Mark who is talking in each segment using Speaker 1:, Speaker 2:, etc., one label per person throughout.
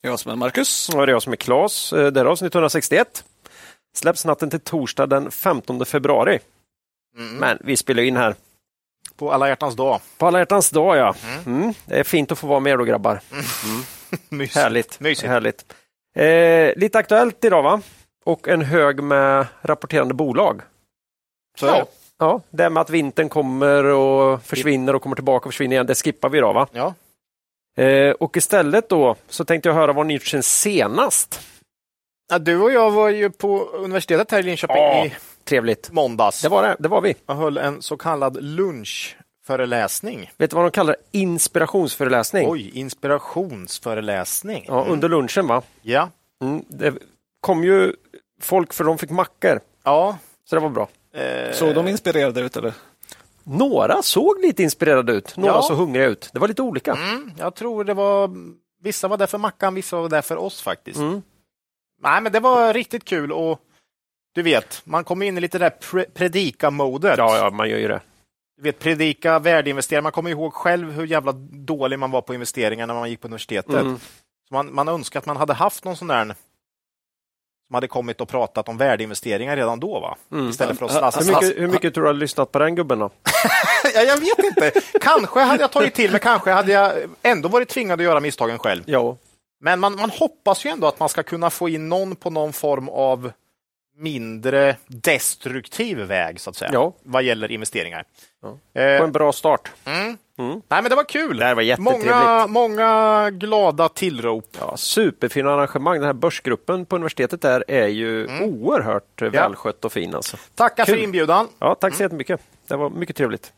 Speaker 1: Jag som är Marcus.
Speaker 2: Och det är jag som är Klas. Eh, Det här är avsnitt 161. Släpps natten till torsdag den 15 februari. Men vi spelar in här
Speaker 3: På alla hjärtans dag.
Speaker 2: på alla hjärtans dag. Ja. Mm. Det är fint att få vara med er då grabbar.
Speaker 3: Mys.
Speaker 2: Härligt.
Speaker 3: Mysigt.
Speaker 2: Härligt. Eh, lite aktuellt idag va? Och en hög med rapporterande bolag.
Speaker 3: Så är det.
Speaker 2: Ja, det här med att vintern kommer och försvinner och kommer tillbaka och försvinner igen, det skippar vi idag va?
Speaker 3: Ja.
Speaker 2: Eh, och istället då så tänkte jag höra vad ni gjort sen senast.
Speaker 3: ja. Du och jag var ju på universitetet här i Linköping
Speaker 2: Ja.
Speaker 3: i
Speaker 2: Trevligt.
Speaker 3: måndags.
Speaker 2: Det var det, det var vi.
Speaker 3: Jag höll en så kallad lunchföreläsning.
Speaker 2: Vet du vad de kallar det? Inspirationsföreläsning.
Speaker 3: Oj, inspirationsföreläsning. Mm.
Speaker 2: Ja, under lunchen va?
Speaker 3: Ja.
Speaker 2: Mm, det kom ju folk för de fick mackor,
Speaker 3: Ja.
Speaker 2: så det var bra.
Speaker 3: Eh,
Speaker 1: Såg de inspirerade ut eller?
Speaker 2: Några såg lite inspirerade ut, några
Speaker 3: Ja.
Speaker 2: såg hungriga ut. Det var lite olika.
Speaker 3: mm, jag tror det var... Vissa var där för Mackan, vissa var där för oss faktiskt.
Speaker 2: Mm.
Speaker 3: Nej, men det var riktigt kul och du vet, man kommer in i lite det där pre- predika-modet.
Speaker 2: Ja, ja, man gör ju det.
Speaker 3: Du vet, predika, värdeinvestera. Man kommer ihåg själv hur jävla dålig man var på investeringar när man gick på universitetet.
Speaker 2: Mm.
Speaker 3: Så man, man önskar att man hade haft någon sån där som hade kommit och pratat om värdeinvesteringar redan då, va?
Speaker 2: Mm.
Speaker 3: Istället för att
Speaker 1: Ja,
Speaker 3: slassa,
Speaker 2: Hur
Speaker 3: slassa.
Speaker 2: mycket, hur mycket tror du har lyssnat på den gubben då?
Speaker 3: Ja, jag vet inte. Kanske hade jag tagit till mig, kanske hade jag ändå varit tvingad att göra misstagen själv.
Speaker 2: Ja,
Speaker 3: Men man, man hoppas ju ändå att man ska kunna få in någon på någon form av mindre destruktiv väg, så att säga,
Speaker 2: Ja.
Speaker 3: vad gäller investeringar.
Speaker 2: Ja.
Speaker 3: Eh,
Speaker 2: på en bra start.
Speaker 3: mm.
Speaker 2: Mm.
Speaker 3: Nej, men det var kul.
Speaker 2: Det här var jättetrevligt.
Speaker 3: många, många glada tillrop.
Speaker 2: Ja, superfina arrangemang. Den här börsgruppen på universitetet där är ju oerhört eh,
Speaker 3: Ja.
Speaker 2: välskött och fin. Alltså.
Speaker 3: Tackar för
Speaker 2: Kul.
Speaker 3: inbjudan.
Speaker 2: Ja, tack så jättemycket. Det var mycket trevligt.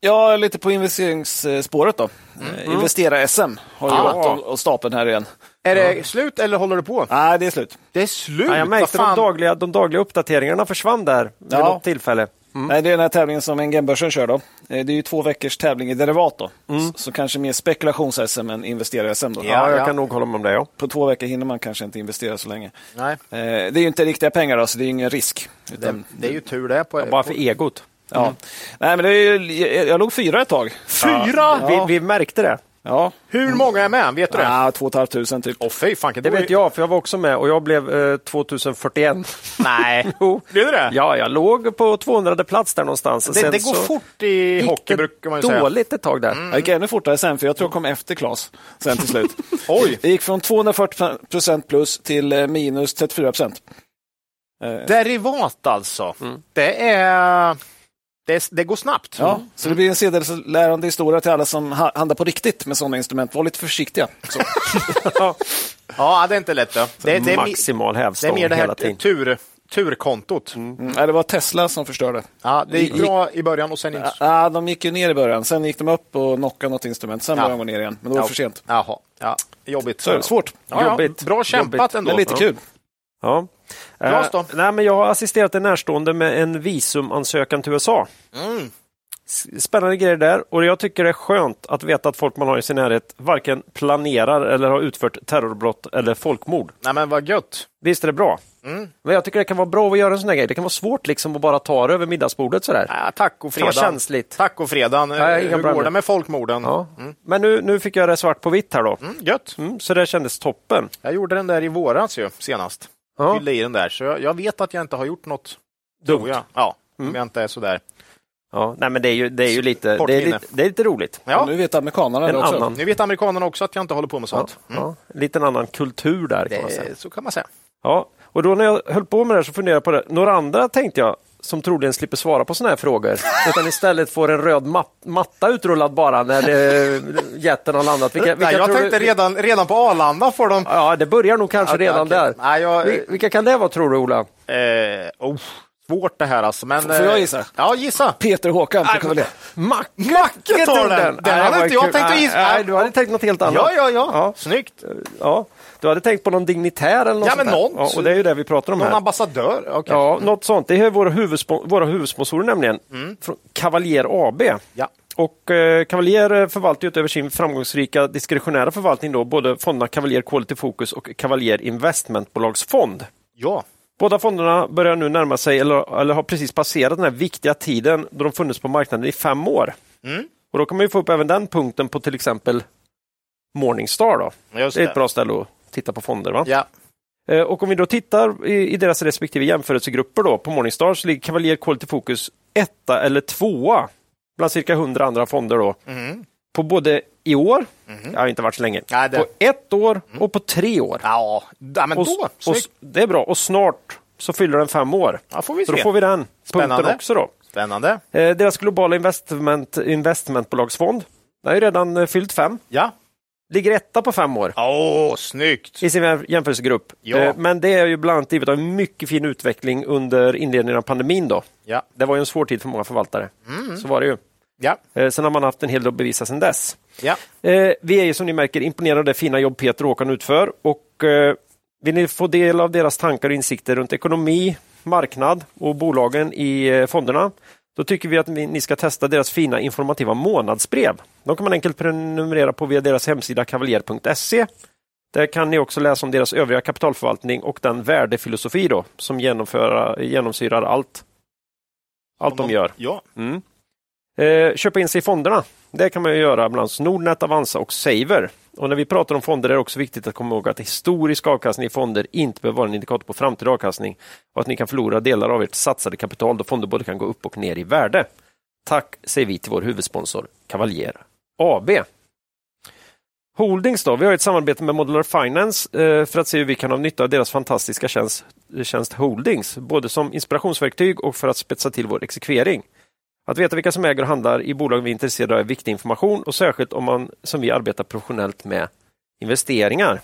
Speaker 1: Ja, lite på investeringsspåret då. Eh, Investera-SM har ju
Speaker 3: Mm. Ah.
Speaker 1: gått av- av stapeln här igen.
Speaker 3: Är det slut eller håller du på?
Speaker 1: Nej, det är slut.
Speaker 3: Det är slut!
Speaker 2: Ja, jag märkte
Speaker 3: vad
Speaker 2: de
Speaker 3: fan.
Speaker 2: dagliga, de dagliga uppdateringarna försvann där vid
Speaker 1: Ja.
Speaker 2: något tillfälle.
Speaker 3: Mm.
Speaker 1: Nej, det är den här tävlingen som NGM-börsen kör då. Eh, Det är ju två veckors tävling i derivat då. Så, så kanske mer spekulations-SM än investera-SM då.
Speaker 3: Mm. Ja.
Speaker 2: Ja, jag kan nog hålla med om det. Ja.
Speaker 1: På två veckor hinner man kanske inte investera så länge.
Speaker 3: Nej,
Speaker 1: Eh, Det är ju inte riktiga pengar då, så det är ju ingen risk.
Speaker 3: det,
Speaker 1: Utan,
Speaker 3: det är ju tur det. På,
Speaker 2: Bara för egot.
Speaker 1: ja.
Speaker 3: Mm.
Speaker 1: Nej, men det är ju, jag- jag låg fyra ett tag.
Speaker 3: Fyra!
Speaker 2: Vi, vi märkte det.
Speaker 1: Ja,
Speaker 3: Hur många är med? Vet du det?
Speaker 1: ah, två och ett halvt tusen typ.
Speaker 3: Åh fy fan,
Speaker 2: Det vet jag, för jag var också med och jag blev eh, 2041.
Speaker 3: Nej.
Speaker 2: Jo.
Speaker 3: Blev du det?
Speaker 2: Ja, jag låg på 200 plats där någonstans.
Speaker 3: Det,
Speaker 2: Sen
Speaker 3: det går
Speaker 2: så
Speaker 3: fort i
Speaker 2: gick
Speaker 3: hockey
Speaker 2: det
Speaker 3: brukar man ju säga. Mm.
Speaker 2: dåligt ett tag där.
Speaker 1: Jag gick ännu fortare sen, för jag tror jag kom efter Claes sen till slut.
Speaker 3: Oj!
Speaker 1: Det gick från 240 procent plus till eh, minus 34 procent.
Speaker 3: Derivat alltså.
Speaker 2: Mm.
Speaker 3: Det är... Det, det går snabbt.
Speaker 1: Ja, Mm. Så det blir en sedelärande historia till alla som ha- handlar på riktigt med sådana instrument. Var lite försiktiga. Så.
Speaker 3: ja, det är inte lätt. Då. Det, det, är, mi-
Speaker 2: Maximal
Speaker 3: det är
Speaker 2: hävstång
Speaker 3: mer det
Speaker 2: hela
Speaker 3: här
Speaker 2: tiden.
Speaker 3: tur, turkontot.
Speaker 1: Mm. nej, Det var Tesla som förstörde.
Speaker 3: Ja, det gick bra i början och sen inte.
Speaker 1: Ah, de gick ju ner i början, sen gick de upp och knockade något instrument. Sen
Speaker 3: Ja.
Speaker 1: började de gå ner igen, men då var det för sent.
Speaker 3: Jaha, ja. jobbigt.
Speaker 1: Så är det svårt,
Speaker 3: Ja, ja.
Speaker 2: Jobbigt.
Speaker 3: Bra kämpat
Speaker 2: Jobbigt.
Speaker 3: ändå.
Speaker 1: men lite
Speaker 3: Ja.
Speaker 1: kul.
Speaker 2: Ja.
Speaker 3: Claes då?
Speaker 2: Eh, nej, men jag har assisterat en närstående med en visumansökan till USA.
Speaker 3: Mm.
Speaker 2: S- Spännande grejer där och jag tycker det är skönt att veta att folk man har i sin närhet varken planerar eller har utfört terrorbrott eller folkmord.
Speaker 3: Nej, men vad gött.
Speaker 2: Visst är det bra?
Speaker 3: Mm.
Speaker 2: Men jag tycker det kan vara bra att göra en sån här grej. Det kan vara svårt liksom att bara ta det över middagsbordet sådär.
Speaker 3: Ja, tack och
Speaker 2: Det kan vara
Speaker 3: fredan.
Speaker 2: känsligt.
Speaker 3: Tack och fredan.
Speaker 2: Ja,
Speaker 3: Hur
Speaker 2: inga
Speaker 3: går
Speaker 2: problem.
Speaker 3: det med folkmorden?
Speaker 2: Ja. Men nu, nu fick jag det svart på vitt här då.
Speaker 3: Mm, gött.
Speaker 2: Mm, så det kändes toppen.
Speaker 3: Jag gjorde den där i våras ju, senast.
Speaker 2: Ja.
Speaker 3: Fyllde i den där, så jag, jag vet att jag inte har gjort något. Tror
Speaker 2: Dumt.
Speaker 3: jag. Ja, om jag inte är sådär.
Speaker 2: Ja, nej, men det är ju, det är ju lite, det är
Speaker 3: Sportminne.
Speaker 2: lite, det är lite roligt.
Speaker 3: Ja.
Speaker 1: Och nu vet amerikanerna
Speaker 2: En
Speaker 1: det också.
Speaker 2: annan.
Speaker 3: Nu vet amerikanerna också att jag inte håller på med
Speaker 2: Ja,
Speaker 3: sånt. Mm.
Speaker 2: ja, lite en annan kultur där. Kan man säga.
Speaker 3: Det, så kan man säga.
Speaker 2: Ja, och då när jag höll på med det här så funderade jag på det. Några andra tänkte jag som troligen slipper svara på sådana här frågor, utan istället får en röd mat- matta utrullad bara när det, jätten har landat. Vilka, vilka
Speaker 3: Nej, jag
Speaker 2: tror
Speaker 3: tänkte
Speaker 2: du...
Speaker 3: redan, redan på Arlanda får de...
Speaker 2: Ja, det börjar nog kanske
Speaker 3: Ja,
Speaker 2: redan
Speaker 3: okej.
Speaker 2: där.
Speaker 3: Nej, jag-
Speaker 2: Vil- Vilka kan det vara tror du, Ola?
Speaker 3: Eh, oh, svårt det här alltså. Men,
Speaker 1: Får jag
Speaker 3: eh,
Speaker 1: gissa?
Speaker 3: Ja, gissa.
Speaker 1: Peter Håkan på Cavalier.
Speaker 2: Macke
Speaker 3: Macke tar
Speaker 2: tog
Speaker 3: den! Den
Speaker 2: Nej,
Speaker 3: hade
Speaker 2: vad
Speaker 3: inte jag
Speaker 2: kul.
Speaker 3: tänkt att
Speaker 2: Nej,
Speaker 3: gissa.
Speaker 2: Nej, du hade tänkt något helt annat.
Speaker 3: Ja, ja, ja. Snyggt.
Speaker 2: Ja, du hade tänkt på någon dignitär eller något
Speaker 3: Ja, men
Speaker 2: sånt där.
Speaker 3: någon.
Speaker 2: Ja, och det är ju det vi pratar om
Speaker 3: Någon
Speaker 2: här.
Speaker 3: ambassadör? Okej.
Speaker 2: Ja, något sånt. Det är våra, huvudspo- våra huvudsponsorer nämligen,
Speaker 3: Mm.
Speaker 2: från Cavalier AB.
Speaker 3: Ja.
Speaker 2: Och eh, Cavalier förvaltar ju utöver sin framgångsrika diskretionära förvaltning då både fonderna Cavalier Quality Focus och Cavalier Investmentbolagsfond.
Speaker 3: ja.
Speaker 2: Båda fonderna börjar nu närma sig, eller, eller har precis passerat den här viktiga tiden då de funnits på marknaden i fem år.
Speaker 3: Mm.
Speaker 2: Och då kan man ju få upp även den punkten på till exempel Morningstar. Då.
Speaker 3: Just
Speaker 2: Det är ett
Speaker 3: det.
Speaker 2: bra ställe att titta på fonder. Va?
Speaker 3: Ja.
Speaker 2: Eh, Och om vi då tittar i, i deras respektive jämförelsegrupper då, på Morningstar så ligger Cavalier Quality Focus etta eller tvåa bland cirka 100 andra fonder då,
Speaker 3: Mm.
Speaker 2: på både i år, det har inte varit så länge,
Speaker 3: Mhm. Nej, det- Mm.
Speaker 2: på ett år och på tre år.
Speaker 3: Ja, ja men
Speaker 2: och,
Speaker 3: då.
Speaker 2: s- och,
Speaker 3: Snyggt.
Speaker 2: s- det är bra, och snart så fyller den fem år.
Speaker 3: Ja, får vi
Speaker 2: Så då
Speaker 3: se.
Speaker 2: får vi den punkten
Speaker 3: Spännande.
Speaker 2: också då.
Speaker 3: Spännande.
Speaker 2: Eh, Deras globala investment, investmentbolagsfond, den har ju redan eh, fyllt fem,
Speaker 3: Ja.
Speaker 2: ligger etta på fem år
Speaker 3: Åh, snyggt.
Speaker 2: i sin jäm- jämförelsegrupp.
Speaker 3: Ja.
Speaker 2: Eh, Men det är ju bland annat givet av en mycket fin utveckling under inledningen av pandemin. Då.
Speaker 3: Ja.
Speaker 2: Det var ju en svår tid för många förvaltare. Så var det ju.
Speaker 3: Ja.
Speaker 2: Eh, Sen har man haft en hel del att bevisa sedan dess.
Speaker 3: Ja.
Speaker 2: Eh, Vi är ju som ni märker imponerade av det fina jobb Peter och Håkan utför. Och eh, vill ni få del av deras tankar och insikter runt ekonomi, marknad och bolagen i eh, fonderna då tycker vi att ni ni ska testa deras fina informativa månadsbrev. De kan man enkelt prenumerera på via deras hemsida kavaljer.se. Där kan ni också läsa om deras övriga kapitalförvaltning och den värdefilosofi då, som genomföra- genomsyrar allt, allt de gör.
Speaker 3: Ja.
Speaker 2: Mm. Eh, köpa in sig i fonderna. Det kan man ju göra bland annat Nordnet, Avanza och Saver. Och när vi pratar om fonder är det också viktigt att komma ihåg att historisk avkastning i fonder inte behöver vara en indikator på framtida avkastning och att ni kan förlora delar av ert satsade kapital då fonder både kan gå upp och ner i värde. Tack säger vi till vår huvudsponsor Cavalier AB. Holdings då, vi har ett samarbete med Modular Finance eh, för att se hur vi kan ha nytta av deras fantastiska tjänst, tjänst Holdings, både som inspirationsverktyg och för att spetsa till vår exekvering. Att veta vilka som äger och handlar i bolag vi är intresserade av är viktig information och särskilt om man som vi arbetar professionellt med investeringar.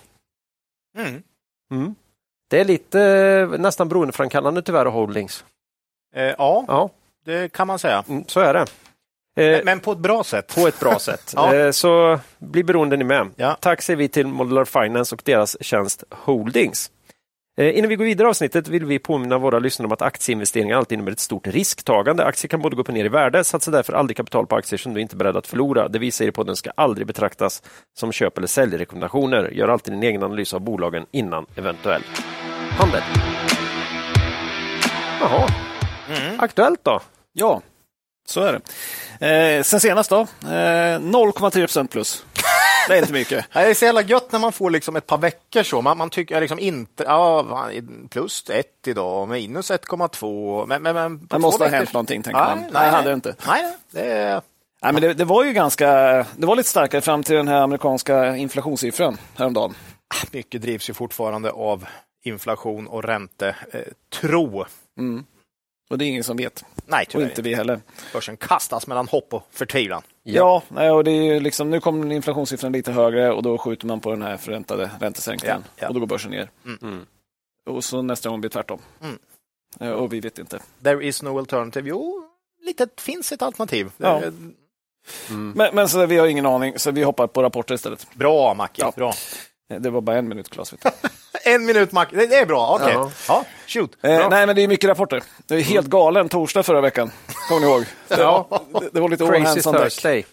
Speaker 3: Mm.
Speaker 2: Mm. Det är lite eh, nästan beroendeframkallande tyvärr av holdings.
Speaker 3: Eh, ja,
Speaker 2: Ja,
Speaker 3: det kan man säga.
Speaker 2: mm, så är det. Eh,
Speaker 3: Men på ett bra sätt.
Speaker 2: på ett bra sätt.
Speaker 3: Ja.
Speaker 2: Eh, Så bli beroende ni med.
Speaker 3: Ja.
Speaker 2: Tack säger vi till Modular Finance och deras tjänst Holdings. Eh, Innan vi går vidare i avsnittet vill vi påminna våra lyssnare om att aktieinvesteringar alltid innebär ett stort risktagande. Aktier kan både gå upp och ner i värde. Satsa därför aldrig kapital på aktier som du inte är beredd att förlora. Det vi säger på den ska aldrig betraktas som köp eller säljrekommendationer. Gör alltid din egen analys av bolagen innan eventuell handel. Jaha. Aktuellt då?
Speaker 1: Ja, så är det. Eh, sen senast då, eh, 0,3 plus. Det är inte mycket.
Speaker 3: Nej, Det är så jävla gött när man får liksom ett par veckor så. Man, man tycker liksom inte, ja, fan, plus ett idag, minus 1,2. Men, men, men på
Speaker 1: Det
Speaker 3: två
Speaker 1: måste ha
Speaker 3: veckor-
Speaker 1: hänt någonting, tänker
Speaker 3: Nej,
Speaker 1: man.
Speaker 3: nej,
Speaker 1: Nej, det hade det inte.
Speaker 3: Nej, nej, det är...
Speaker 1: Nej, men det, det var ju ganska, det var lite starkare fram till den här amerikanska inflationssiffran häromdagen.
Speaker 3: Mycket drivs ju fortfarande av inflation och eh, räntetro.
Speaker 1: Mm. Och det är ingen som vet.
Speaker 3: Nej,
Speaker 1: Och
Speaker 3: tyvärr
Speaker 1: inte
Speaker 3: inte.
Speaker 1: vi heller.
Speaker 3: Börsen kastas mellan hopp och förtvivlan.
Speaker 1: Ja, nej, och det är ju liksom, nu kommer inflationssiffran lite högre och då skjuter man på den här förväntade räntesänkningen
Speaker 3: Ja, ja.
Speaker 1: och då går börsen ner.
Speaker 3: Mm.
Speaker 2: Mm.
Speaker 1: Och så nästa gång blir det tvärtom.
Speaker 3: Mm.
Speaker 1: Eh, Och vi vet inte.
Speaker 3: There is no alternative. Jo, lite finns ett alternativ.
Speaker 1: Ja.
Speaker 3: Det är-
Speaker 1: Men, men så, där, vi har ingen aning, så vi hoppar på rapporter istället.
Speaker 3: Bra, Macke.
Speaker 1: Ja.
Speaker 3: Bra.
Speaker 1: Eh, Det var bara en minut, Claes. vet du.
Speaker 3: En minut, Macke. Det det är bra. Okej.
Speaker 2: Ja.
Speaker 3: Ja, shoot.
Speaker 1: Eh, nej, men det är mycket rapporter. Det är helt galen torsdag förra veckan. Kommer ni ihåg?
Speaker 2: Mm. Ja.
Speaker 1: Det, det var lite all
Speaker 2: Crazy
Speaker 1: hands on deck.
Speaker 2: Thursday.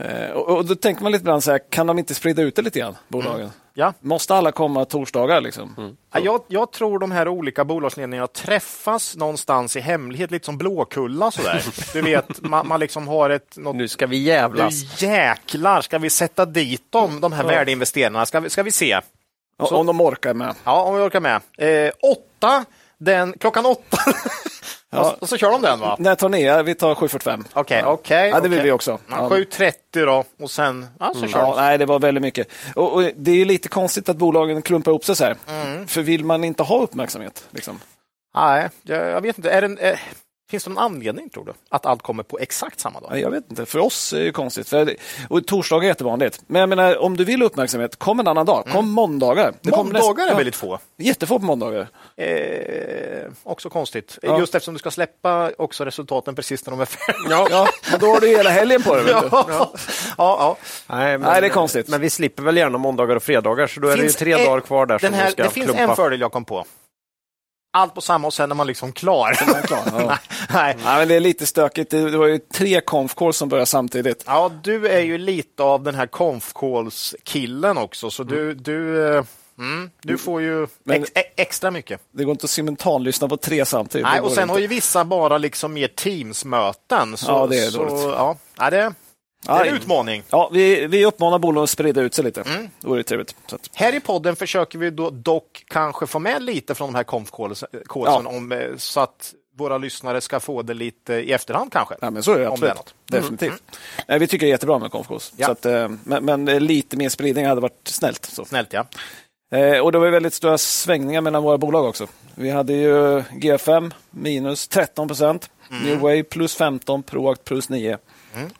Speaker 1: Eh, och, och då tänker man lite ibland så här, kan de inte sprida ut det lite grann, bolagen?
Speaker 3: Mm. Ja. Mm.
Speaker 1: Måste alla komma torsdagar liksom?
Speaker 3: Ja, jag, jag tror de här olika bolagsledningarna träffas någonstans i hemlighet, lite som Blåkulla sådär. Du vet, man, man liksom har ett... Något,
Speaker 2: Nu ska vi jävlas.
Speaker 3: nu jäklar ska vi sätta dit dem, de här värdeinvesterarna? Ska vi, ska vi se?
Speaker 1: O- Om de orkar med.
Speaker 3: Ja, om vi orkar med. Eh, åtta, den, klockan åtta. och, så, och så kör de den va?
Speaker 1: När tar ni er? Vi tar 7.45.
Speaker 3: Okej, okej.
Speaker 1: Ja, det vill
Speaker 3: okej.
Speaker 1: vi också.
Speaker 3: Ja,
Speaker 1: Ja. Mm.
Speaker 3: 7.30 då och sen, ja så kör
Speaker 1: Ja,
Speaker 3: de.
Speaker 1: nej, det var väldigt mycket. Och, och det är ju lite konstigt att bolagen klumpar ihop sig så här.
Speaker 3: Mm.
Speaker 1: För vill man inte ha uppmärksamhet? Liksom?
Speaker 3: Nej, jag, jag vet inte. Är den, eh, Finns det någon anledning, tror du, att allt kommer på exakt samma dag?
Speaker 1: Ja, Jag vet inte, för oss är det ju konstigt. För det, och torsdagar är jättevanligt. Men jag menar, om du vill uppmärksamhet, kom en annan dag. Kom måndagar. Det kom näst-
Speaker 3: Mm. Måndagar är
Speaker 1: ja,
Speaker 3: väldigt få.
Speaker 1: Jättefå på måndagar.
Speaker 3: Eh, också konstigt.
Speaker 1: Ja.
Speaker 3: Just eftersom du ska släppa också resultaten precis när de är färdiga.
Speaker 1: Ja. men då har du hela helgen på dig. Vet du.
Speaker 3: ja. ja,
Speaker 2: Nej, men,
Speaker 1: Nej, det är konstigt.
Speaker 2: Men vi slipper väl gärna måndagar och fredagar, så då är det ju
Speaker 3: Finns
Speaker 2: tre
Speaker 3: en-
Speaker 2: dagar kvar där
Speaker 3: Den
Speaker 2: som
Speaker 3: här,
Speaker 2: de ska
Speaker 3: det finns
Speaker 2: klumpa.
Speaker 3: en fördel jag kom på. Allt på samma och sen är man liksom klar.
Speaker 1: klar, ja.
Speaker 3: Nej, Nej.
Speaker 1: Nej, men det är lite stökigt. Det det var ju tre conf calls som började samtidigt.
Speaker 3: Ja, du är ju lite av den här conf killen också, så du, du, eh, mm, du får ju
Speaker 1: Men-
Speaker 3: ex, e- extra mycket.
Speaker 1: Det går inte att simultanlyssna på tre samtidigt.
Speaker 3: Nej,
Speaker 1: Det
Speaker 3: och
Speaker 1: går
Speaker 3: sen
Speaker 1: inte.
Speaker 3: har ju vissa bara liksom mer Teams-möten. Så,
Speaker 1: Ja, det är
Speaker 3: så,
Speaker 1: dåligt.
Speaker 3: Ja, ja, det, det är
Speaker 1: Aj.
Speaker 3: en utmaning.
Speaker 1: Ja, vi, vi uppmanar bolagen att sprida ut sig lite.
Speaker 3: Mm.
Speaker 1: Det vore ju trevligt. Så att,
Speaker 3: Här i podden försöker vi då dock kanske få med lite från de här conf
Speaker 1: Ja.
Speaker 3: om eh, så att våra lyssnare ska få det lite i efterhand kanske.
Speaker 1: ja, men så är det
Speaker 3: Om
Speaker 1: absolut.
Speaker 3: det är något. Mm.
Speaker 1: Definitivt. Nej, vi tycker det är jättebra med conf calls.
Speaker 3: Ja.
Speaker 1: Så att, eh, men, men eh, lite mer spridning hade varit snällt. Så.
Speaker 3: Snällt ja.
Speaker 1: Eh, och det var ju väldigt stora svängningar mellan våra bolag också. Vi hade ju G5 minus 13 procent,
Speaker 3: Mm.
Speaker 1: New Way plus 15, Proact plus 9.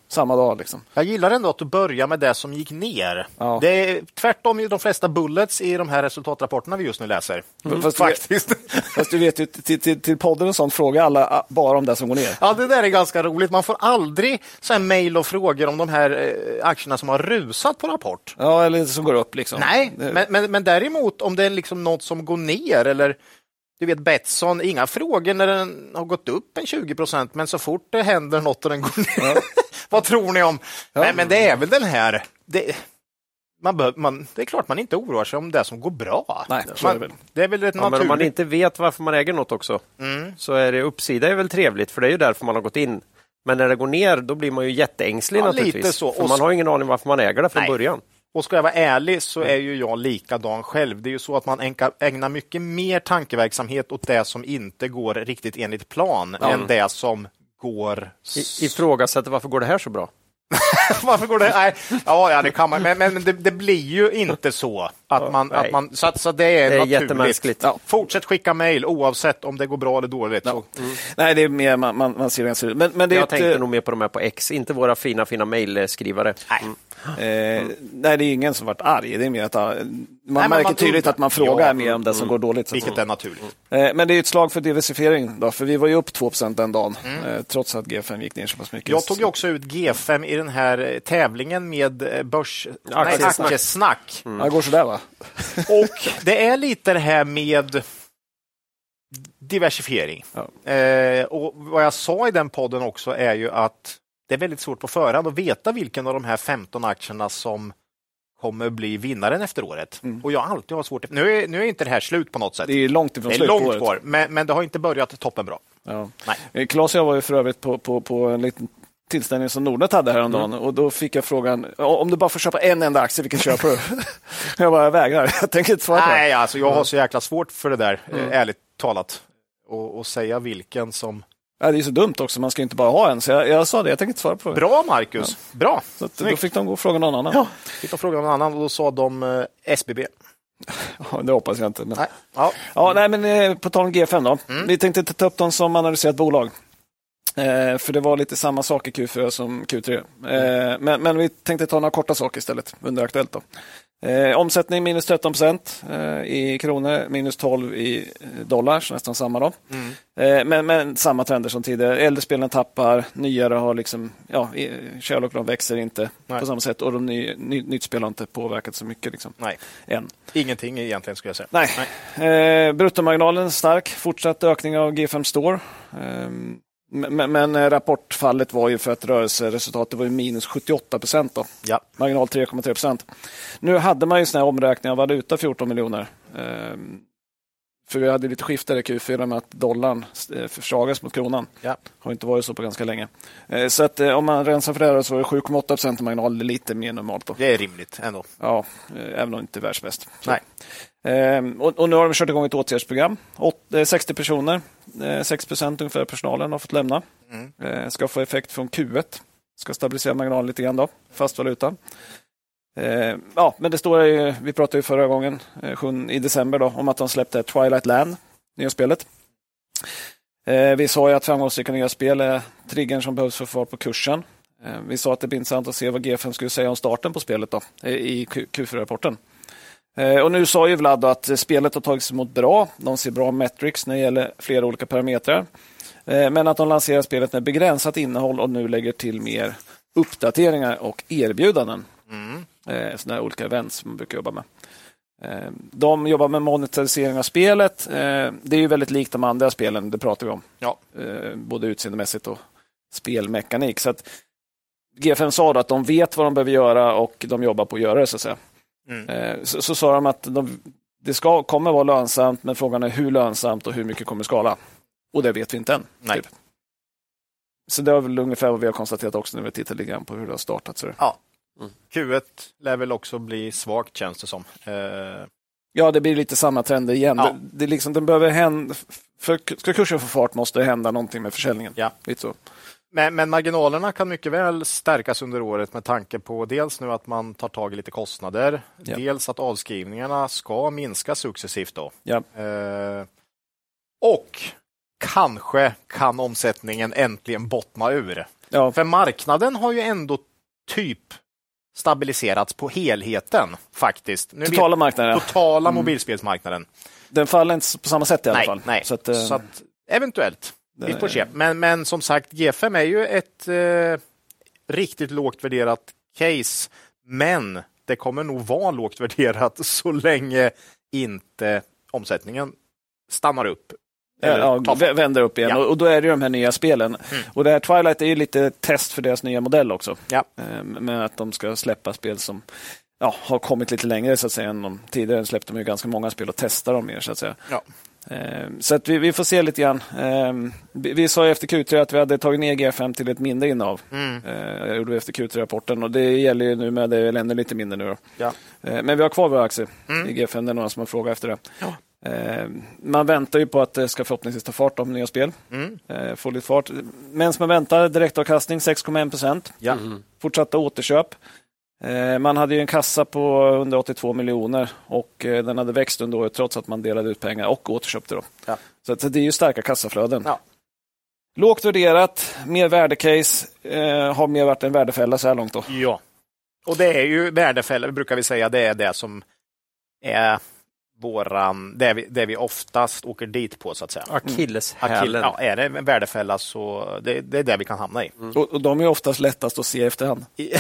Speaker 1: Samma dag liksom.
Speaker 3: Jag gillar ändå att du börjar med det som gick ner.
Speaker 1: Ja.
Speaker 3: Det är tvärtom i de flesta bullets i de här resultatrapporterna vi just nu läser.
Speaker 1: Fast, Du,
Speaker 3: Faktiskt.
Speaker 1: fast du vet ju, till, till, till podden och sånt frågar alla ah, bara om det som går ner.
Speaker 3: Ja, det där är ganska roligt. Man får aldrig så här mejl och frågor om de här eh, aktierna som har rusat på rapport.
Speaker 1: Ja, eller som går upp liksom.
Speaker 3: Nej,
Speaker 1: Det-
Speaker 3: men, men, men däremot om det är liksom något som går ner eller du vet Betsson, inga frågor när den har gått upp en 20 procent, men så fort det händer något och den går ner, vad tror ni om? Nej, men det är väl den här. Det, man behöver, man, det är klart man inte oroar sig om det som går bra.
Speaker 1: Nej, så är det
Speaker 3: man,
Speaker 1: väl.
Speaker 3: det är väl ett
Speaker 2: Ja, men om man
Speaker 3: naturligt...
Speaker 2: inte vet varför man äger något också,
Speaker 3: Mm.
Speaker 2: så är det uppsida är väl trevligt, för det är ju därför man har gått in. Men när det går ner, då blir man ju jätteängslig
Speaker 3: Ja, lite
Speaker 2: naturligtvis.
Speaker 3: så.
Speaker 2: För
Speaker 3: Och
Speaker 2: man
Speaker 3: så-
Speaker 2: har ingen aning varför man äger det från
Speaker 3: Nej.
Speaker 2: början.
Speaker 3: Och ska jag vara ärlig så
Speaker 1: Mm.
Speaker 3: är ju jag likadan själv. Det är ju så att man enka- ägnar mycket mer tankeverksamhet åt det som inte går riktigt enligt plan än det som går
Speaker 2: I, ifrågasätter varför går det här så bra?
Speaker 3: Varför går det? Nej, ja, ja, det kan man. Men, men det, det blir ju inte så. Att man,
Speaker 2: nej.
Speaker 3: att man, så, att, så att det är,
Speaker 2: Det är
Speaker 3: naturligt.
Speaker 2: jättemänskligt.
Speaker 3: Ja. Fortsätt skicka mejl oavsett om det går bra eller dåligt. Så,
Speaker 1: Nej, det är mer man, man, man ser hur den ser ut. Men, men det är
Speaker 2: Jag
Speaker 1: ett,
Speaker 2: tänkte
Speaker 1: eh,
Speaker 2: nog mer på de här på X, inte våra fina, fina mejlskrivare.
Speaker 3: nej.
Speaker 1: Eh, nej, det är ingen som varit arg. Det är mer att ah, man
Speaker 3: men
Speaker 1: märker
Speaker 3: man
Speaker 1: tydligt
Speaker 3: undrar.
Speaker 1: att man frågar
Speaker 3: Ja,
Speaker 1: mer om det som går dåligt. så att
Speaker 3: Mm. Vilket är
Speaker 2: Mm.
Speaker 3: naturligt.
Speaker 1: Eh, Men det är ju ett slag för diversifiering, då, för vi var ju upp 2 den dagen,
Speaker 3: Mm.
Speaker 1: eh, trots att G5 gick ner så pass mycket.
Speaker 3: Jag tog ju också ut G5 i den här eh, tävlingen med eh, börs... Nej,
Speaker 2: Aktiesnack.
Speaker 3: aktiesnack.
Speaker 1: Ja, det går sådär va?
Speaker 3: Och det är lite det här med diversifiering.
Speaker 1: Ja.
Speaker 3: Eh, och vad jag sa i den podden också är ju att det är väldigt svårt på förhand att veta vilken av de här 15 aktierna som kommer bli vinnaren efter året. Och jag har alltid har svårt. Nu är, nu är inte det här slut på något sätt.
Speaker 1: Mm. Det är ju långt ifrån
Speaker 3: Det är
Speaker 1: slut på
Speaker 3: långt
Speaker 1: året.
Speaker 3: kvar, men, men det har inte börjat toppen bra.
Speaker 1: Ja.
Speaker 3: Nej.
Speaker 1: Eh, Claes och jag var ju för övrigt på, på, på en liten tillställning som Nordnet hade häromdagen
Speaker 3: Mm.
Speaker 1: och då fick jag frågan, "Ja, om du bara får köpa en enda aktie, vilken köper du? jag bara, jag vägrar, jag tänker inte svara på det.
Speaker 3: Nej, alltså jag har så jäkla svårt för det där, eh,
Speaker 1: Mm.
Speaker 3: ärligt talat. Och, och säga vilken som...
Speaker 1: Ja, Det är ju så dumt också, man ska ju inte bara ha en, så jag, jag sa det, jag tänker inte svara på det.
Speaker 3: Bra, Marcus! Bra!
Speaker 1: Så att, då
Speaker 3: Snyggt.
Speaker 1: fick de gå och fråga någon annan. Ja.
Speaker 3: Fick de fråga någon annan och då sa de eh, SBB.
Speaker 1: det hoppas jag inte. Men...
Speaker 3: Nej. Ja.
Speaker 1: Ja, nej, men eh, på tal om G5 då.
Speaker 3: Mm.
Speaker 1: Vi tänkte ta upp dem som analyserat bolag. Eh, för det var lite samma sak i Q4 som Q3. Eh,
Speaker 3: Mm.
Speaker 1: men, men vi tänkte ta några korta saker istället under Aktuellt. Då. Eh, omsättning minus 13 procent eh, i kronor, minus 12 i eh, dollar, så nästan samma. Då.
Speaker 3: Mm.
Speaker 1: Eh, men, men samma trender som tidigare. Äldre spelen tappar, nyare har liksom, ja, i- Sherlock de växer inte
Speaker 3: Nej.
Speaker 1: på samma sätt och de ny, ny, nytt spel har inte påverkat så mycket liksom,
Speaker 3: Nej,
Speaker 1: än.
Speaker 3: ingenting egentligen skulle jag säga.
Speaker 1: Nej. Eh, bruttomarginalen stark, fortsatt ökning av G5 Store. Eh, men, men eh, rapportfallet var ju för att rörelseresultatet var ju minus 78 procent.
Speaker 3: Ja.
Speaker 1: Marginal 3,3 procent. Nu hade man ju sån här omräkning av valuta 14 miljoner. Eh, för vi hade lite skifte i Q4 med att dollarn eh, försvagas mot kronan.
Speaker 3: Ja.
Speaker 1: Har inte varit så på ganska länge. Eh, så att, eh, om man rensar för det här så är det 7,8 procent i marginal, det är lite mer normalt. Då.
Speaker 3: Det är rimligt ändå.
Speaker 1: Ja, eh, även om inte världsbäst. Så.
Speaker 3: Nej.
Speaker 1: Ehm, och, och nu har de kört igång ett åtgärdsprogram. Åt, eh, 60 personer, eh, 6 procent ungefär av personalen har fått lämna.
Speaker 3: Mm,
Speaker 1: Eh, ska få effekt från Q1. Ska stabilisera marginalen lite grann då, fast valuta. Eh, ja, men det står ju, vi pratade ju förra gången, eh, sjun- i december då, om att de släppte Twilight Land, nya spelet. Eh, vi sa ju att framgångsrika nya spel är triggern som behövs för att få fart på kursen. Eh, vi sa att det blir intressant att se vad G5 skulle säga om starten på spelet då, eh, i Q- Q4-rapporten. Eh, och nu sa ju Vlad då att eh, spelet har tagits emot bra. De ser bra metrics när det gäller flera olika parametrar. Eh, men att de lanserar spelet med begränsat innehåll och nu lägger till mer uppdateringar och erbjudanden. Mm. Sådana här olika events som man brukar jobba med. Eh, De jobbar med monetarisering av spelet. Eh, Det är ju väldigt likt de andra spelen, det pratar vi om.
Speaker 3: Ja.
Speaker 1: Eh, Både utseendemässigt och spelmekanik. Så att G5 sa då att de vet vad de behöver göra och de jobbar på att göra det. Så, att säga.
Speaker 3: Mm.
Speaker 1: Eh, så, så sa de att de, det ska, kommer vara lönsamt, men frågan är hur lönsamt och hur mycket kommer skala. Och det vet vi inte än.
Speaker 3: Nej.
Speaker 1: Så det är väl ungefär vad vi har konstaterat också när vi tittar lite grann på hur det har startat. Så det.
Speaker 3: Q1 lär väl också bli svagt känns det som. Eh,
Speaker 1: Ja, det blir lite samma trender igen.
Speaker 3: Ja.
Speaker 1: Det, det är liksom, den behöver hända, för ska kursen få fart måste det hända någonting med försäljningen.
Speaker 3: Ja.
Speaker 1: Lite så.
Speaker 3: Men, men marginalerna kan mycket väl stärkas under året med tanke på dels nu att man tar tag i lite kostnader,
Speaker 1: Ja.
Speaker 3: dels att avskrivningarna ska minska successivt. Då.
Speaker 1: Ja.
Speaker 3: Eh, och kanske kan omsättningen äntligen bottna ur.
Speaker 1: Ja,
Speaker 3: För marknaden har ju ändå typ stabiliserats på helheten faktiskt. Nu
Speaker 1: totala marknaden, ja.
Speaker 3: vet, totala mobilspelsmarknaden.
Speaker 1: den faller inte på samma sätt i alla
Speaker 3: nej,
Speaker 1: fall.
Speaker 3: nej.
Speaker 1: Så att, eh,
Speaker 3: eventuellt. Vi får se. Men, men som sagt, G5 är ju ett eh, riktigt lågt värderat case. Men det kommer nog vara lågt värderat så länge inte omsättningen stannar upp. Eller
Speaker 1: Ja,
Speaker 3: tar-
Speaker 1: vä- vänder upp igen.
Speaker 3: Ja. Mm.
Speaker 1: Och, och då är det ju de här nya spelen. Och det här Twilight är ju lite test för deras nya modell också.
Speaker 3: Ja.
Speaker 1: Eh, Med att de ska släppa spel som ja, har kommit lite längre så att säga än de tidigare. släppte de ju ganska många spel och testade dem mer så att säga.
Speaker 3: Ja.
Speaker 1: Eh, Så att vi, vi får se lite grann. Eh, Vi, vi sa ju efter Q3 att vi hade tagit ner G5 till ett mindre innehav.
Speaker 3: Mm.
Speaker 1: Eh, Det gjorde vi efter Q3-rapporten och det gäller ju nu med, det är väl ännu lite mindre nu då.
Speaker 3: Ja.
Speaker 1: Eh, Men vi har kvar våra aktier
Speaker 3: Mm.
Speaker 1: i G5, det är några som har frågat efter det.
Speaker 3: Ja.
Speaker 1: Eh, Man väntar ju på att det ska förhoppningsvis ta fart om nya spel,
Speaker 3: Mm.
Speaker 1: eh, få lite fart. Medan man väntar, direktavkastning 6,1 procent,
Speaker 3: Ja.
Speaker 2: Mm.
Speaker 1: fortsatta återköp. Eh, Man hade ju en kassa på 182 miljoner och eh, den hade växt under året trots att man delade ut pengar och återköpte dem.
Speaker 3: Ja.
Speaker 1: Så att det är ju starka kassaflöden.
Speaker 3: Ja.
Speaker 1: Lågt värderat, mer värdecase, eh, har mer varit en värdefälla så här långt. Då.
Speaker 3: ja. Och det är ju värdefällor, brukar vi säga, det är det som är våran, det vi, det vi oftast åker dit på så att säga. Akil,
Speaker 2: Akilleshälen.
Speaker 3: ja, är det en värdefälla så det, det är det vi kan hamna i.
Speaker 1: Och, och de är ju oftast lättast att se i efterhand. Kan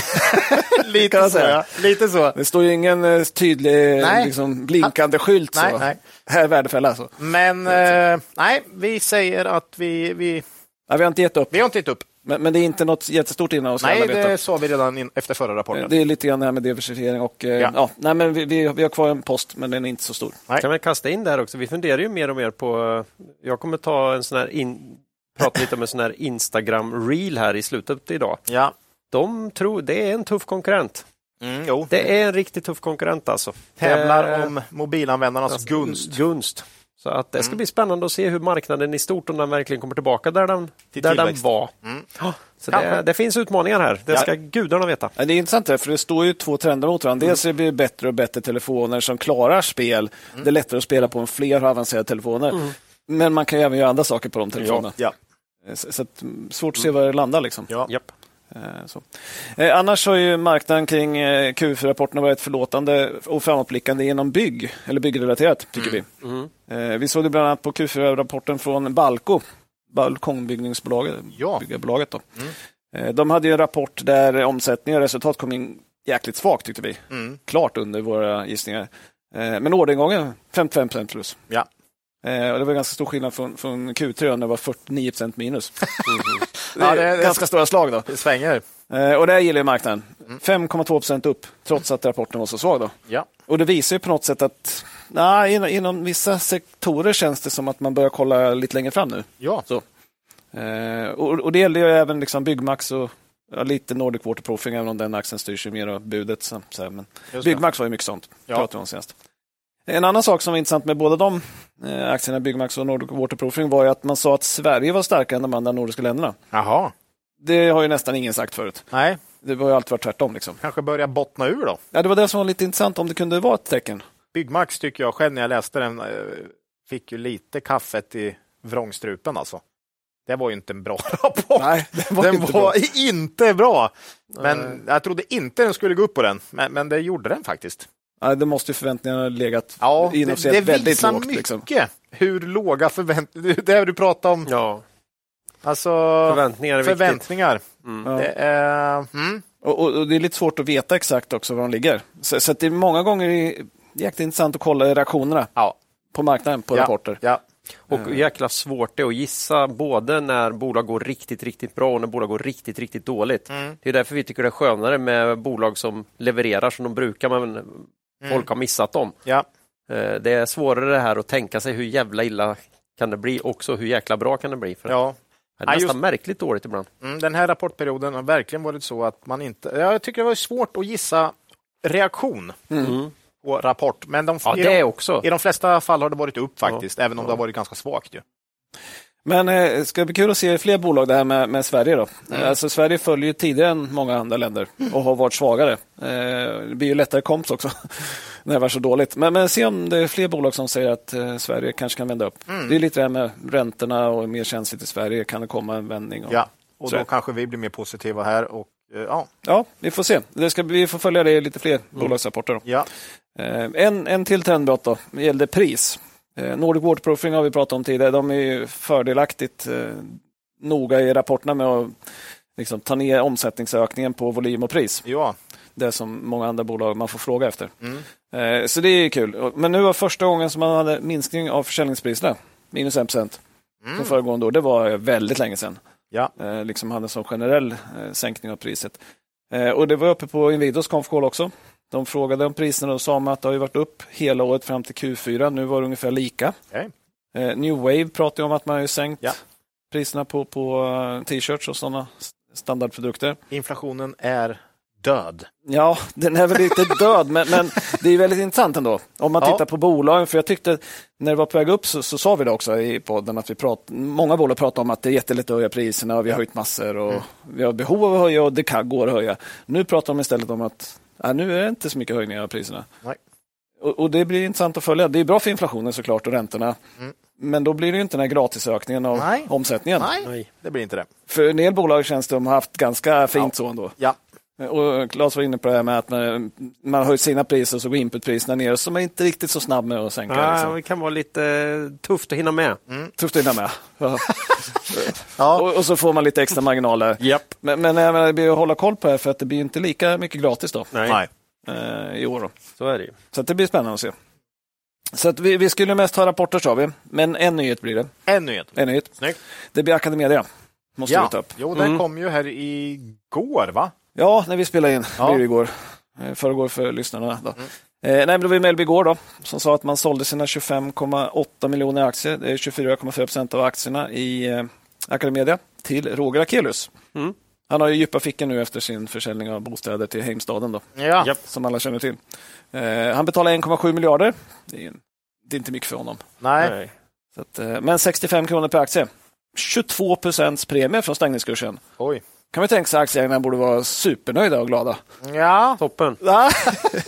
Speaker 3: lite,
Speaker 1: jag
Speaker 3: så,
Speaker 1: säga.
Speaker 3: ja. lite så.
Speaker 1: Det står ju ingen eh, tydlig
Speaker 3: Nej.
Speaker 1: liksom, blinkande skylt.
Speaker 3: Nej,
Speaker 1: så.
Speaker 3: nej.
Speaker 1: Här är värdefälla. Alltså.
Speaker 3: Men eh, nej, vi säger att vi, vi,
Speaker 1: Nej, vi har inte gett upp,
Speaker 3: vi har inte gett upp.
Speaker 1: men, men det är inte något jättestort innehav. ska alla
Speaker 3: Nej,
Speaker 1: veta.
Speaker 3: det sa vi redan in, efter förra rapporten.
Speaker 1: Eh, Det är lite grann det här med diversifiering och eh,
Speaker 3: Ja.
Speaker 1: ja. nej, men vi, vi, vi har kvar en post men den är inte så stor.
Speaker 3: Nej.
Speaker 2: Kan man kasta in där också? Vi funderar ju mer och mer på... eh, Jag kommer ta en sån här... In, prata lite om en sån här Instagram-reel här i slutet idag.
Speaker 3: Ja.
Speaker 2: De tror... Det är en tuff konkurrent.
Speaker 3: Mm, jo.
Speaker 2: Det är en riktigt tuff konkurrent alltså.
Speaker 3: Tävlar
Speaker 2: Det-
Speaker 3: om mobilanvändarnas
Speaker 2: Alltså,
Speaker 3: gunst.
Speaker 2: Gunst. Så att det ska
Speaker 3: Mm.
Speaker 2: bli spännande att se hur marknaden i stort, om den verkligen kommer tillbaka där den,
Speaker 3: Till
Speaker 2: där den
Speaker 3: tillväxt.
Speaker 2: var.
Speaker 3: Mm.
Speaker 2: Ja, Så
Speaker 3: Kanske.
Speaker 2: det, det finns utmaningar här, det
Speaker 3: Ja.
Speaker 2: ska gudarna veta.
Speaker 1: Ja, Det är intressant det, här, för det står ju två trender mot varandra. Dels blir det bättre och bättre telefoner som klarar spel. Det är lättare att spela på än fler har avancerade telefoner. Men man kan ju även göra andra saker på de telefonerna.
Speaker 3: Ja.
Speaker 1: Så, så att, mm, svårt att se var det landar. Liksom.
Speaker 3: Ja.
Speaker 2: Japp.
Speaker 1: Eh, Så. Eh, Annars har ju marknaden kring eh, Q4-rapporten varit förlåtande och framåtblickande genom bygg, eller byggrelaterat, tycker vi. Eh, Vi såg det bland annat på Q4-rapporten från Balco, balkongbyggningsbolaget.
Speaker 3: Ja.
Speaker 1: Byggarbolaget då. Eh, De hade ju en rapport där omsättning och resultat kom in jäkligt svagt, tyckte vi.
Speaker 3: Mm.
Speaker 1: Klart under våra gissningar. Eh, Men orderingången 55 plus.
Speaker 3: Ja.
Speaker 1: Eh, Och det var ganska stor skillnad från, från Q3 när det var 49 minus.
Speaker 3: Mm-hmm. Ja,
Speaker 1: det
Speaker 3: det-
Speaker 1: är
Speaker 3: det-
Speaker 1: ganska stora slag då.
Speaker 3: Det svänger.
Speaker 1: Eh, Och det här gillar ju marknaden. 5,2 procent upp, trots att rapporten var så svag. Då.
Speaker 3: Mm. Ja.
Speaker 1: Och det visar ju på något sätt att na, inom, inom vissa sektorer känns det som att man börjar kolla lite längre fram nu.
Speaker 3: Ja.
Speaker 1: Så. Eh, och, och det gäller ju även liksom Byggmax och ja, lite Nordic Water Proofing, även om den axeln styrs ju mer av budet. Så, så här, men
Speaker 3: Just det.
Speaker 1: Byggmax var ju mycket sånt,
Speaker 3: Ja.
Speaker 1: pratade vi om senast. En annan sak som var intressant med båda de eh, aktierna, Byggmax och Nordic Water Proofing, var ju att man sa att Sverige var starkare än de andra nordiska länderna.
Speaker 3: Jaha.
Speaker 1: Det har ju nästan ingen sagt förut.
Speaker 3: Nej,
Speaker 1: Det har ju alltid varit tvärtom. Liksom.
Speaker 3: kanske börja bottna ur då.
Speaker 1: Ja, det var det som var lite intressant, om det kunde vara ett tecken.
Speaker 3: Byggmax tycker jag själv när jag läste den eh, fick ju lite kaffet i vrångstrupen alltså. Det var ju inte en bra rapport.
Speaker 1: Nej, det var
Speaker 3: den
Speaker 1: inte
Speaker 3: var
Speaker 1: bra.
Speaker 3: inte bra. Men
Speaker 2: Eh,
Speaker 3: jag trodde inte den skulle gå upp på den, men, men det gjorde den faktiskt.
Speaker 1: Nej, det måste ju förväntningarna ha legat
Speaker 3: Ja, det,
Speaker 1: inofficiellt
Speaker 3: det
Speaker 1: väldigt
Speaker 3: visar
Speaker 1: lågt.
Speaker 3: mycket
Speaker 1: Liksom.
Speaker 3: hur låga förväntningar, det här du pratar om,
Speaker 2: Ja,
Speaker 3: alltså
Speaker 2: förväntningar är viktigt.
Speaker 3: förväntningar.
Speaker 1: Ja.
Speaker 3: Det, är- mm.
Speaker 1: Och, och, och det är lite svårt att veta exakt också var de ligger. Så, så att det är många gånger är jäkligt intressant att kolla reaktionerna
Speaker 3: Ja.
Speaker 1: på marknaden på
Speaker 3: ja,
Speaker 1: rapporter.
Speaker 3: Ja.
Speaker 2: Och jäkla svårt det är att gissa både när bolag går riktigt, riktigt bra och när bolag går riktigt, riktigt dåligt. Det är därför vi tycker det är skönare med bolag som levererar som de brukar, men folk har missat dem.
Speaker 3: Ja.
Speaker 2: Eh, Det är svårare det här att tänka sig hur jävla illa kan det bli, också hur jäkla bra kan det bli. För
Speaker 3: ja.
Speaker 2: Det är
Speaker 3: Ja,
Speaker 2: nästan
Speaker 3: just-
Speaker 2: märkligt dåligt ibland.
Speaker 3: Mm, den här rapportperioden har verkligen varit så att man inte... Ja, Jag tycker det var svårt att gissa reaktion
Speaker 1: Mm.
Speaker 3: på rapport, men de,
Speaker 2: Ja,
Speaker 3: i,
Speaker 2: det
Speaker 3: de,
Speaker 2: också.
Speaker 3: i de flesta fall har det varit upp faktiskt, även om det har varit ganska svagt. Ju.
Speaker 1: Men eh, ska det bli kul att se fler bolag det här med, med Sverige då. Eh,
Speaker 3: Mm.
Speaker 1: Alltså Sverige följer ju tidigare än många andra länder och har varit svagare. Eh, det blir ju lättare komps också när det var så dåligt. Men, men se om det är fler bolag som säger att eh, Sverige kanske kan vända upp.
Speaker 3: Mm.
Speaker 1: Det är lite det här med räntorna och mer känsligt i Sverige. Kan det komma en vändning? Och...
Speaker 3: Ja. Och
Speaker 1: Så
Speaker 3: då
Speaker 1: är det.
Speaker 3: kanske vi blir mer positiva här. Och, eh, ja,
Speaker 1: Ja, vi får se. Det ska, vi får följa det i lite fler
Speaker 3: Mm.
Speaker 1: bolagsrapporter. Då.
Speaker 3: ja.
Speaker 1: Eh, En, en till trendbrott då, det gällde pris. Eh, Nordic Waterproofing har vi pratat om tidigare. De är ju fördelaktigt eh, noga i rapporterna med att liksom, ta ner omsättningsökningen på volym och pris.
Speaker 3: ja.
Speaker 1: Det som många andra bolag man får fråga efter.
Speaker 3: Mm.
Speaker 1: Eh, Så det är ju kul. Och- Men nu var första gången som man hade minskning av försäljningspriserna, minus 1 procent, från föregående år. Det var väldigt länge sedan.
Speaker 3: Mm. Ja.
Speaker 1: Eh, Liksom hade en sån generell eh, sänkning av priset. Eh, Och det var uppe på Inwidos konfkål också. De frågade om priserna och sa man att det har ju varit upp hela året fram till Q4. Nu var det ungefär lika.
Speaker 3: Okej.
Speaker 1: Eh, New Wave pratade om att man har ju sänkt
Speaker 3: Ja.
Speaker 1: priserna på, på eh, t-shirts och sådana s- standardprodukter.
Speaker 3: Inflationen är död.
Speaker 1: Ja, den är väl lite död, men, men det är väldigt intressant ändå. Om man
Speaker 3: Ja.
Speaker 1: tittar på bolagen, för jag tyckte när det var på väg upp så, så sa vi det också i podden att vi prat, många bolag pratar om att det är jättelätt att höja priserna och vi har höjt massor och
Speaker 3: Mm.
Speaker 1: vi har behov av att höja och det kan, går att höja. Nu pratar de istället om att ja, nu är det inte så mycket höjningar av priserna.
Speaker 3: Nej.
Speaker 1: Och, och det blir intressant att följa. Det är bra för inflationen såklart och räntorna. Men då blir det ju inte den här gratisökningen av
Speaker 3: Mm. Nej.
Speaker 1: omsättningen.
Speaker 3: Nej,
Speaker 2: Nej.
Speaker 3: det blir inte det.
Speaker 1: För en del bolag känns det de har haft ganska fint så ändå.
Speaker 3: Ja.
Speaker 1: Eh, Och Claes var inne på det här med att man, man höjt sina priser så går inputpriserna ner, så man är inte riktigt så snabb med att sänka.
Speaker 2: Ja, alltså.
Speaker 1: liksom.
Speaker 2: det kan vara lite eh, tufft att hinna med.
Speaker 3: Mm.
Speaker 1: Tufft att hinna med. Ja.
Speaker 3: Ja.
Speaker 1: och, och så får man lite extra marginaler.
Speaker 2: Japp.
Speaker 1: Men, eh, men jag menar, det blir att hålla koll på det här för att det blir ju inte lika mycket gratis då,
Speaker 2: Nej,
Speaker 3: Nej.
Speaker 1: eh, i år. Då.
Speaker 2: så är det ju.
Speaker 1: Så att det blir spännande att se. Så att vi, vi skulle mest ha rapporter sa vi, men en nyhet blir det.
Speaker 3: En nyhet.
Speaker 1: En nyhet.
Speaker 3: Snyggt.
Speaker 1: Det blir Academedia. Måste vi ta
Speaker 3: Ja.
Speaker 1: upp.
Speaker 3: Jo, den kom ju här igår, va?
Speaker 1: Ja, när vi spelade in.
Speaker 3: Ja.
Speaker 1: Ja. Blev igår. Eh, Förrgår för lyssnarna. Då. Eh, nej, men det var ju Mellby igår då, som sa att man sålde sina 25,8 miljoner aktier, det är 24,4 procent av aktierna i eh, Academedia, till Roger Akelius.
Speaker 2: Mm.
Speaker 1: Han har ju djupa fickor nu efter sin försäljning av bostäder till Heimstaden, då,
Speaker 3: Ja.
Speaker 2: Japp.
Speaker 1: som alla känner till. Eh, han betalar 1,7 miljarder. Det är, en- det är inte mycket för honom.
Speaker 3: Nej.
Speaker 2: Nej.
Speaker 1: Så att, eh, men 65 kronor per aktie. 22 procents premie från stängningskursen.
Speaker 3: Oj.
Speaker 1: Kan man tänka sig att aktieägarna borde vara supernöjda och glada.
Speaker 3: Ja.
Speaker 2: Toppen.
Speaker 1: Va?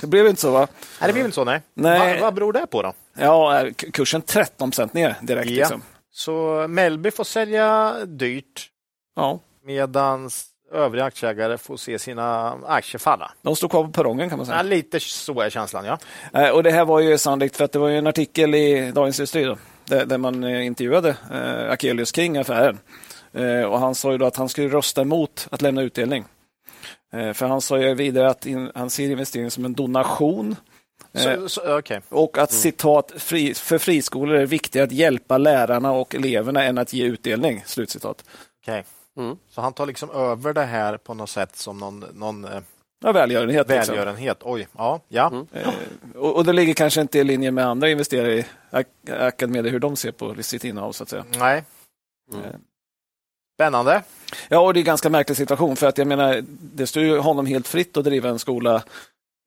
Speaker 1: det blev inte så va?
Speaker 3: Nej, det blir väl inte så, nej.
Speaker 1: Nej.
Speaker 3: Vad, vad beror det på då?
Speaker 1: Ja, eh, k- kursen 13 procent ner direkt.
Speaker 3: Ja.
Speaker 1: Liksom.
Speaker 3: Så Melby får sälja dyrt
Speaker 1: Ja.
Speaker 3: medan övriga aktieägare får se sina aktier falla.
Speaker 1: De står kvar på perrongen kan man
Speaker 3: Ja,
Speaker 1: säga.
Speaker 3: lite så är känslan, ja.
Speaker 1: Eh, Och det här var ju sannolikt för att det var ju en artikel i Dagens Industri då, där, där man eh, intervjuade eh, Akelius kring affären. Eh, och han sa ju då att han skulle rösta emot att lämna utdelning. Eh, för han sa ju vidare att in, han ser investeringen som en donation Eh.
Speaker 3: Så, så, okej.
Speaker 1: och att citat fri, för friskolor är det viktigare att hjälpa lärarna och eleverna än att ge utdelning. Slutcitat.
Speaker 3: okej.
Speaker 2: Mm.
Speaker 3: Så han tar liksom över det här på något sätt som någon, någon eh,
Speaker 1: Ja, välgörenhet. liksom.
Speaker 3: välgörenhet. Oj, ja. ja.
Speaker 1: Mm. Och, och det ligger kanske inte i linje med andra investerare i Ac- Academedia, hur de ser på sitt innehav. Så att säga.
Speaker 3: Nej.
Speaker 2: Mm. Eh.
Speaker 1: Eh.
Speaker 3: Spännande.
Speaker 1: Ja, och det är en ganska märklig situation, för att jag menar, det står ju honom helt fritt att driva en skola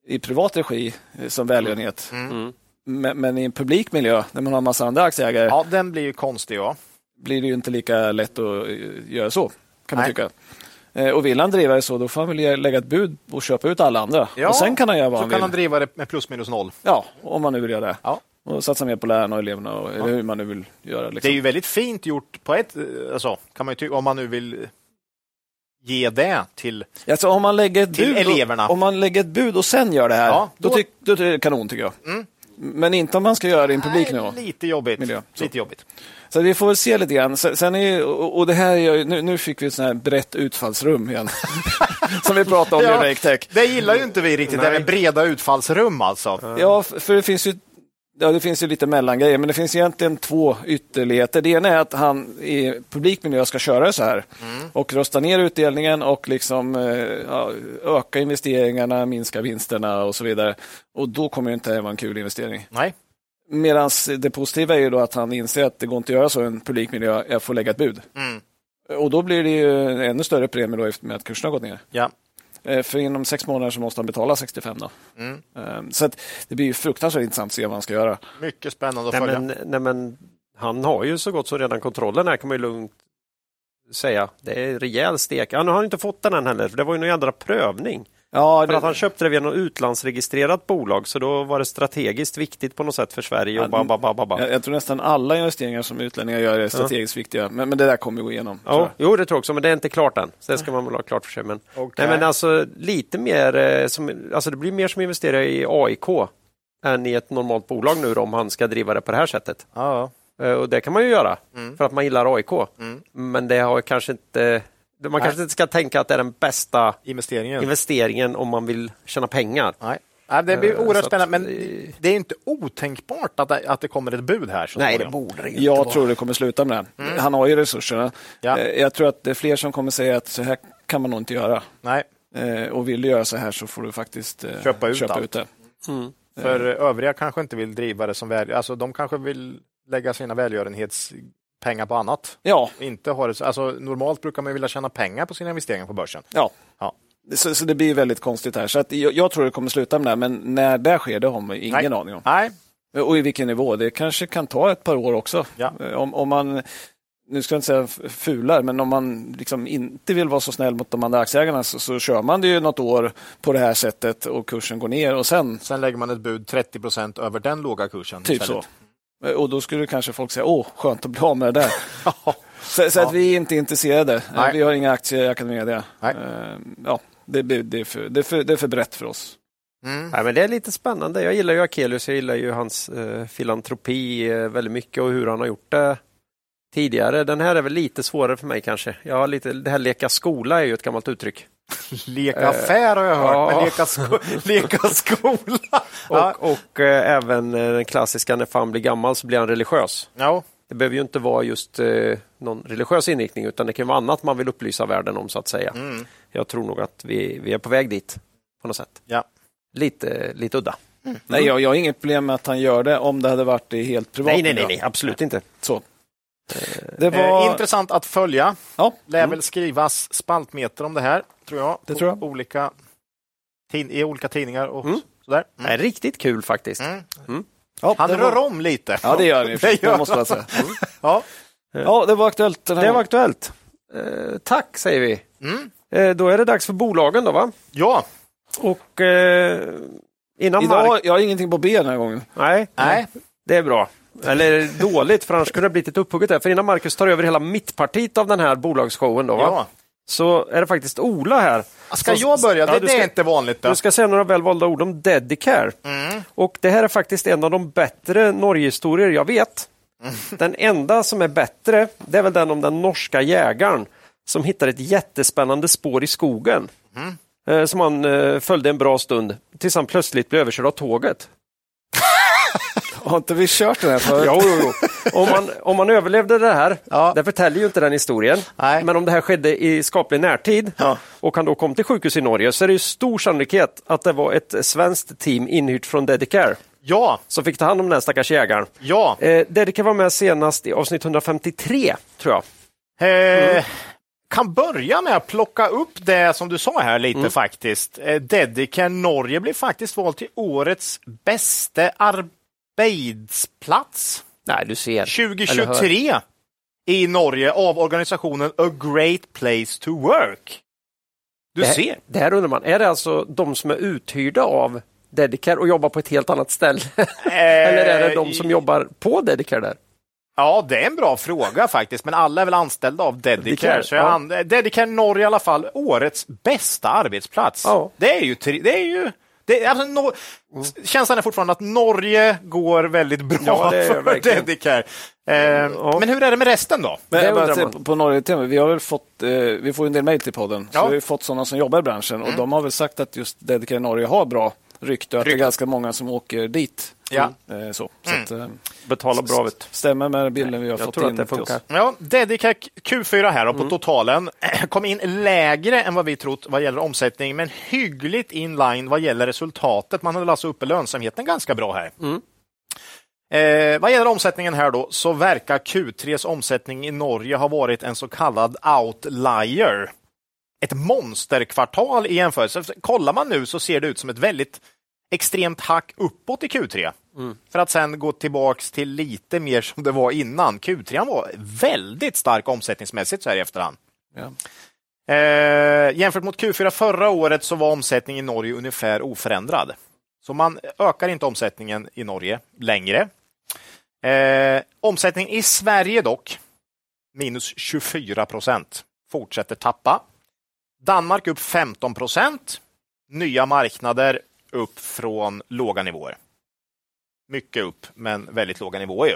Speaker 1: i privat regi eh, som välgörenhet.
Speaker 2: Mm.
Speaker 1: Men, men i en publik miljö, där man har en massa andra aktieägare,
Speaker 3: Ja, den blir ju konstig, ja.
Speaker 1: blir det ju inte lika lätt att eh, göra så, kan man
Speaker 3: Nej.
Speaker 1: tycka. Eh, Och vill han driva det så, då får han väl ge- lägga ett bud och köpa ut alla andra.
Speaker 3: ja.
Speaker 1: och sen kan han göra vad
Speaker 3: så
Speaker 1: han
Speaker 3: kan
Speaker 1: vill.
Speaker 3: han driva det med plus minus noll.
Speaker 1: Ja, om man nu vill göra det.
Speaker 3: Ja.
Speaker 1: Och satsa mer på lärarna och eleverna och eller hur man nu vill göra.
Speaker 3: Det
Speaker 1: Liksom.
Speaker 3: är ju väldigt fint gjort på ett, eh, alltså, kan man ju ty- om man nu vill ge det till...
Speaker 1: Alltså, om, man lägger ett
Speaker 3: Till
Speaker 1: bud
Speaker 3: eleverna.
Speaker 1: Och, om man lägger ett bud och sen gör det här,
Speaker 3: Ja,
Speaker 1: då,
Speaker 3: då- Mm.
Speaker 1: tyck- då är det kanon tycker jag. Men inte om man ska göra det i en publiknivå.
Speaker 3: Nej, lite jobbigt.
Speaker 1: Miljö, så.
Speaker 3: Lite jobbigt.
Speaker 1: Så vi får väl se lite grann. Se- Sen är, ju- och och det här är, ju- nu, nu fick vi ett sånt här brett utfallsrum igen, som vi pratade om
Speaker 3: Ja.
Speaker 1: i Raketech.
Speaker 3: Det gillar ju inte vi riktigt, det här med breda utfallsrum alltså.
Speaker 1: Ja, f- för det finns ju Ja, det finns ju lite mellangrejer, men det finns egentligen två ytterligheter. Det ena är att han i publik miljö ska köra så här
Speaker 3: Mm.
Speaker 1: och rösta ner utdelningen och liksom, eh, ja, öka investeringarna, minska vinsterna och så vidare. Och då kommer det inte här vara en kul investering.
Speaker 3: Nej.
Speaker 1: Medan det positiva är ju då att han inser att det går inte att göra så i en publik miljö, jag får lägga ett bud.
Speaker 3: Mm.
Speaker 1: Och då blir det ju en ännu större premie då efter med att kurserna har gått ner.
Speaker 3: Ja.
Speaker 1: Eh, För inom sex månader så måste han betala 65 då.
Speaker 3: Mm.
Speaker 1: Eh, Så att det blir ju fruktansvärt intressant att se vad han ska göra.
Speaker 3: Mycket spännande att
Speaker 2: Nej
Speaker 3: följa.
Speaker 2: men, nej, men han har ju så gott som redan kontrollen här kan man ju lugnt säga. Det är rejäl stek. Han har inte fått den än heller, för det var ju någon jädra prövning.
Speaker 1: Ja,
Speaker 2: För att han köpte det via något utlandsregistrerat bolag, så då var det strategiskt viktigt på något sätt för Sverige.
Speaker 1: Ja,
Speaker 2: Och ba, ba, ba, ba, ba.
Speaker 1: jag, jag tror nästan alla investeringar som utlänningar gör är strategiskt viktiga, men, men det där kommer ju gå igenom. tror
Speaker 2: Ja,
Speaker 1: jag.
Speaker 2: jo, det tror jag också, men det är inte klart än. Så det ska man väl ha klart för sig. Men,
Speaker 3: Okej.
Speaker 2: nej, men alltså, lite mer, eh, som, alltså, det blir mer som att investera i AIK än i ett normalt bolag nu då, om han ska driva det på det här sättet.
Speaker 3: Ja, ja.
Speaker 2: Eh, Och det kan man ju göra för att man gillar AIK.
Speaker 3: Mm.
Speaker 2: Men det har kanske inte... Man kanske inte ska tänka att det är den bästa
Speaker 3: Investeringen.
Speaker 2: investeringen om man vill tjäna pengar.
Speaker 3: Nej. Nej, det blir
Speaker 2: Eh,
Speaker 3: oerhört
Speaker 2: så att-
Speaker 3: spännande, men det- det är inte otänkbart att det, att det kommer ett bud här. Så småningom.
Speaker 2: borde det
Speaker 1: Jag tror det kommer sluta med det. Han har ju resurserna.
Speaker 3: Mm. Ja.
Speaker 1: Eh, Jag tror att det är fler som kommer säga att så här kan man nog inte göra.
Speaker 3: Nej,
Speaker 1: Eh, Och vill du göra så här så får du faktiskt eh,
Speaker 3: Köpa ut
Speaker 1: köpa
Speaker 3: allt.
Speaker 1: ut det.
Speaker 2: Mm.
Speaker 3: för
Speaker 2: Eh.
Speaker 3: övriga kanske inte vill driva det som väl, alltså de kanske vill lägga sina välgörenhetspengar på annat.
Speaker 1: Ja,
Speaker 3: Inte har det, alltså, normalt brukar man ju vilja tjäna pengar på sina investeringar på börsen.
Speaker 1: Ja.
Speaker 3: Ja.
Speaker 1: Så, så det blir väldigt konstigt här. Så att jag, jag tror det kommer sluta med det här, men när det sker, det har man ingen
Speaker 3: Nej.
Speaker 1: aning om.
Speaker 3: Nej,
Speaker 1: Och i vilken nivå. Det kanske kan ta ett par år också.
Speaker 3: Ja.
Speaker 1: Eh, Om, om man, nu ska jag inte säga f- fular, men om man liksom inte vill vara så snäll mot de andra aktieägarna så, så kör man det ju något år på det här sättet och kursen går ner och sen
Speaker 3: sen lägger man ett bud 30 procent över den låga kursen.
Speaker 1: typ så.
Speaker 3: istället.
Speaker 1: Eh, Och då skulle kanske folk säga, åh, skönt att bli av med det där.
Speaker 3: Ja.
Speaker 1: Så, så
Speaker 3: Ja.
Speaker 1: att vi är inte intresserade. Eh,
Speaker 3: Nej.
Speaker 1: Vi har inga aktier i Academedia.
Speaker 3: Nej.
Speaker 1: Eh, Ja, det, blir- det, är för, det, är för, det är för brett för oss.
Speaker 3: Mm.
Speaker 2: Nej, men det är lite spännande. Jag gillar ju Akelius, jag gillar ju hans eh, filantropi eh, väldigt mycket och hur han har gjort det tidigare. Den här är väl lite svårare för mig kanske. Jag har lite, det här leka skola är ju ett gammalt uttryck.
Speaker 3: Leka affär har jag hört,
Speaker 2: ja.
Speaker 3: men leka, sko leka skola.
Speaker 2: Och,
Speaker 3: Ja.
Speaker 2: och eh, även eh, den klassiska, när fan blir gammal så blir han religiös.
Speaker 3: Ja.
Speaker 2: Det behöver ju inte vara just eh, någon religiös inriktning utan det kan vara annat man vill upplysa världen om så att säga.
Speaker 3: Mm.
Speaker 2: Jag tror nog att vi, vi är på väg dit på något sätt.
Speaker 3: Ja.
Speaker 2: Lite, lite udda.
Speaker 1: Nej, jag, jag har inget problem med att han gör det om det hade varit i helt privat
Speaker 2: Nej, nej, nej,
Speaker 1: miljö.
Speaker 2: nej, absolut inte.
Speaker 1: Så. Det
Speaker 3: Eh,
Speaker 1: var...
Speaker 3: intressant att följa.
Speaker 1: Ja.
Speaker 3: Lär väl skrivas spaltmeter om Mm. det här, tror jag.
Speaker 1: Det
Speaker 3: på
Speaker 1: tror jag.
Speaker 3: Olika tid I olika tidningar och
Speaker 2: Mm.
Speaker 3: sådär.
Speaker 2: Det är riktigt kul faktiskt.
Speaker 3: Mm.
Speaker 1: ja,
Speaker 3: Han
Speaker 1: det
Speaker 3: rör
Speaker 1: var...
Speaker 3: om lite.
Speaker 1: Ja, det gör han ju.
Speaker 3: Det gör
Speaker 1: Det måste jag säga.
Speaker 3: Ja.
Speaker 1: Mm. Ja, det var aktuellt den här
Speaker 2: Det var
Speaker 1: gången.
Speaker 2: aktuellt. Eh, tack säger vi.
Speaker 3: Mm.
Speaker 2: Eh, då är det dags för bolagen då va?
Speaker 3: ja.
Speaker 2: Och eh, innan Mark...
Speaker 1: Idag, jag har ingenting på B den här gången.
Speaker 2: Nej,
Speaker 3: Nej.
Speaker 2: det är bra. Eller dåligt, för annars kunde det blivit ett upphugget där. För innan Marcus tar över hela mittpartiet av den här bolagsshowen då va?
Speaker 3: ja.
Speaker 2: så är det faktiskt Ola här.
Speaker 3: Ska
Speaker 2: Så-
Speaker 3: jag börja?
Speaker 2: Ja,
Speaker 3: det
Speaker 2: du
Speaker 3: det
Speaker 2: ska-
Speaker 3: är inte vanligt. Då.
Speaker 2: Du ska säga några välvalda ord om Dedicare.
Speaker 3: Mm.
Speaker 2: Och det här är faktiskt en av de bättre Norgehistorier jag vet.
Speaker 3: Mm.
Speaker 2: Den enda som är bättre, det är väl den om den norska jägaren som hittar ett jättespännande spår i skogen.
Speaker 3: Mm.
Speaker 2: Eh, Som han eh, följde en bra stund tills han plötsligt blev överkörd av tåget.
Speaker 1: Har inte vi kört den här förut?
Speaker 2: Jo, jo, jo. Om, man, om man överlevde det här, det förtäljer ju inte den historien,
Speaker 3: Nej.
Speaker 2: men om det här skedde i skaplig närtid och han då kom till sjukhus i Norge så är det ju stor sannolikhet att det var ett svenskt team inhyrt från Dedicare
Speaker 3: Ja,
Speaker 2: som fick ta hand om den här stackars jägaren.
Speaker 3: ja.
Speaker 2: Eh, Dedicare var med senast i avsnitt 153, tror jag.
Speaker 3: Eh, kan börja med att plocka upp det som du sa här lite faktiskt. Eh, Dedicare Norge blev faktiskt vald till årets bästa arbetsplats
Speaker 2: Nej, du ser. Eller
Speaker 3: 2023 i Norge av organisationen A Great Place to Work. Du
Speaker 2: Det här,
Speaker 3: ser.
Speaker 2: det här undrar man, är det alltså de som är uthyrda av
Speaker 4: Dedicare och jobbar på ett helt annat ställe? Eller är det de som jobbar på Dedicare där?
Speaker 3: Ja, det är en bra fråga faktiskt, men alla är väl anställda av Dedicare.
Speaker 4: Dedicare,
Speaker 3: Så jag
Speaker 4: ja.
Speaker 3: an- Dedicare Norge i alla fall, årets bästa arbetsplats.
Speaker 4: Ja. Mm.
Speaker 3: Det är ju... Tri- det är ju det, alltså, no- s- Känslan är fortfarande att Norge går väldigt bra
Speaker 4: Ja, det är
Speaker 3: för
Speaker 4: verkligen.
Speaker 3: Dedicare. Eh, Men hur är det med resten då?
Speaker 1: Men
Speaker 4: Det
Speaker 1: jag bara
Speaker 4: undrar
Speaker 1: säger
Speaker 4: man.
Speaker 1: på- på Norge TV, vi har väl fått, eh, vi får ju en del mejl till podden,
Speaker 3: Ja.
Speaker 1: så vi har ju fått sådana som jobbar i branschen och de har väl sagt att just Dedicare Norge har bra rykte och att det är
Speaker 3: Rykte.
Speaker 1: ganska många som åker dit.
Speaker 3: Ja.
Speaker 1: Eh, Så, så att, eh,
Speaker 2: Betala bra vet du.
Speaker 1: stämmer med bilden vi har
Speaker 4: Jag
Speaker 1: fått
Speaker 4: tror
Speaker 1: in
Speaker 4: att det
Speaker 1: till oss.
Speaker 4: funkar.
Speaker 3: Ja, Dedica Q4 här då, på totalen kom in lägre än vad vi trott vad gäller omsättning, men hyggligt inline vad gäller resultatet. Man höll alltså uppe lönsamheten ganska bra här. Eh, vad gäller omsättningen här då, så verkar Q3s omsättning i Norge ha varit en så kallad outlier. Ett monsterkvartal i jämförelse. För Kollar man nu så ser det ut som ett väldigt extremt hack uppåt i Q3. För att sen gå tillbaks till lite mer som det var innan. Q3 var väldigt stark omsättningsmässigt så här i efterhand.
Speaker 1: Ja.
Speaker 3: Eh, jämfört mot Q4 förra året så var omsättningen i Norge ungefär oförändrad. Så man ökar inte omsättningen i Norge längre. Eh, omsättningen i Sverige dock, minus 24 procent, fortsätter tappa. Danmark upp 15 procent, nya marknader upp från låga nivåer. Mycket upp, men väldigt låga nivåer ju.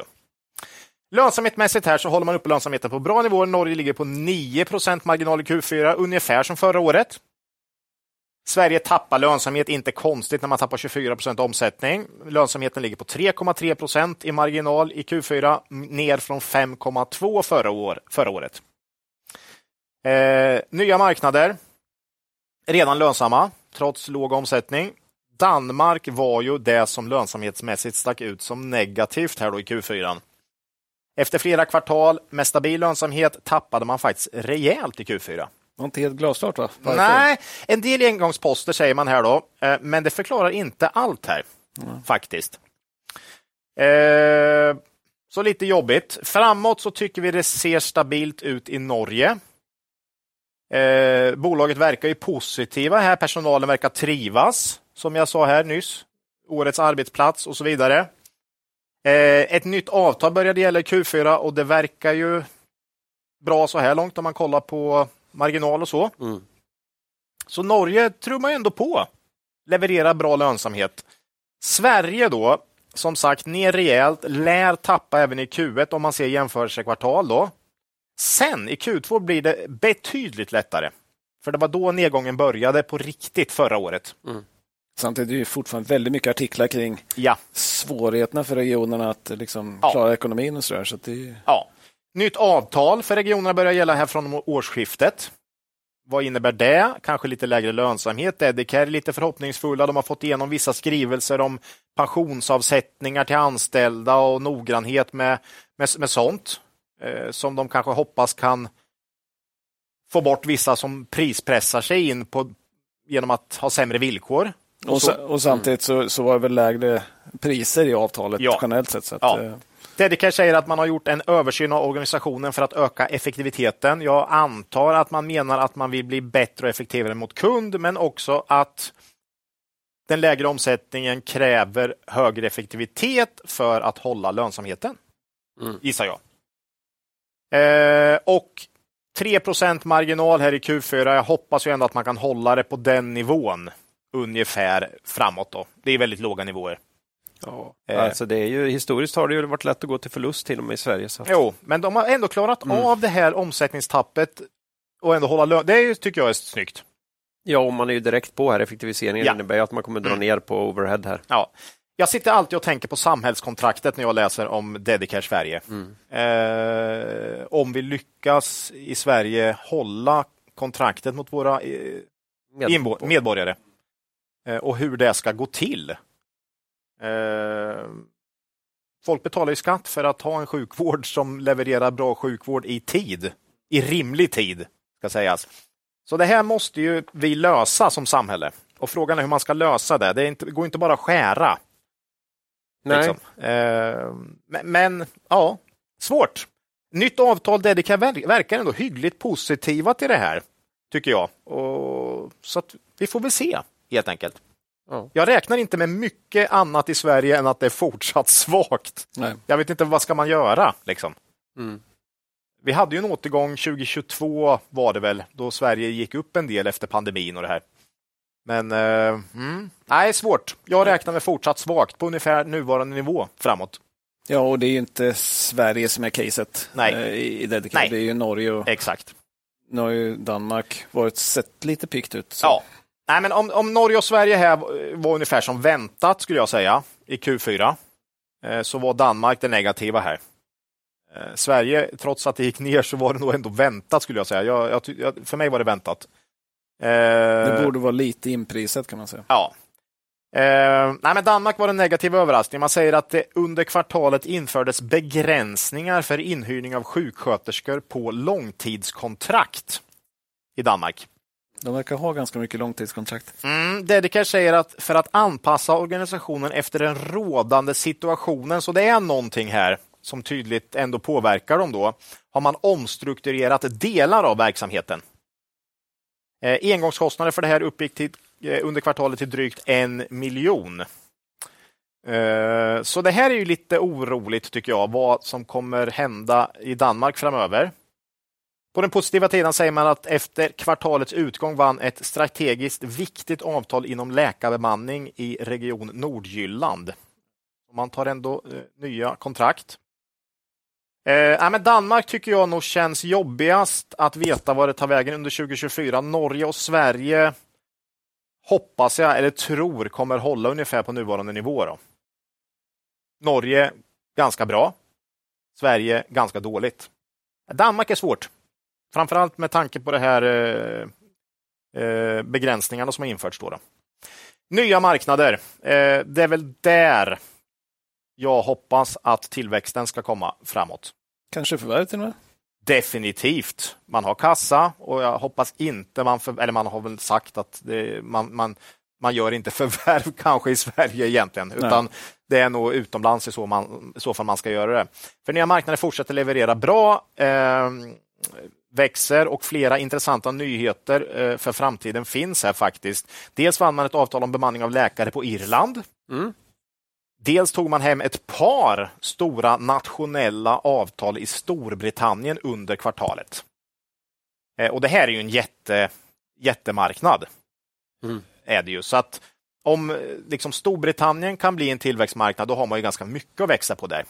Speaker 3: Lönsamhetsmässigt här så håller man uppe lönsamheten på bra nivåer. Norge ligger på 9 marginal i Q4, ungefär som förra året. Sverige tappar lönsamhet, inte konstigt när man tappar 24 omsättning. Lönsamheten ligger på 3,3 i marginal i Q4, m- ner från 5,2 förra, år, förra året. Eh, nya marknader, redan lönsamma trots låg omsättning. Danmark var ju det som lönsamhetsmässigt stack ut som negativt här då i Q4. Efter flera kvartal med stabil lönsamhet tappade man faktiskt rejält i Q4.
Speaker 1: Det var inte helt glasklart va? Varför?
Speaker 3: Nej, en del engångsposter säger man här då, eh, men det förklarar inte allt här faktiskt. Eh, Så lite jobbigt. Framåt så tycker vi det ser stabilt ut i Norge. Eh, Bolaget verkar ju positiva här. Personalen verkar trivas, som jag sa här nyss. Årets arbetsplats och så vidare. Eh, Ett nytt avtal började gälla i Q4 och det verkar ju bra så här långt om man kollar på marginal och så. Så Norge trummar ju ändå på. Levererar bra lönsamhet. Sverige då, som sagt, ner rejält, lär tappa även i Q1 om man ser jämförelsekvartal då. Sen i Q2 blir det betydligt lättare. För det var då nedgången började på riktigt förra året.
Speaker 1: Samtidigt är det ju fortfarande väldigt mycket artiklar kring
Speaker 3: Ja.
Speaker 1: svårigheterna för regionerna att eh, liksom,
Speaker 3: Ja.
Speaker 1: klara ekonomin och sådär. Så att det är ju-
Speaker 3: Ja. Nytt avtal för regionerna börjar gälla här från årsskiftet. Vad innebär det? Kanske lite lägre lönsamhet. Dedicare är lite förhoppningsfulla. De har fått igenom vissa skrivelser om pensionsavsättningar till anställda och noggrannhet med, med, med sånt eh, som de kanske hoppas kan få bort vissa som prispressar sig in på genom att ha sämre villkor.
Speaker 1: och,
Speaker 3: så-
Speaker 1: sa- och samtidigt så, så var det väl lägre priser i avtalet
Speaker 3: Ja.
Speaker 1: generellt sett. Så att,
Speaker 3: Ja.
Speaker 1: eh,
Speaker 3: Dedicare säger att man har gjort en översyn av organisationen för att öka effektiviteten. Jag antar att man menar att man vill bli bättre och effektivare mot kund, men också att den lägre omsättningen kräver högre effektivitet för att hålla lönsamheten, gissar jag. Eh, och 3 marginal här i Q4. Jag hoppas ju ändå att man kan hålla det på den nivån ungefär framåt. Då. Det är väldigt låga nivåer.
Speaker 2: Ja.
Speaker 3: Eh.
Speaker 2: Alltså, det är ju, historiskt har det ju varit lätt att gå till förlust till och med i Sverige. Så att,
Speaker 3: Jo, men de har ändå klarat av det här omsättningstappet och ändå hålla lön. Det är ju, tycker jag är snyggt.
Speaker 2: ja, och man är ju direkt på här. Effektiviseringen
Speaker 3: Ja.
Speaker 2: innebär ju att man kommer dra ner på overhead här.
Speaker 3: Ja. Jag sitter alltid och tänker på samhällskontraktet när jag läser om Dedicare Sverige. Eh, om vi lyckas i Sverige hålla kontraktet mot våra eh,
Speaker 2: Med-
Speaker 3: Inbo- medborgare. Eh, och hur det ska gå till. Eh, folk betalar ju skatt för att ha en sjukvård som levererar bra sjukvård i tid. I rimlig tid, ska sägas. Så det här måste ju vi lösa som samhälle. Och frågan är hur man ska lösa det. Det är inte, det går inte bara att skära.
Speaker 2: Nej.
Speaker 3: Liksom. Eh, men, men, ja, svårt. Nytt avtal, Dedica ver- verkar ändå hyggligt positiva till det här, tycker jag. Och, så att vi får väl se, helt enkelt.
Speaker 4: Ja.
Speaker 3: Jag räknar inte med mycket annat i Sverige än att det är fortsatt svagt.
Speaker 1: Nej.
Speaker 3: Jag vet inte vad ska man göra liksom.
Speaker 4: Mm.
Speaker 3: Vi hade ju en återgång 2022 var det väl, då Sverige gick upp en del efter pandemin och det här. Men eh, mm, nej, svårt. Jag räknar med fortsatt svagt på ungefär nuvarande nivå framåt.
Speaker 1: Ja, och det är ju inte Sverige som är caset
Speaker 3: Nej.
Speaker 1: eh, i i Dedicated.
Speaker 3: Nej.
Speaker 1: Det är ju Norge och
Speaker 3: Exakt.
Speaker 1: nu har ju Danmark varit, sett lite pikt ut. så-
Speaker 3: Ja. Nej, men om, om Norge och Sverige här var- var ungefär som väntat skulle jag säga i Q4, eh, så var Danmark det negativa här. Eh, Sverige, trots att det gick ner, så var det nog ändå väntat skulle jag säga. Jag, jag, ty- jag, för mig var det väntat. Eh,
Speaker 1: Det borde vara lite inprisat kan man säga.
Speaker 3: Ja. Eh, nej, men Danmark var en negativ överraskning. Man säger att det under kvartalet infördes begränsningar för inhyrning av sjuksköterskor på långtidskontrakt i Danmark.
Speaker 1: De verkar ha ganska mycket långtidskontrakt.
Speaker 3: Mm, Dedekar säger att för att anpassa organisationen efter den rådande situationen, så det är någonting här som tydligt ändå påverkar dem då, har man omstrukturerat delar av verksamheten. Eh, engångskostnader för det här uppgick till, eh, under kvartalet till drygt en miljon. Eh, så det här är ju lite oroligt tycker jag, vad som kommer hända i Danmark framöver. På den positiva sidan säger man att efter kvartalets utgång vann ett strategiskt viktigt avtal inom läkarbemanning i region Nordjylland. Man tar ändå eh, nya kontrakt. Eh, ja, men Danmark tycker jag nog känns jobbigast att veta vad det tar vägen under 2024. Norge och Sverige hoppas jag, eller tror, kommer hålla ungefär på nuvarande nivå. Då. Norge ganska bra. Sverige ganska dåligt. Danmark är svårt. Framförallt med tanke på det här eh, eh, begränsningarna som har införts. Då då. Nya marknader. Eh, det är väl där jag hoppas att tillväxten ska komma framåt.
Speaker 1: Kanske förvärv till och med.
Speaker 3: Definitivt. Man har kassa och jag hoppas inte man... För, eller man har väl sagt att det, man, man, man gör inte förvärv kanske i Sverige egentligen, utan det är nog utomlands i så, man, i så fall man ska göra det. För nya marknader fortsätter leverera bra, eh, växer och flera intressanta nyheter eh, för framtiden finns här faktiskt. Dels vann man ett avtal om bemanning av läkare på Irland.
Speaker 4: Mm.
Speaker 3: Dels tog man hem ett par stora nationella avtal i Storbritannien under kvartalet. Eh, Och det här är ju en jätte, jättemarknad.
Speaker 4: Mm.
Speaker 3: Är det ju. Så att om eh, liksom Storbritannien kan bli en tillväxtmarknad, då har man ju ganska mycket att växa på där.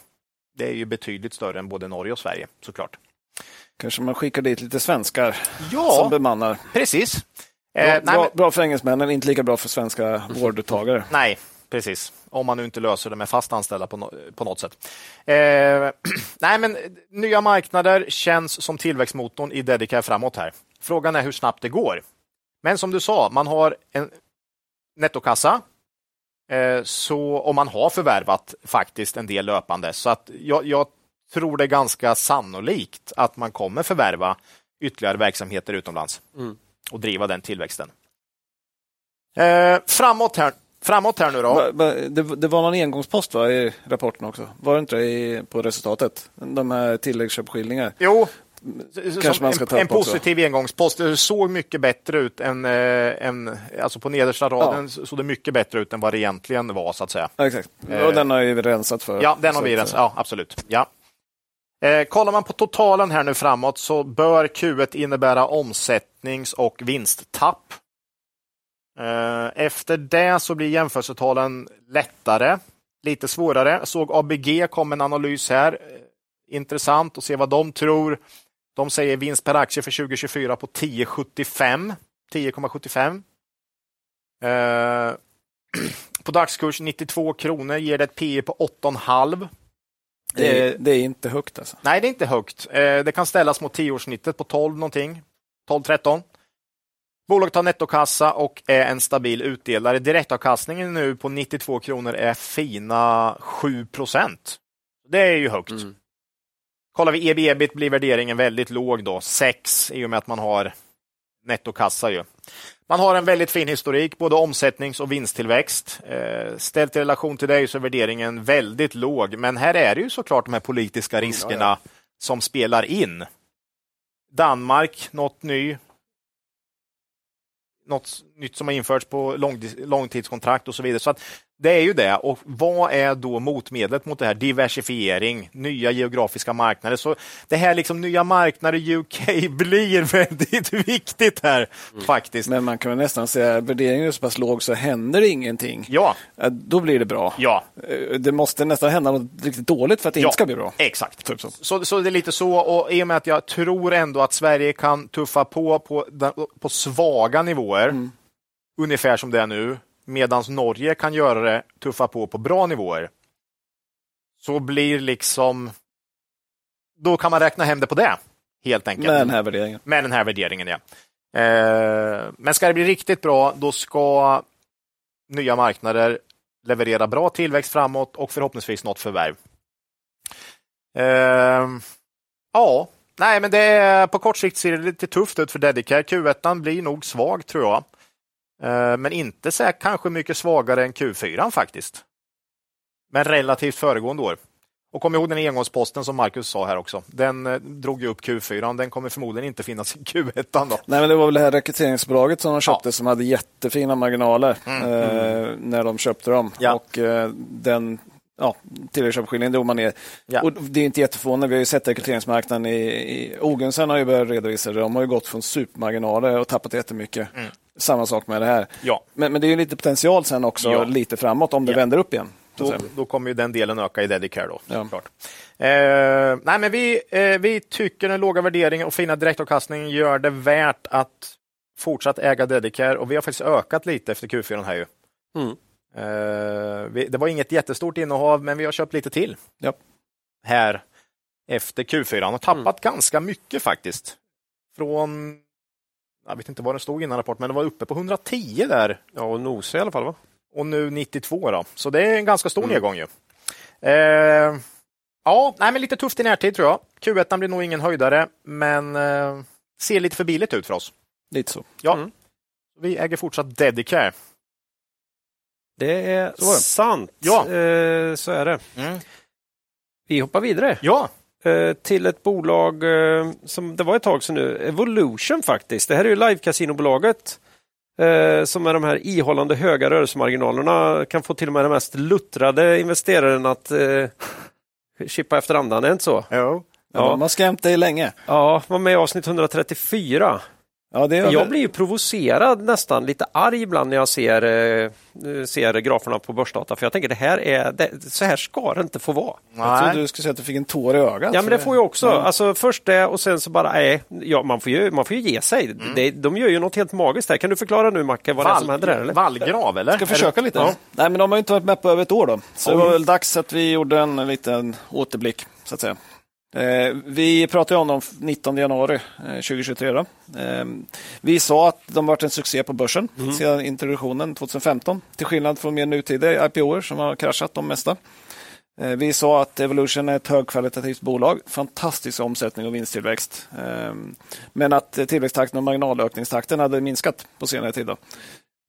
Speaker 3: Det är ju betydligt större än både Norge och Sverige såklart.
Speaker 1: Kanske man skickar dit lite svenskar som
Speaker 3: Ja,
Speaker 1: bemannar.
Speaker 3: precis.
Speaker 1: Bra,
Speaker 3: Eh, nej,
Speaker 1: bra,
Speaker 3: men,
Speaker 1: bra för engelsmännen, inte lika bra för svenska vårduttagare.
Speaker 3: nej, precis. Om man nu inte löser det med fast anställda på, nå- på något sätt. Eh, nej, men eh, nya marknader känns som tillväxtmotorn i Dedicare framåt här. Frågan är hur snabbt det går. Men som du sa, man har en nettokassa. Eh, så om man har förvärvat faktiskt en del löpande. Så att jag, jag tror det är ganska sannolikt att man kommer förvärva ytterligare verksamheter utomlands
Speaker 4: Mm.
Speaker 3: och driva den tillväxten. Eh, framåt, här, framåt här nu då.
Speaker 1: Va- va- Det, det var någon engångspost va, i rapporten också? Var det inte det i, på resultatet? De här tilläggsköpskildringar.
Speaker 3: Jo, som
Speaker 1: Kanske man ska ta
Speaker 3: en, en
Speaker 1: upp också.
Speaker 3: positiv engångspost. Det såg mycket bättre ut än, eh, än alltså på nedersta raden så- såg det mycket bättre ut än vad det egentligen var så att säga.
Speaker 1: Ja, exakt.
Speaker 3: Eh.
Speaker 1: Och den har ju vi rensat för.
Speaker 3: Ja, den har
Speaker 1: Så
Speaker 3: vi
Speaker 1: att,
Speaker 3: rensat. Ja, absolut. Ja. Eh, kollar man på totalen här nu framåt så bör Q1 innebära omsättnings och vinsttapp. Eh, efter det så blir jämförelsetalen lättare, lite svårare. Jag såg ABG kom en analys här. Eh, Intressant att se vad de tror. De säger vinst per aktie för 2024 på 10,75. 10,75. Eh, på dagskurs 92 kronor ger det ett PE på 8,5.
Speaker 1: Det
Speaker 3: Eh,
Speaker 1: är, det är inte högt alltså.
Speaker 3: Nej, det är inte högt. Eh, Det kan ställas mot 10-årssnittet på 12 någonting. 12-13. Bolaget har nettokassa och är en stabil utdelare. Direktavkastningen nu på 92 kronor är fina 7 procent. Det är ju högt.
Speaker 4: Mm.
Speaker 3: Kollar vi E EB ebit blir värderingen väldigt låg då, 6 i och med att man har nettokassa. Ju. Man har en väldigt fin historik, både omsättnings och vinsttillväxt. Eh, ställt i relation till det så är värderingen väldigt låg, men här är det ju såklart de här politiska riskerna som spelar in. Danmark, något ny. något s- nytt som har införts på långdi- långtidskontrakt och så vidare. Så att det är ju det. Och vad är då motmedlet mot det här? Diversifiering, nya geografiska marknader. Så det här liksom nya marknader i UK blir väldigt viktigt här faktiskt.
Speaker 1: Men man kan väl nästan säga att värderingen är så pass låg så händer ingenting.
Speaker 3: Ja,
Speaker 1: Eh, Då blir det bra.
Speaker 3: ja,
Speaker 1: Eh, Det måste nästan hända något riktigt dåligt för att det
Speaker 3: Ja. Eh.
Speaker 1: inte ska bli bra.
Speaker 3: exakt.
Speaker 1: Typ så.
Speaker 3: Så, så det är lite så, och i och med att jag tror ändå att Sverige kan tuffa på på, den- på svaga nivåer,
Speaker 1: Mm.
Speaker 3: ungefär som det är nu, medan Norge kan göra det, tuffa på på bra nivåer, så blir liksom... Då kan man räkna hem det på det, helt enkelt.
Speaker 1: Med den här värderingen.
Speaker 3: Med den här värderingen, ja. Eh, men ska det bli riktigt bra, då ska nya marknader leverera bra tillväxt framåt och förhoppningsvis något förvärv. Eh, ja, nej, men det är, på kort sikt ser det lite tufft ut för Dedicare. Q1 blir nog svag, tror jag. Eh, men inte så här, kanske mycket svagare än Q4 faktiskt. Men relativt föregående år. Och kom ihåg den engångsposten som Marcus sa här också. Den eh, drog ju upp Q4, den kommer förmodligen inte finnas i Q1. Då.
Speaker 1: Nej, men det var väl det här rekryteringsbolaget som
Speaker 3: Ja.
Speaker 1: de
Speaker 3: Mm.
Speaker 1: köpte som hade jättefina marginaler eh, när de köpte dem.
Speaker 3: Ja.
Speaker 1: Och eh, den ja, tillväxtköpskillnaden drog man ner.
Speaker 3: Ja.
Speaker 1: Och det är inte jätteförvånande. Vi har ju sett rekryteringsmarknaden i, i Ogensen har ju börjat redovisa det. De har ju gått från supermarginaler och tappat jättemycket. Samma sak med det här.
Speaker 3: Mm. Ja.
Speaker 1: Men, men det är ju lite potential sen också,
Speaker 3: Ja.
Speaker 1: lite framåt, om det vänder upp igen. så att
Speaker 3: Då,
Speaker 1: säga.
Speaker 3: då kommer ju den delen öka i Dedicare. Då,
Speaker 1: Ja.
Speaker 3: såklart. Eh, nej, men vi, eh, vi tycker den låga värderingen och fina direktavkastningen gör det värt att fortsatt äga Dedicare och vi har faktiskt ökat lite efter Q4 här ju.
Speaker 2: Mm.
Speaker 3: Eh, vi, det var inget jättestort innehav, men vi har köpt lite till
Speaker 1: Ja.
Speaker 3: här efter Q4 och tappat ganska mycket faktiskt. Från, jag vet inte vad den stod innan rapport, men det var uppe på 110 där
Speaker 2: Ja, och Nosa i alla fall va?
Speaker 3: och nu 92 då. Så det är en ganska stor nedgång ju. Eh, ja, nej, men lite tufft i närtid tror jag. Q1 blir nog ingen höjdare, men eh, ser lite för billigt ut för oss.
Speaker 1: Lite så.
Speaker 3: Ja.
Speaker 2: Mm.
Speaker 3: Vi äger fortsatt Dedicare.
Speaker 2: Det är
Speaker 1: Så var det.
Speaker 2: sant.
Speaker 3: Ja.
Speaker 2: Eh, så är det. Vi hoppar vidare
Speaker 3: Ja,
Speaker 2: eh, till ett bolag eh, som det var ett tag sedan nu, Evolution faktiskt. Det här är ju live-casinobolaget eh, som med de här ihållande höga rörelsemarginalerna kan få till och med den mest luttrade investeraren att eh, chippa efter andan, är det inte så?
Speaker 3: jo.
Speaker 1: Ja. De har skrämt dig länge.
Speaker 2: Ja, var med i avsnitt 134.
Speaker 1: Ja, det är
Speaker 2: Jag blir ju provocerad nästan, lite arg ibland när jag ser, eh, ser graferna på börsdata, för jag tänker det här är, det, så här ska det inte få vara.
Speaker 1: Jag Mm. trodde
Speaker 3: Nej.
Speaker 1: du skulle säga att du fick en tår i ögat.
Speaker 2: Ja, men det
Speaker 1: Så
Speaker 2: får jag också. Alltså, först det och sen så bara, nej, ja, man, får ju, man får ju ge sig.
Speaker 1: Mm.
Speaker 2: Det, de gör ju något helt magiskt här. Kan du förklara nu, Macke, vad det är som händer där? Eller?
Speaker 3: Vallgrav, eller?
Speaker 1: Ska försöka lite. Nej, men de har ju inte varit med på över ett år då. Så det var väl dags att vi gjorde en liten återblick, så att säga. Eh, vi pratade ju om dem 19 januari eh, 2023. Då. Eh, vi sa att de varit en succé på börsen sedan introduktionen 2015. Till skillnad från mer nutida IPOer som har kraschat de mesta. Eh, Vi sa att Evolution är ett högkvalitativt bolag. Fantastisk omsättning och vinsttillväxt. Eh, Men att eh, tillväxttakten och marginalökningstakten hade minskat på senare tid. Då.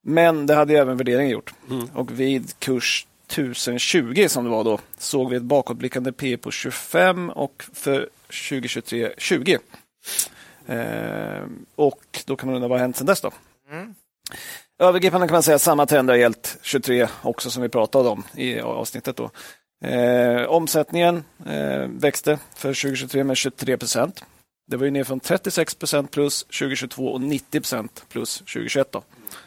Speaker 1: Men det hade ju även värderingen gjort. Och vid kurs 1020 som det var då såg vi ett bakåtblickande P E på 25 och för 2023 20. Eh, och då kan man undra vad har hänt sedan dess då?
Speaker 3: Mm.
Speaker 1: Övergripande kan man säga att samma trend har gällt 23 också som vi pratade om i avsnittet. Då. Eh, omsättningen eh, växte för 2023 med 23 procent. Det var ju ner från 36 procent plus 2022 och 90 procent plus 2021. Då.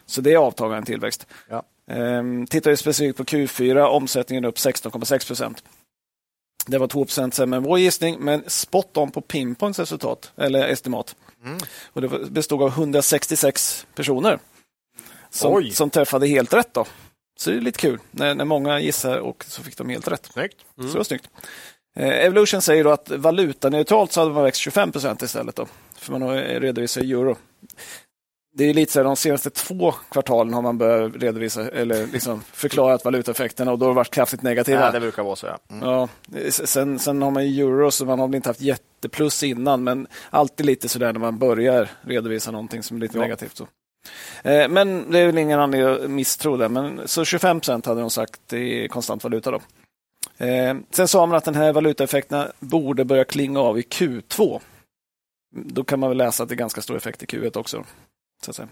Speaker 1: Så det är avtagande tillväxt.
Speaker 3: Ja.
Speaker 1: Ehm, tittar vi specifikt på Q4, omsättningen upp 16,6 procent. Det var 2 procent sämre än vår gissning, men spot on på Pinpoints resultat, eller estimat.
Speaker 3: Mm.
Speaker 1: Och det var- bestod av 166 personer som,
Speaker 3: Oj.
Speaker 1: som träffade helt rätt. då. Så det är lite kul när, när många gissar och så fick de helt rätt.
Speaker 3: Snyggt. Mm.
Speaker 1: Så det var snyggt. Eh, Evolution säger då att valutaneutralt så hade man växt 25 procent istället. Då, för man har eh, redovisat i euro. Det är lite så här, de senaste två kvartalen har man börjat redovisa eller liksom förklarat valutaeffekterna och då har det varit kraftigt negativa.
Speaker 3: Ja, det brukar vara så. Ja. Mm.
Speaker 1: Ja, s- sen, sen har man ju euro, så man har väl inte haft jätteplus innan, men alltid lite sådär när man börjar redovisa någonting som är lite negativt. Så. Eh, Men det är väl ingen anledning att misstro det. Men, så 25 procent hade de sagt i konstant valuta. Då. Eh, Sen sa man att den här valutaeffekterna borde börja klinga av i Q2. Då kan man väl läsa att det är ganska stor effekt i Q1 också. Så att säga.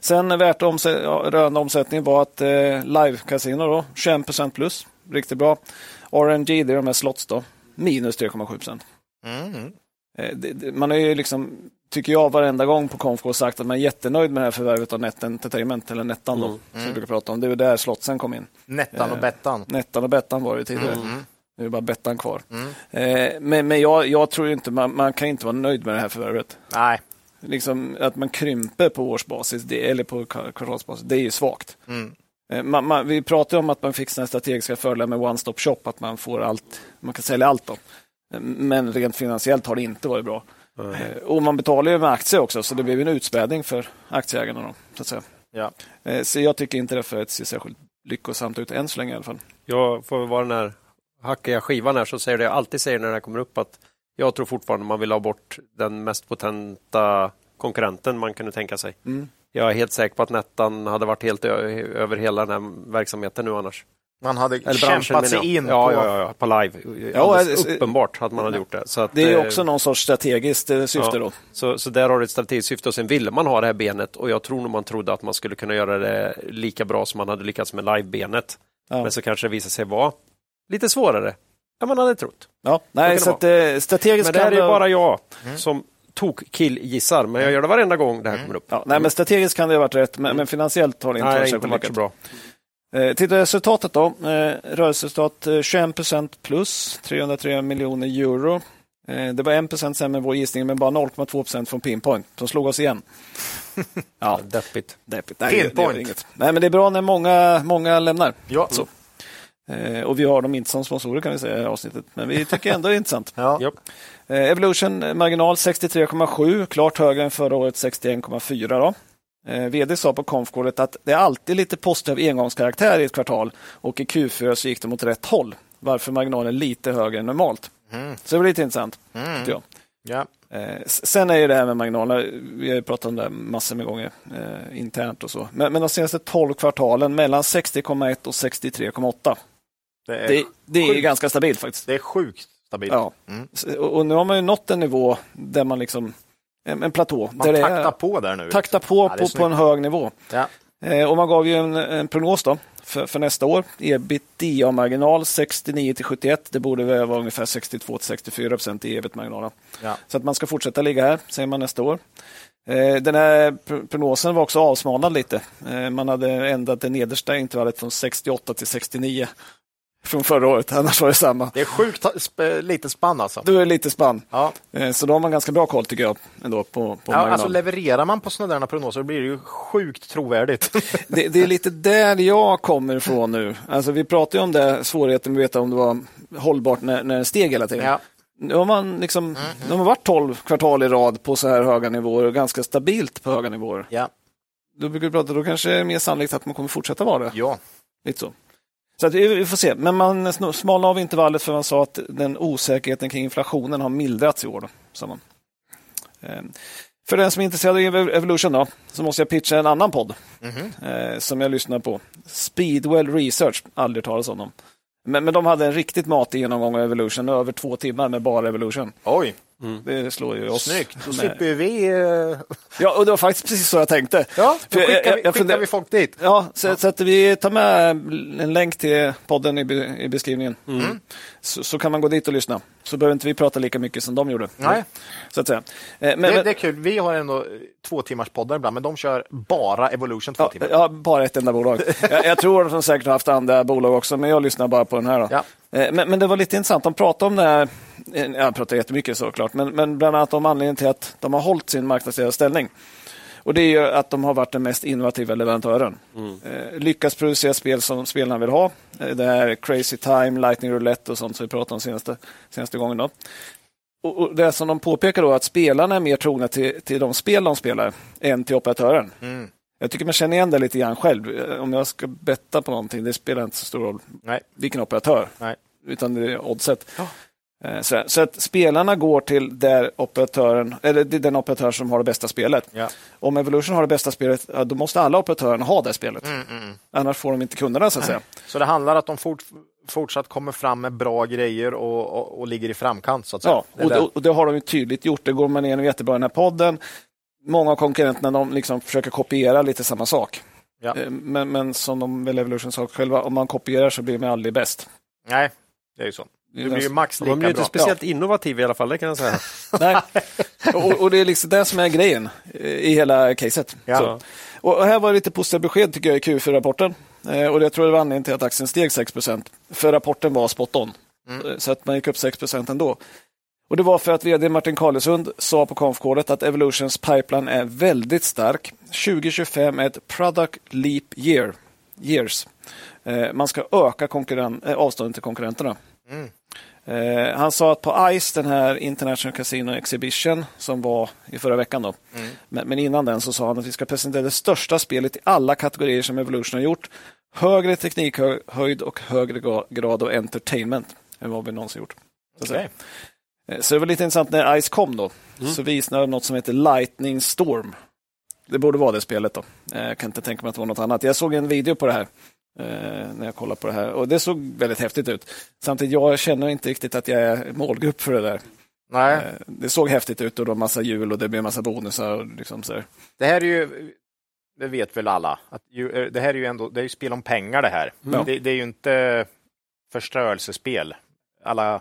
Speaker 1: Sen värt omsä- ja, rörande omsättning var att eh, live-casino då, 21 plus, riktigt bra. RNG, det är de här slots då, minus 3,7
Speaker 3: Mm.
Speaker 1: Eh, det- det- Man är ju liksom, tycker jag, varenda gång på Confco sagt att man är jättenöjd med det här förvärvet av Net Entertainment, eller Nettan då,
Speaker 2: Mm.
Speaker 1: som
Speaker 3: Mm.
Speaker 1: vi brukar prata om. Det är ju där slotsen kom in.
Speaker 3: Nettan och
Speaker 1: Eh,
Speaker 3: Bettan.
Speaker 1: Nettan och Bettan var det tidigare.
Speaker 3: Mm.
Speaker 1: Nu är det bara Bettan kvar.
Speaker 3: Mm.
Speaker 1: Eh, men men jag, jag tror ju inte, man, man kan inte vara nöjd med det här förvärvet.
Speaker 3: Nej.
Speaker 1: Liksom, att man krymper på årsbasis, det, eller på kvar- kvartalsbasis, det är ju svagt.
Speaker 3: Mm.
Speaker 1: Eh, Man, man, vi pratade om att man fick sina strategiska fördelar med One Stop Shop, att man, får allt, man kan sälja allt. Då. Eh, Men rent finansiellt har det inte varit bra. Eh, Och man betalar ju med aktier också, så det blev en utspädning för aktieägarna. Då, så, att säga.
Speaker 3: Ja.
Speaker 1: Eh, så jag tycker inte det förvärvet ser särskilt lyckosamt ut än så länge i alla fall.
Speaker 2: Jag får väl vara den här hackiga skivan här som säger det jag alltid säger när det här kommer upp att jag tror fortfarande man vill ha bort den mest potenta konkurrenten man kunde tänka sig.
Speaker 1: Mm.
Speaker 2: Jag är helt säker på att Nettan hade varit helt ö- över hela den här verksamheten nu annars.
Speaker 3: Man hade
Speaker 2: Eller branschen,
Speaker 3: kämpat sig
Speaker 2: menar jag.
Speaker 3: in
Speaker 2: ja,
Speaker 3: på...
Speaker 2: Ja, ja, ja, på live.
Speaker 1: Ja,
Speaker 2: Alldeles
Speaker 1: det-
Speaker 2: uppenbart att man hade gjort det. Så, att,
Speaker 1: Det är ju
Speaker 2: eh,
Speaker 1: också någon sorts strategiskt eh, syfte.
Speaker 2: Ja.
Speaker 1: Då.
Speaker 2: så, så där har du ett strategiskt syfte och sen ville man ha det här benet och jag tror nog man trodde att man skulle kunna göra det lika bra som man hade lyckats med live-benet.
Speaker 1: Ja.
Speaker 2: Men så kanske det visade sig vara lite svårare än man hade trott.
Speaker 1: Ja. Nej,
Speaker 2: kan
Speaker 1: så
Speaker 2: det
Speaker 1: att, eh, strategiskt
Speaker 2: Men det här
Speaker 1: kan
Speaker 2: är ju
Speaker 1: det-
Speaker 2: bara jag som tok killgissar, men jag gör det varenda gång det här kommer upp.
Speaker 1: Ja, nej, men strategiskt kan det ha varit rätt, men, men finansiellt har det
Speaker 2: Mm. Nej,
Speaker 1: inte
Speaker 2: det har
Speaker 1: varit
Speaker 2: inte
Speaker 1: särskilt
Speaker 2: varit så
Speaker 1: lyckat.
Speaker 2: bra.
Speaker 1: Eh, Titta resultatet då. Eh, Rörelseresultat eh, 21 plus 303 miljoner euro. Eh, Det var 1 sämre än vår gissning, men bara 0,2 från Pinpoint som slog oss igen. ja,
Speaker 2: Deppigt.
Speaker 1: deppigt. Nej, det- det gör
Speaker 3: Pinpoint.
Speaker 1: inget. Nej, men det är bra när många, många lämnar.
Speaker 3: Ja.
Speaker 1: Så. Eh, Och vi har dem inte som sponsorer kan vi säga i det här avsnittet, men vi tycker ändå det är intressant.
Speaker 3: Ja.
Speaker 2: Japp.
Speaker 1: Eh, Evolution eh, marginal 63,7, klart högre än förra året 61,4. Då. Eh, VD sa på konfkålet att det är alltid lite positiv engångskaraktär i ett kvartal och i Q4 så gick det mot rätt håll, varför marginalen är lite högre än normalt.
Speaker 3: Mm.
Speaker 1: Så det var lite intressant.
Speaker 3: Mm.
Speaker 1: tycker jag.
Speaker 3: Ja.
Speaker 1: Eh, s- Sen är ju det här med marginaler, vi har ju pratat om det här massor med gånger eh, internt och så, men, men de senaste 12 kvartalen mellan 60,1 och 63,8.
Speaker 3: Det är,
Speaker 1: Det, det är ju
Speaker 3: sjukt.
Speaker 1: ganska stabilt faktiskt.
Speaker 3: det är sjukt stabilt.
Speaker 1: Ja.
Speaker 3: Mm.
Speaker 1: S- Och och nu har man ju nått en nivå där man liksom, en, en platå,
Speaker 3: Man
Speaker 1: där det
Speaker 3: taktar
Speaker 1: är,
Speaker 3: på där nu.
Speaker 1: taktar på
Speaker 3: det är
Speaker 1: på, på en hög nivå.
Speaker 3: Ja.
Speaker 1: Eh, och man gav ju en, en prognos då för, för nästa år, ebitda-marginal 69 till 71, det borde väl vara ungefär 62 till 64 procent i ebit-marginalen.
Speaker 3: Ja.
Speaker 1: Så att man ska fortsätta ligga här, säger man nästa år. Eh, Den här pr- prognosen var också avsmalnad lite. Eh, Man hade ändrat det nedersta intervallet från 68 till 69 från förra året, annars var det samma.
Speaker 3: Det är sjukt ta- sp- lite spann alltså.
Speaker 1: Då är det lite spann.
Speaker 3: Ja.
Speaker 1: Eh, Så då har man ganska bra koll tycker jag ändå på, på
Speaker 3: Ja,
Speaker 1: marginalen.
Speaker 3: alltså levererar man på sådana där prognoser blir det ju sjukt trovärdigt.
Speaker 1: det, det är lite där jag kommer ifrån nu. Alltså, vi pratade ju om det, svårigheten med att veta om det var hållbart när, när den steg hela tiden.
Speaker 3: ja.
Speaker 1: Nu har man liksom, nu har man varit 12 kvartal i rad på så här höga nivåer och ganska stabilt på höga nivåer.
Speaker 3: Ja.
Speaker 1: Då brukar vi prata, då kanske det är mer sannolikt att man kommer fortsätta vara det.
Speaker 3: ja.
Speaker 1: Lite så. Så att vi vi får se, men man sno- smalnade av intervallet för man sa att den osäkerheten kring inflationen har mildrats i år. Då, sa man. Eh, För den som är intresserad av Ev- Evolution då, så måste jag pitcha en annan podd
Speaker 3: Mhm.
Speaker 1: eh, som jag lyssnar på. Speedwell Research, aldrig hört talas om dem. Men, men de hade en riktigt matig genomgång av Evolution, över två timmar med bara Evolution.
Speaker 3: Oj,
Speaker 1: Det slår ju oss.
Speaker 3: Mm. snyggt. Då
Speaker 1: med.
Speaker 3: slipper vi... eh,
Speaker 1: Ja, och det var faktiskt precis så jag tänkte.
Speaker 3: Ja, då
Speaker 1: För jag-
Speaker 3: skickar
Speaker 1: jag-
Speaker 3: vi,
Speaker 1: jag
Speaker 3: skickar
Speaker 1: funder-
Speaker 3: vi folk dit.
Speaker 1: Ja, så, så att vi tar med en länk till podden i, be, i beskrivningen.
Speaker 3: Mm.
Speaker 1: Så, så kan man gå dit och lyssna. Så behöver inte vi prata lika mycket som de gjorde.
Speaker 3: Nej.
Speaker 1: Så att säga. Eh, Men,
Speaker 3: Det,
Speaker 1: men-
Speaker 3: det är kul, vi har ändå eh, två timmars poddar ibland, men de kör bara Evolution två
Speaker 1: ja,
Speaker 3: timmar.
Speaker 1: ja, bara ett enda bolag. jag, jag tror att de säkert har haft andra bolag också, men jag lyssnar bara på den här. Då.
Speaker 3: Ja.
Speaker 1: Eh, Men, men det var lite intressant, de pratade om det här, eh, jag pratar jättemycket såklart, men, men bland annat om anledningen till att de har hållit sin marknadsledande ställning. Och det är ju att de har varit den mest innovativa leverantören. Eh, lyckas producera spel som spelarna vill ha. Eh, det här Crazy Time, Lightning Roulette och sånt som vi pratade om senaste, senaste gången. Då. Och, och det som de påpekar då är att spelarna är mer trogna till, till de spel de spelar än till operatören. Jag tycker man känner igen det lite grann själv. Eh, Om jag ska betta på någonting, det spelar inte så stor roll
Speaker 3: Nej.
Speaker 1: vilken operatör,
Speaker 3: Nej.
Speaker 1: utan det är oddset. Eh, Så, så att spelarna går till där operatören, eller det är den operatör som har det bästa spelet.
Speaker 3: Ja.
Speaker 1: Om Evolution har det bästa spelet, ja, då måste alla operatörerna ha det spelet.
Speaker 3: Mm,
Speaker 1: Annars får de inte kunderna, så att säga.
Speaker 3: Så det handlar att de fort, fortsatt kommer fram med bra grejer och, och, och ligger i framkant så att säga.
Speaker 1: Ja,
Speaker 3: Det
Speaker 1: och,
Speaker 3: där-
Speaker 1: och, och det har de ju tydligt gjort. Det går man igenom jättebra i den här podden. många av konkurrenterna de liksom försöker kopiera lite samma sak.
Speaker 3: Ja.
Speaker 1: Eh, Men, men som de väl Evolution sa själva, om man kopierar så blir man aldrig bäst.
Speaker 3: Nej, det är ju så.
Speaker 1: Det är
Speaker 3: Du blir ju
Speaker 1: ganska-
Speaker 3: max
Speaker 2: De är ju
Speaker 3: lika
Speaker 2: inte
Speaker 3: bra.
Speaker 2: speciellt innovativa i alla fall, det kan jag säga.
Speaker 1: Nej. Och, och det är liksom det som är grejen eh, i hela caset.
Speaker 3: Ja.
Speaker 1: Så. Och och här var lite positiva besked tycker jag i Q4-rapporten. Eh, och jag tror det var anledningen till att aktien steg 6 För rapporten var spot on. Eh, Så att man gick upp 6 ändå. Och det var för att vd Martin Karlesund sa på konfkåret att Evolutions pipeline är väldigt stark. 2025 är ett product leap year. Years. Eh, man ska öka konkurren- eh, avståndet till konkurrenterna. Eh, han sa att på ICE, den här International Casino Exhibition som var i förra veckan, då, men, men innan den så sa han att vi ska presentera det största spelet i alla kategorier som Evolution har gjort. Högre teknikhöjd och högre ga- grad av entertainment än vad vi någonsin gjort. Så, att säga.
Speaker 3: Okej.
Speaker 1: Eh, så det var lite intressant när ICE kom då, så visade de något som heter Lightning Storm. Det borde vara det spelet då. Eh, Jag kan inte tänka mig att det var något annat. Jag såg en video på det här eh, när jag kollade på det här och det såg väldigt häftigt ut. Samtidigt, jag känner inte riktigt att jag är målgrupp för det där.
Speaker 3: Nej,
Speaker 1: Eh, Det såg häftigt ut och det var massa hjul och det blev massa bonusar. Och liksom så här.
Speaker 3: det här är ju, det vet väl alla, att ju, eh, det här är ju ändå, det är ju spel om pengar det här.
Speaker 1: Ja.
Speaker 3: Det, det är ju inte förstörelsespel, alla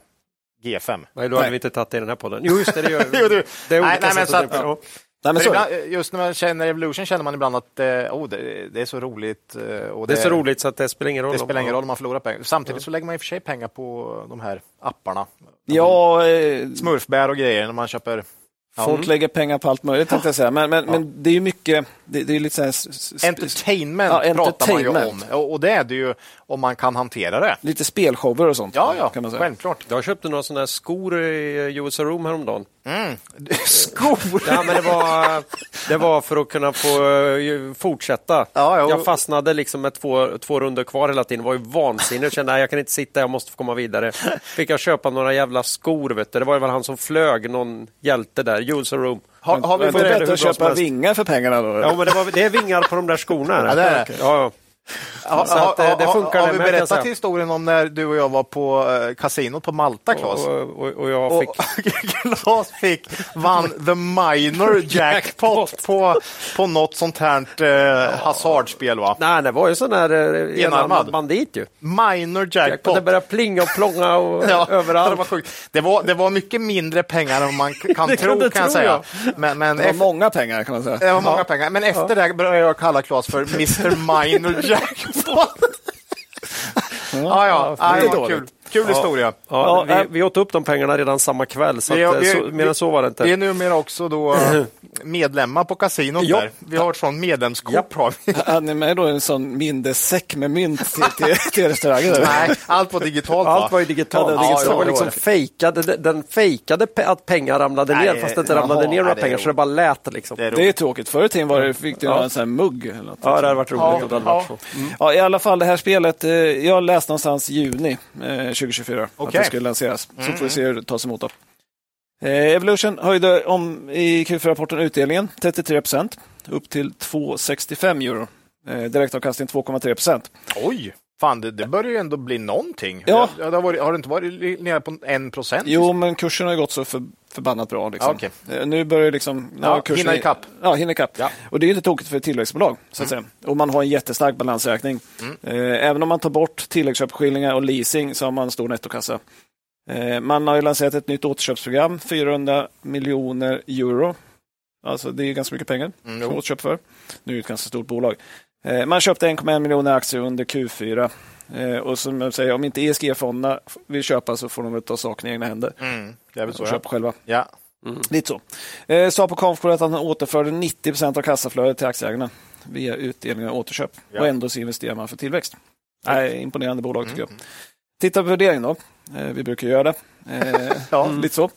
Speaker 3: G5.
Speaker 2: Nej, då hade
Speaker 1: Nej.
Speaker 2: vi inte tagit det i den här podden. Jo, just det, det gör vi.
Speaker 3: Jo, du-
Speaker 2: Det är olika
Speaker 3: Nej, nej, men
Speaker 2: sätt
Speaker 3: så
Speaker 2: att-
Speaker 3: att-
Speaker 2: ja.
Speaker 1: Nej, men
Speaker 3: För
Speaker 1: så, är det.
Speaker 3: ibland, eh, just när man känner Evolution känner man ibland att eh, oh, det, det är så roligt. eh, Och
Speaker 2: Det är så roligt så att det spelar ingen roll.
Speaker 3: Det
Speaker 2: om-
Speaker 3: spelar ingen roll om man förlorar pengar. Samtidigt så lägger man i och för sig pengar på de här apparna.
Speaker 1: ja, eh,
Speaker 3: Smurfbär och grejer när man köper.
Speaker 1: folk lägger pengar på allt möjligt tänkte jag säga. Men, men, men det är ju mycket, det, det är lite så här, s- s-
Speaker 3: Entertainment
Speaker 1: Ja,
Speaker 3: pratar man ju om.
Speaker 1: entertainment.
Speaker 3: Och och det är det ju om man kan hantera det.
Speaker 1: lite spelshower och sånt.
Speaker 3: Ja, ja,
Speaker 1: kan man säga.
Speaker 3: självklart.
Speaker 2: Jag köpte några sådana här skor i USA Room häromdagen.
Speaker 3: Skor!
Speaker 2: Ja, men det, var, det var för att kunna få eh, ju fortsätta.
Speaker 3: Ja, ja.
Speaker 2: Jag fastnade liksom med två, två runder kvar hela tiden. Det var ju vansinnigt. Jag kände nej, jag kan inte sitta, jag måste få komma vidare. Fick jag köpa några jävla skor. Vet du. Det var ju väl han som flög, någon hjälte där, USA Room.
Speaker 3: Har, har vi
Speaker 1: Men det
Speaker 3: fått
Speaker 2: hur
Speaker 1: är bättre
Speaker 2: bra
Speaker 1: att
Speaker 2: som
Speaker 1: köpa
Speaker 2: helst.
Speaker 1: vingar för pengarna då.
Speaker 2: Ja, men det, var, det är vingar på de där skorna.
Speaker 3: Ja, det är det.
Speaker 2: Ja, ja.
Speaker 3: har,
Speaker 2: så att, eh, det
Speaker 3: har-
Speaker 2: funkar
Speaker 3: har
Speaker 2: det
Speaker 3: vi
Speaker 2: med, kan jag
Speaker 3: berättat
Speaker 2: säga.
Speaker 3: historien om när du och jag var på eh, kasinot på Malta, Claes?
Speaker 2: Och, och, och jag
Speaker 3: Och
Speaker 2: fick...
Speaker 3: Claes fick, vann the minor jackpot på, på något sånt här eh, hasardspel va?
Speaker 2: Nej, det var ju sån här eh, enarmad
Speaker 3: Enarmad.
Speaker 2: bandit ju.
Speaker 3: Minor
Speaker 2: Det
Speaker 3: jackpot.
Speaker 2: började plinga och plånga och överallt.
Speaker 3: Det var, sjukt. Det, var, det var mycket mindre pengar än man k- kan
Speaker 2: Det
Speaker 3: tro
Speaker 2: kunde
Speaker 3: kan jag
Speaker 2: tro,
Speaker 3: säga.
Speaker 2: ja.
Speaker 3: Men, men
Speaker 1: Det var
Speaker 3: efter,
Speaker 1: många pengar kan man säga.
Speaker 3: det var många pengar. Men efter det här började jag kalla Claes för Mr Minor Jackpot. ja, ja. ja det var kul.
Speaker 1: dåligt.
Speaker 3: Kul historia.
Speaker 2: Ja,
Speaker 1: Ja,
Speaker 2: vi, vi åt upp de pengarna redan samma kväll, så,
Speaker 3: Vi-
Speaker 2: att, eh,
Speaker 3: vi-
Speaker 2: så mer än så var det inte.
Speaker 3: Vi är numera också då eh, medlemmar på kasinot
Speaker 2: Ja.
Speaker 3: där. Vi har ett sånt medlemskort. har vi.
Speaker 1: Hade ni med då en sån mindesäck med mynt till, till, till restaurangen? eller?
Speaker 3: Nej, allt var digitalt va?
Speaker 2: Allt var ju digitalt.
Speaker 1: Ja, det var
Speaker 2: Ja,
Speaker 1: digitalt.
Speaker 2: det var
Speaker 1: Det var
Speaker 2: liksom
Speaker 1: det.
Speaker 2: fejkade, den- den fejkade pe- att pengar ramlade
Speaker 3: Nej,
Speaker 2: ner, fast det inte
Speaker 3: jaha,
Speaker 2: ramlade ner
Speaker 3: nej,
Speaker 2: några
Speaker 3: det är
Speaker 2: pengar, så det
Speaker 3: roligt.
Speaker 2: bara lät. Liksom.
Speaker 3: Det är
Speaker 1: Det är
Speaker 3: roligt.
Speaker 1: tråkigt. Förr i tiden var det, fick du
Speaker 2: Ja.
Speaker 1: göra en sån här mugg. Eller något.
Speaker 2: Ja, det hade varit roligt
Speaker 3: Ja,
Speaker 2: om det hade varit
Speaker 3: ja.
Speaker 2: så.
Speaker 1: Ja, I alla fall, det här spelet, eh, jag läste någonstans i juni eh, 2024 att
Speaker 3: Okej. Mm.
Speaker 1: det skulle lanseras. Så får vi se hur det tas emot. Då. Eh, Evolution höjde om i Q4-rapporten utdelningen 33 procent upp till 2,65 euro. Eh, direktavkastning 2,3 procent.
Speaker 3: Oj! Fan, det, det börjar ju ändå bli någonting.
Speaker 1: Ja.
Speaker 3: det har, varit, har det inte varit li- nere på en procent?
Speaker 1: Jo, men kursen har ju gått så för, förbannat bra. Liksom.
Speaker 3: Ja, okej.
Speaker 1: Eh, Nu börjar liksom...
Speaker 3: Ja, hinna ikapp.
Speaker 1: Ja, hinna ikapp.
Speaker 3: Ja. Mm.
Speaker 1: Och det är ju inte tokigt för ett tillväxtbolag. Så att säga. Och man har en jättestark balansräkning. Eh, även om man tar bort tilläggsköpeskillingar och leasing så har man en stor nettokassa. Eh, man har ju lanserat ett nytt återköpsprogram, 400 miljoner euro. Alltså det är ju ganska mycket pengar
Speaker 3: Mm,
Speaker 1: som
Speaker 3: jo.
Speaker 1: återköp för. Nu är det ett ganska stort bolag. Eh, man köpte 1,1 miljoner aktier under Q4. Eh, och som jag säger, om inte ESG-fonderna vill köpa så får de väl ta saken i egna händer
Speaker 3: Mm, det är väl så.
Speaker 1: och
Speaker 3: Ja.
Speaker 1: köpa själva. Mm.
Speaker 3: Ja.
Speaker 1: Lite så. Eh, sa på konfkåret att han återförde 90 procent av kassaflödet till aktieägarna via utdelningar och återköp.
Speaker 3: Ja.
Speaker 1: Och ändå så investerar man för tillväxt. Nej, imponerande bolag tycker jag.
Speaker 3: Mm,
Speaker 1: Titta på värdering då. Eh, vi brukar göra det. Eh,
Speaker 3: Ja.
Speaker 1: Lite så.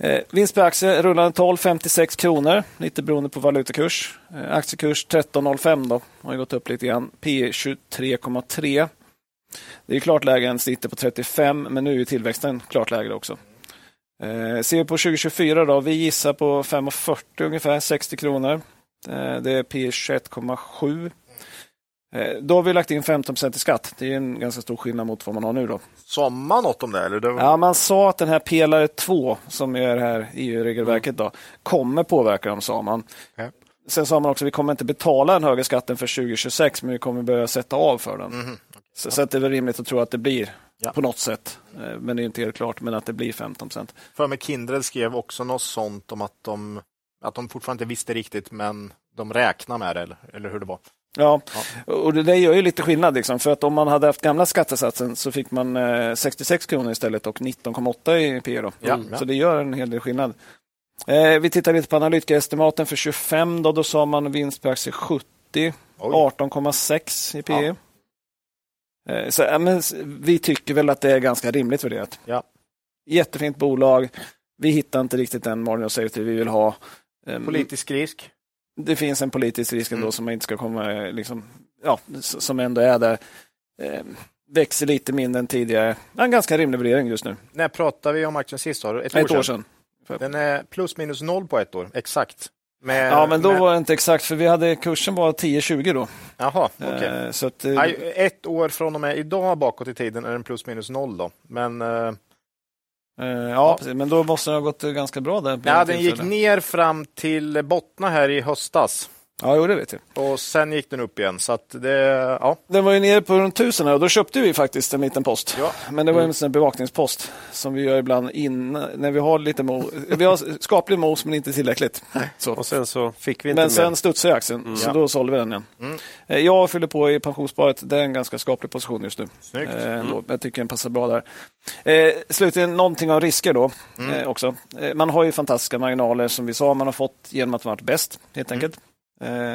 Speaker 1: Eh, vinst per aktie rullande 12, 56 kronor. Lite beroende på valutakurs. Eh, aktiekurs 13,05 då. Har ju gått upp lite grann. P 23,3. Det är klart lägre än snittet på 35, men nu är ju tillväxten klart lägre också. Eh, ser vi på 2024 då, vi gissar på 5,40 ungefär, 60 kronor. Eh, det är P 21,7. Eh, Då har vi lagt in 15 i skatt. Det är en ganska stor skillnad mot vad man har nu. Då.
Speaker 3: Sa man något om det? Eller? det var...
Speaker 1: Ja, man sa att den här pelare 2, som är det här EU-regelverket, då, kommer påverka dem, sa man.
Speaker 3: Okej.
Speaker 1: Sen sa man också att vi kommer inte betala den högre skatten för 2026, men vi kommer börja sätta av för den. Så, så att det är väl rimligt att tro att det blir
Speaker 3: Ja.
Speaker 1: på något sätt, Eh, men det är inte helt klart, men att det blir 15
Speaker 3: För mig Kindred skrev också något sånt om att de, att de fortfarande inte visste riktigt, men de räknar med det, eller, eller hur det var.
Speaker 1: Ja, och det där gör ju lite skillnad. Liksom, för att om man hade haft gamla skattesatsen så fick man eh, 66 kronor istället och 19,8 i PE. Då.
Speaker 3: Ja,
Speaker 1: Mm.
Speaker 3: ja.
Speaker 1: Så det gör en hel del skillnad. Eh, vi tittar lite på analytikerestimaten för 25. Då, då sa man vinst per aktie 70,
Speaker 3: Oj.
Speaker 1: 18,6 i PE. Eh, så, ja, men, s- vi tycker väl att det är ganska rimligt värderat.
Speaker 3: Ja.
Speaker 1: Jättefint bolag. Vi hittar inte riktigt den margin of safety vi vill ha. Eh,
Speaker 3: Politisk risk.
Speaker 1: det finns en politisk risk ändå
Speaker 3: Mm.
Speaker 1: som man inte ska komma, eh, liksom, ja, s- som ändå är där. Eh, växer lite mindre än tidigare. Ja, En ganska rimlig värdering just nu.
Speaker 3: När pratade vi om aktien sist? Har du? Ett,
Speaker 1: Ett, år sedan.
Speaker 3: Den är plus minus noll på ett år, exakt. Med,
Speaker 1: Ja, men då
Speaker 3: med-
Speaker 1: var det inte exakt, för vi hade kursen var 10-20 då.
Speaker 3: Jaha, okej.
Speaker 1: Eh, Så att, eh,
Speaker 3: Nej, ett år från och med idag bakåt i tiden är den plus minus noll då. Men eh,
Speaker 1: eh, ja, precis, men då måste det ha gått eh, ganska bra där. på
Speaker 3: ja,
Speaker 1: något
Speaker 3: den gick
Speaker 1: tillfälle.
Speaker 3: ner fram till Bottna här i höstas
Speaker 1: Ja, jo, det vet jag.
Speaker 3: och sen gick den upp igen. Så att det, ja,
Speaker 1: Den var ju nere på runt 1000 här och då köpte vi faktiskt en liten post.
Speaker 3: Ja. Mm.
Speaker 1: Men det var en sån här bevakningspost som vi gör ibland innan, när vi har lite mo- vi har skaplig mos men inte tillräckligt. Så.
Speaker 2: Och sen så fick vi inte
Speaker 1: Men sen
Speaker 2: mer. Mm.
Speaker 1: studsade aktien, så
Speaker 3: Ja.
Speaker 1: då sålde vi den igen. Eh, Jag fyller på i pensionssparet, det är en ganska skaplig position just nu.
Speaker 3: Snyggt.
Speaker 1: Eh,
Speaker 2: Mm.
Speaker 1: ändå. Jag tycker den passar bra där. Eh, slutligen någonting om risker då eh, också. Eh, man har ju fantastiska marginaler som vi sa, man har fått genom att man varit bäst
Speaker 2: Mm.
Speaker 1: helt enkelt. Eh,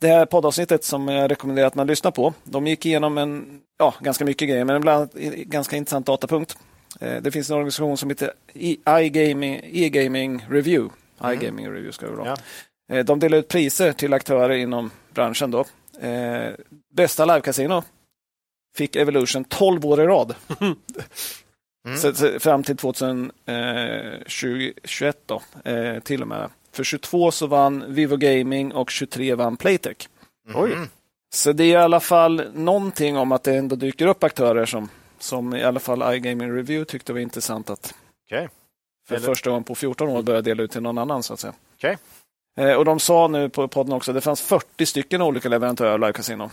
Speaker 1: det här poddavsnittet som jag rekommenderar att man lyssnar på, de gick igenom en, ja, ganska mycket grejer, men bland annat i- ganska intressant datapunkt. Eh, Det finns en organisation som heter I- iGaming, e-gaming Review.
Speaker 2: Mm.
Speaker 1: iGaming Review ska det vara.
Speaker 3: Ja.
Speaker 1: Eh, De delar ut priser till aktörer inom branschen. Då. Eh, Bästa livecasino fick Evolution 12 år i rad. Så, så, fram till 2021 då, eh, till och med. För 22 så vann Vivo Gaming och 23 vann Playtech.
Speaker 3: Oj.
Speaker 1: Så det är i alla fall någonting om att det ändå dyker upp aktörer som, som i alla fall iGaming Review tyckte var intressant att
Speaker 3: Okej.
Speaker 1: för
Speaker 3: Eller-
Speaker 1: första gången på 14 år börja dela ut till någon annan så att säga.
Speaker 3: Okej.
Speaker 1: Eh, och de sa nu på podden också att det fanns 40 stycken olika leverantörer av live casino.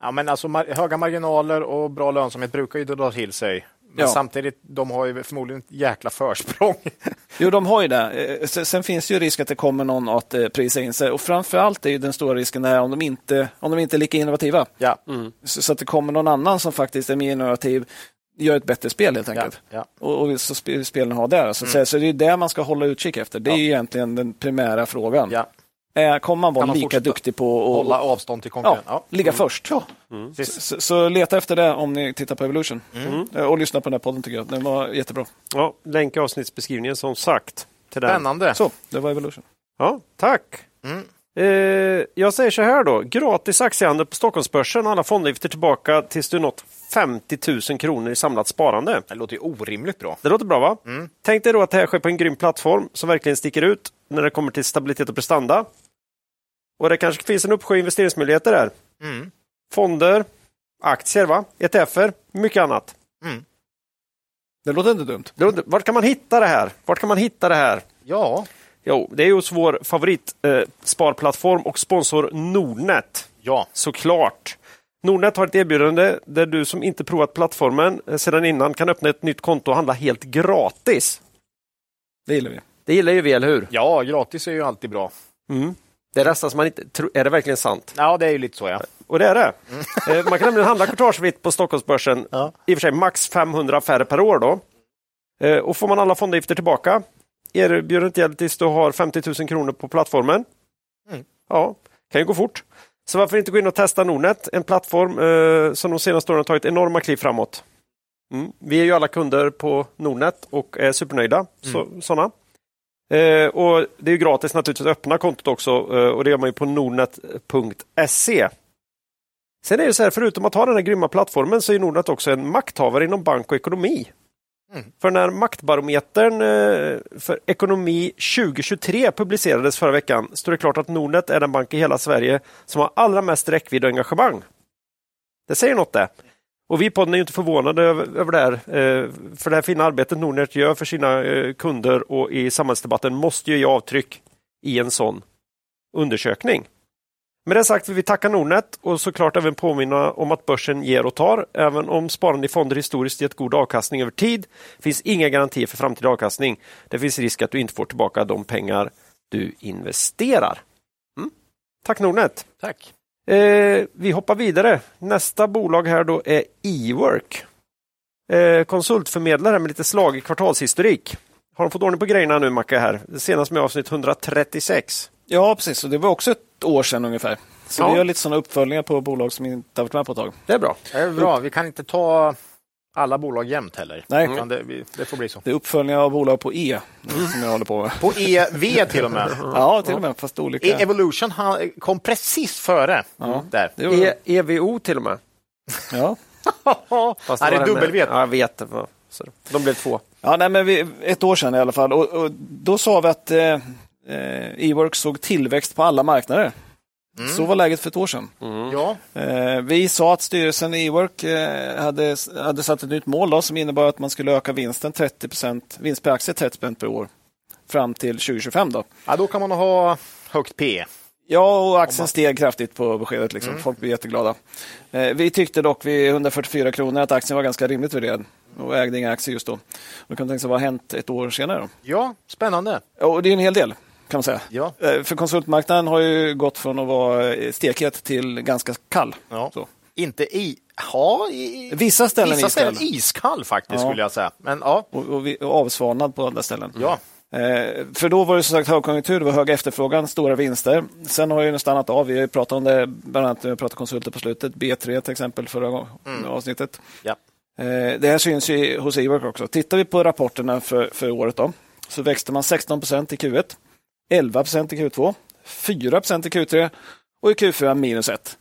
Speaker 3: Ja, men alltså mar- höga marginaler och bra lönsamhet brukar ju dra till sig. Men
Speaker 1: Ja.
Speaker 3: samtidigt, de har ju förmodligen ett jäkla försprång.
Speaker 1: Jo, de har ju det. Eh, Sen sen finns det ju risk att det kommer någon att eh, prisa in sig. Och framför allt är ju den stora risken det här om de inte, om de inte är lika innovativa.
Speaker 3: ja.
Speaker 1: Så, så att det kommer någon annan som faktiskt är mer innovativ, gör ett bättre spel helt
Speaker 3: ja,
Speaker 1: enkelt.
Speaker 3: ja.
Speaker 1: och, och så sp- spelen har där.
Speaker 3: Mm.
Speaker 1: Så, att säga. så det är det man ska hålla utkik efter. Det är ju egentligen den primära frågan.
Speaker 3: ja.
Speaker 1: Eh, kommer man vara
Speaker 3: Kan man
Speaker 1: lika
Speaker 3: fortsätta
Speaker 1: duktig på att
Speaker 3: Hålla Mm. avstånd till
Speaker 1: ja,
Speaker 3: konkurrenten.
Speaker 1: ligga först? Mm.
Speaker 3: precis.
Speaker 1: Så, så leta efter det om ni tittar på Evolution.
Speaker 3: Mm.
Speaker 1: Eh, Och lyssna på den här podden tycker jag. Den var jättebra.
Speaker 2: Ja, länk i avsnittsbeskrivningen som sagt. Till den.
Speaker 3: Spännande. Mm.
Speaker 1: Så, det var Evolution.
Speaker 2: Ja, tack. Eh, jag säger så här då. Gratis aktiehandel på Stockholmsbörsen. Alla fondavgifter tillbaka tills du nått 50 000 kronor i samlat sparande.
Speaker 3: Det låter ju orimligt bra.
Speaker 2: Det låter bra va? Tänk dig då att det här sker på en grym plattform som verkligen sticker ut när det kommer till stabilitet och prestanda. Och det kanske finns en uppsjö investeringsmöjligheter där.
Speaker 3: Mm.
Speaker 2: Fonder, aktier, va? ETFer, mycket annat.
Speaker 1: Det låter inte dumt.
Speaker 2: Det låter- Vart kan man hitta det här? Vart kan man hitta det här?
Speaker 3: Ja,
Speaker 2: Jo, det är ju hos vår favoritsparplattform eh, sparplattform och sponsor Nordnet,
Speaker 3: ja.
Speaker 2: såklart. Nordnet har ett erbjudande där du som inte provat plattformen eh, sedan innan kan öppna ett nytt konto och handla helt gratis.
Speaker 1: Det gillar vi.
Speaker 4: Det gillar ju vi, eller hur?
Speaker 3: Ja, gratis är ju alltid bra.
Speaker 2: Det är nästan som man inte tror, är det verkligen sant?
Speaker 3: Ja, det är ju lite så ja.
Speaker 2: Och det är det. Eh, Man kan nämligen handla courtagevitt på Stockholmsbörsen,
Speaker 3: Ja.
Speaker 2: i och för sig max 500 affärer per år. Då. Eh, Och får man alla fondavgifter tillbaka, erbjudandet gäller tills du har 50 000 kronor på plattformen. Ja, kan ju gå fort. Så varför inte gå in och testa Nordnet, en plattform eh, som de senaste åren har tagit enorma kliv framåt. Mm. Vi är ju alla kunder på Nordnet och är supernöjda. Så, såna. Eh, och det är ju gratis naturligtvis att öppna kontot också eh, och det gör man ju på nordnet.se. Sen är det så här, förutom att ha den här grymma plattformen så är Nordnet också en makthavare inom bank och ekonomi. För när Maktbarometern eh, för ekonomi 2023 publicerades förra veckan står det klart att Nordnet är den bank i hela Sverige som har allra mest räckvidd och engagemang. Det säger något det. Och vi i podden är ju inte förvånade över, över det här, eh, för det här fina arbetet Nordnet gör för sina eh, kunder och i samhällsdebatten måste ju ge avtryck i en sån undersökning. Med det sagt vill vi tacka Nordnet och såklart även påminna om att börsen ger och tar. Även om sparande i fonder historiskt gett god avkastning över tid finns inga garantier för framtida avkastning. Det finns risk att du inte får tillbaka de pengar du investerar. Mm. Tack Nordnet!
Speaker 3: Tack.
Speaker 2: Eh, vi hoppar vidare. Nästa bolag här då är Ework. Eh, konsultförmedlare med lite slag i kvartalshistorik. Har de fått ordning på grejerna nu Macke här? Senast med avsnitt 136.
Speaker 1: Ja, precis. Och det var också ett år sedan ungefär. Så
Speaker 2: Ja.
Speaker 1: vi gör lite sådana uppföljningar på bolag som inte har varit med på ett tag.
Speaker 2: Det är bra.
Speaker 3: Det är bra. Vi kan inte ta alla bolag jämt heller.
Speaker 1: Nej.
Speaker 3: Utan det, vi- det får bli så.
Speaker 1: Det är uppföljningar av bolag på E som jag håller på med.
Speaker 3: På EV till och med.
Speaker 1: Ja, till och med. Fast olika.
Speaker 3: Mm. E- Evolution han kom precis före. Där.
Speaker 1: Det gjorde
Speaker 2: E EVO till och med.
Speaker 1: de. ja.
Speaker 2: Fast
Speaker 3: Nej, det är
Speaker 2: var en-
Speaker 3: dubbel-V.
Speaker 2: Ja, jag vet. det var- Så de blev två.
Speaker 1: Ja, nej, men vi, ett år sedan i alla fall. Och, och då sa vi att eh, eh, E-work såg tillväxt på alla marknader. Så var läget för ett år sedan.
Speaker 3: Ja.
Speaker 1: Eh, vi sa att styrelsen i E-work eh, hade, hade satt ett nytt mål då, som innebar att man skulle öka vinsten 30 vinst per aktie 30 per år fram till 2025. Då.
Speaker 3: ja, då kan man ha högt P.
Speaker 1: Ja, och aktien steg kraftigt på beskedet. Liksom. Folk blev jätteglada. Eh, vi tyckte dock vid 144 kronor att aktien var ganska rimligt värderad och ägde inga aktier just då. Då kan man tänka sig vad har hänt ett år senare? Då?
Speaker 3: Ja, spännande.
Speaker 1: Ja, Och det är en hel del kan man säga.
Speaker 3: Ja.
Speaker 1: Eh, För konsultmarknaden har ju gått från att vara eh, stekhet till ganska kall.
Speaker 3: Ja.
Speaker 1: Så.
Speaker 3: Inte i... Ja, i...
Speaker 1: Vissa ställen
Speaker 3: Vissa
Speaker 1: iskall.
Speaker 3: ställen iskall faktiskt
Speaker 1: Ja.
Speaker 3: skulle jag säga. Men ja,
Speaker 1: Och, och, vi- och avsvalnad på andra ställen.
Speaker 3: Mm. ja.
Speaker 1: Eh, För då var det som sagt högkonjunktur, det var hög efterfrågan, stora vinster. Sen har ju den stannat av. Vi har ju pratat om det, bland annat när vi pratade konsulter på slutet, B3 till exempel förra gång,
Speaker 3: Mm.
Speaker 1: avsnittet.
Speaker 3: Ja.
Speaker 1: Eh, Det här syns ju hos Ework också. Tittar vi på rapporterna för, för året då, så växte man 16 procent i Q1, 11 procent i Q2, 4 procent i Q3 och i Q4 minus 1.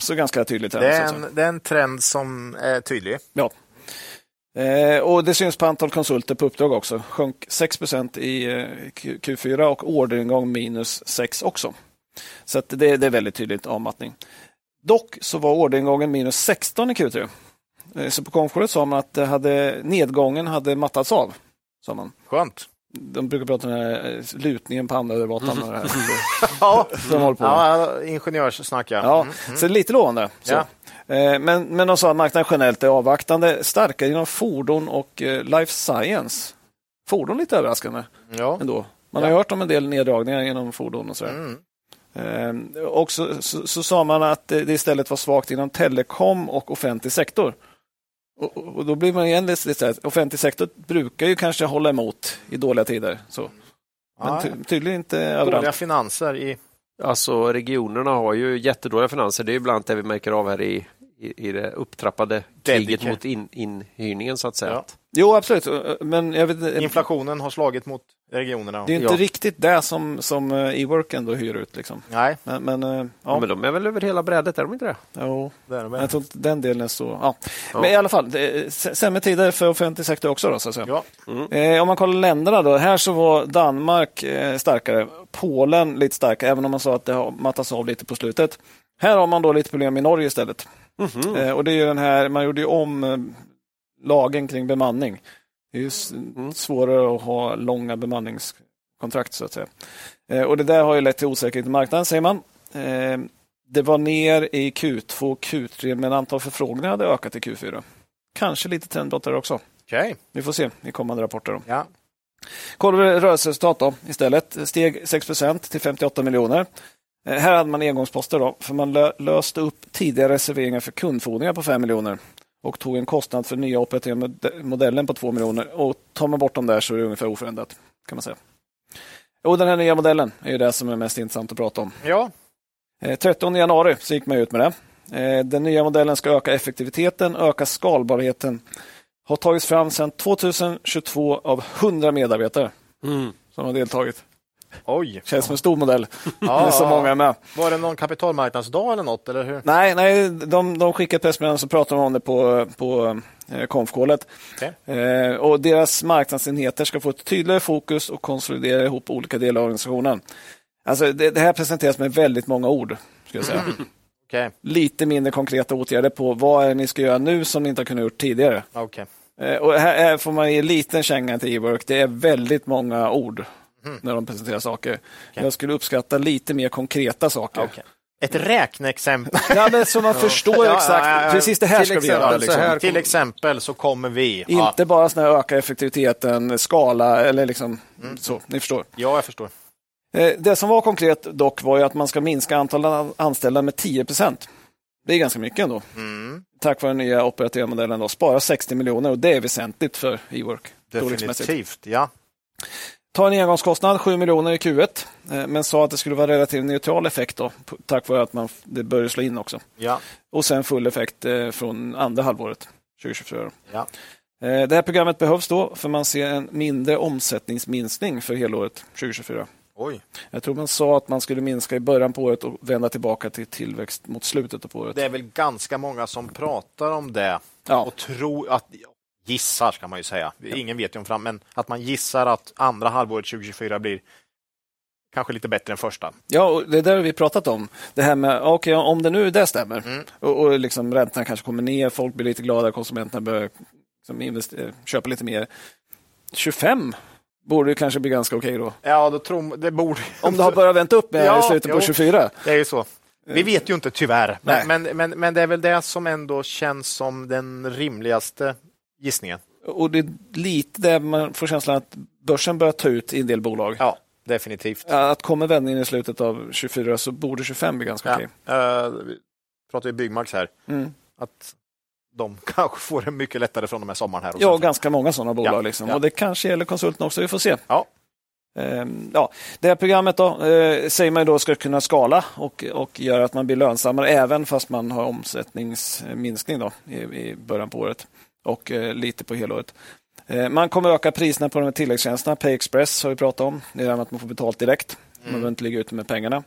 Speaker 1: Så ganska tydligt.
Speaker 3: Mm. Det, är en, det är en trend som är tydlig.
Speaker 1: Ja. Eh, och det syns på antal konsulter på uppdrag också. Sjönk 6 i eh, Q- Q4 och orderingång minus 6 också. Så att det, det är väldigt tydligt avmattning. Dock så var orderingången minus 16 i Q3. Eh, Så på konferensen sa man att det hade, nedgången hade mattats av. Sa man.
Speaker 3: Skönt.
Speaker 1: De brukar prata om den här eh, lutningen på andra övervåtan. och det här.
Speaker 3: Ja,
Speaker 1: De håller på med.
Speaker 3: ja ingenjörssnack ja.
Speaker 1: Ja,
Speaker 3: Mm.
Speaker 1: så det är lite lovande. Så.
Speaker 3: Ja.
Speaker 1: Eh, Men, men de sa att marknaden generellt är avvaktande, starkare inom fordon och eh, life science. Fordon lite överraskande
Speaker 3: ja.
Speaker 1: ändå. Man har hört om en del neddragningar inom fordon och sådär.
Speaker 3: Mm.
Speaker 1: Eh, Och så, så, så sa man att eh, det istället var svagt inom telekom och offentlig sektor. Och, och och då blir man igen lite lite så här, offentlig sektor brukar ju kanske hålla emot i dåliga tider. Så. Men
Speaker 3: Ja,
Speaker 1: ty, tydligen inte överallt.
Speaker 3: Dåliga finanser i...
Speaker 4: Alltså regionerna har ju jättedåliga finanser. Det är ju bland annat det vi märker av här i, i, i det upptrappade kriget
Speaker 3: Dedica-
Speaker 4: mot in, inhyrningen så att säga.
Speaker 3: Ja.
Speaker 1: Jo, absolut. Eh, Men jag vet,
Speaker 3: Inflationen har slagit mot regionerna.
Speaker 1: Det är inte
Speaker 4: Ja.
Speaker 1: riktigt det som, som eh, Ework ändå hyr ut. Liksom.
Speaker 3: Nej,
Speaker 1: Men, men, eh,
Speaker 4: Ja,
Speaker 1: ja,
Speaker 4: Men de är väl över hela brädet, är de inte det?
Speaker 1: jo,
Speaker 3: det är det väl.
Speaker 1: jag tror inte den delen är så... Ja. Men i alla fall, det är s- sämre tider för offentlig sektor också. Då, så att säga.
Speaker 3: Ja.
Speaker 1: Eh, om man kollar länderna då. Här så var Danmark eh, starkare, Polen lite starkare, även om man sa att det har mattats av lite på slutet. Här har man då lite problem i Norge istället. Eh, och det är ju den här, man gjorde ju om eh, lagen kring bemanning. Det är ju s- svårare att ha långa bemanningskontrakt så att säga. Eh, och det där har ju lett till osäkerhet i marknaden säger man. Eh, det var ner i Q2 och Q3 men antal förfrågningar hade ökat i Q4. Kanske lite trendbrott där också.
Speaker 3: Okej.
Speaker 1: Vi får se i kommande rapporter. Då.
Speaker 3: Ja.
Speaker 1: Kollar vi rörelseresultat då istället. Steg 6 till 58 miljoner. Eh, Här hade man engångsposter då, för man lö- löste upp tidigare reserveringar för kundfordringar på 5 miljoner och tog en kostnad för nya operativa mod- modellen på 2 miljoner. Och tar man bort dem där så är det ungefär oförändrat kan man säga. Och den här nya modellen är ju det som är mest intressant att prata om.
Speaker 3: Ja.
Speaker 1: Eh, 13 januari så gick man ut med det. Eh, Den nya modellen ska öka effektiviteten, öka skalbarheten. Har tagits fram sedan 2022 av 100 medarbetare
Speaker 3: Mm.
Speaker 1: som har deltagit.
Speaker 3: Oj.
Speaker 1: Känns som en stor modell.
Speaker 3: Ja,
Speaker 1: så
Speaker 3: ja.
Speaker 1: många är med.
Speaker 3: Var det någon kapitalmarknadsdag eller något? Eller hur?
Speaker 1: Nej, nej de, de skickade ett pressmeddelande så pratade de om det på, på eh, konfkålet.
Speaker 3: Okej.
Speaker 1: Eh, och deras marknadsenheter ska få ett tydligare fokus och konsolidera ihop olika delar av organisationen. Alltså, det, det här presenteras med väldigt många ord. Ska jag säga.
Speaker 3: Okej,
Speaker 1: lite mindre konkreta åtgärder på vad är det ni ska göra nu som ni inte har kunnat gjort tidigare.
Speaker 3: okej.
Speaker 1: Eh, Och här, här får man ge en liten känga till e-work. Det är väldigt många ord
Speaker 3: Mhm.
Speaker 1: när de presenterar saker. Jag skulle uppskatta lite mer konkreta saker.
Speaker 3: Okej. Ett räkneexempel.
Speaker 1: Ja, men så man förstår
Speaker 3: Ja,
Speaker 1: exakt,
Speaker 3: ja, ja.
Speaker 1: precis det här
Speaker 4: Till
Speaker 1: ska vi göra.
Speaker 4: exempel så
Speaker 1: Liksom.
Speaker 4: här
Speaker 3: Till exempel så kommer vi. Ja,
Speaker 1: Inte bara sån här öka effektiviteten, skala eller liksom
Speaker 3: Mm.
Speaker 1: så, ni förstår.
Speaker 3: ja jag förstår.
Speaker 1: Eh, Det som var konkret dock var ju att man ska minska antalet an- anställda med 10 procent. Det är ganska mycket ändå.
Speaker 3: Mm.
Speaker 1: Tack vare den nya operativa modellen då, spara 60 miljoner och det är väsentligt för e-work. storleksmässigt.
Speaker 3: Definitivt, ja.
Speaker 1: Ta en engångskostnad, 7 miljoner i Q1, eh, men sa att det skulle vara relativt neutral effekt då, p- tack vare att man, f- det börjar slå in också.
Speaker 3: ja.
Speaker 1: Och sen full effekt eh, från andra halvåret 2024. då.
Speaker 3: Ja.
Speaker 1: Eh, Det här programmet behövs då för man ser en mindre omsättningsminskning för helåret 2024.
Speaker 3: Oj.
Speaker 1: Jag tror man sa att man skulle minska i början på året och vända tillbaka till tillväxt mot slutet på året.
Speaker 3: Det är väl ganska många som pratar om det
Speaker 1: Ja,
Speaker 3: och tror att gissar ska man ju säga. Ingen vet ju om fram, men att man gissar att andra halvåret 2024 blir kanske lite bättre än första.
Speaker 1: ja och det där har vi pratat om. Det här med, okej, om det nu det stämmer
Speaker 3: Mm.
Speaker 1: och, och liksom räntorna kanske kommer ner, folk blir lite glada, konsumenterna börjar liksom invest- eh, köpa lite mer. 25 borde ju kanske bli ganska okej då.
Speaker 3: Ja, då tror det borde...
Speaker 1: Om det har börjat vänta upp med
Speaker 3: Ja,
Speaker 1: i slutet på
Speaker 3: jo.
Speaker 1: 24.
Speaker 3: Det är ju så. Vi vet ju inte tyvärr, men, men, men, men det är väl det som ändå känns som den rimligaste gissningen.
Speaker 1: Och det är lite där man får känslan att börsen börjar ta ut i en del bolag.
Speaker 3: Ja, definitivt.
Speaker 1: Att kommer vändningen i slutet av 24 så borde 25 bli ganska
Speaker 3: Ja.
Speaker 1: okej.
Speaker 3: Eh, vi pratar ju Byggmax här,
Speaker 1: Mm.
Speaker 3: att de kanske får det mycket lättare från och med sommaren här. och
Speaker 1: Ja,
Speaker 3: sånt.
Speaker 1: ganska många sådana bolag.
Speaker 3: Ja,
Speaker 1: liksom.
Speaker 3: ja.
Speaker 1: Och det kanske gäller konsulterna också, vi får se.
Speaker 3: Ja.
Speaker 1: Ehm, ja. Det här programmet då, eh, säger man ju då ska kunna skala och, och göra att man blir lönsammare även fast man har omsättningsminskning då, i, i början på året och eh, lite på helåret. Eh, man kommer öka priserna på de här tilläggstjänsterna. Pay Express har vi pratat om. Det är det här med att man får betalt direkt.
Speaker 3: Mm.
Speaker 1: Man behöver inte ligga ute med pengarna.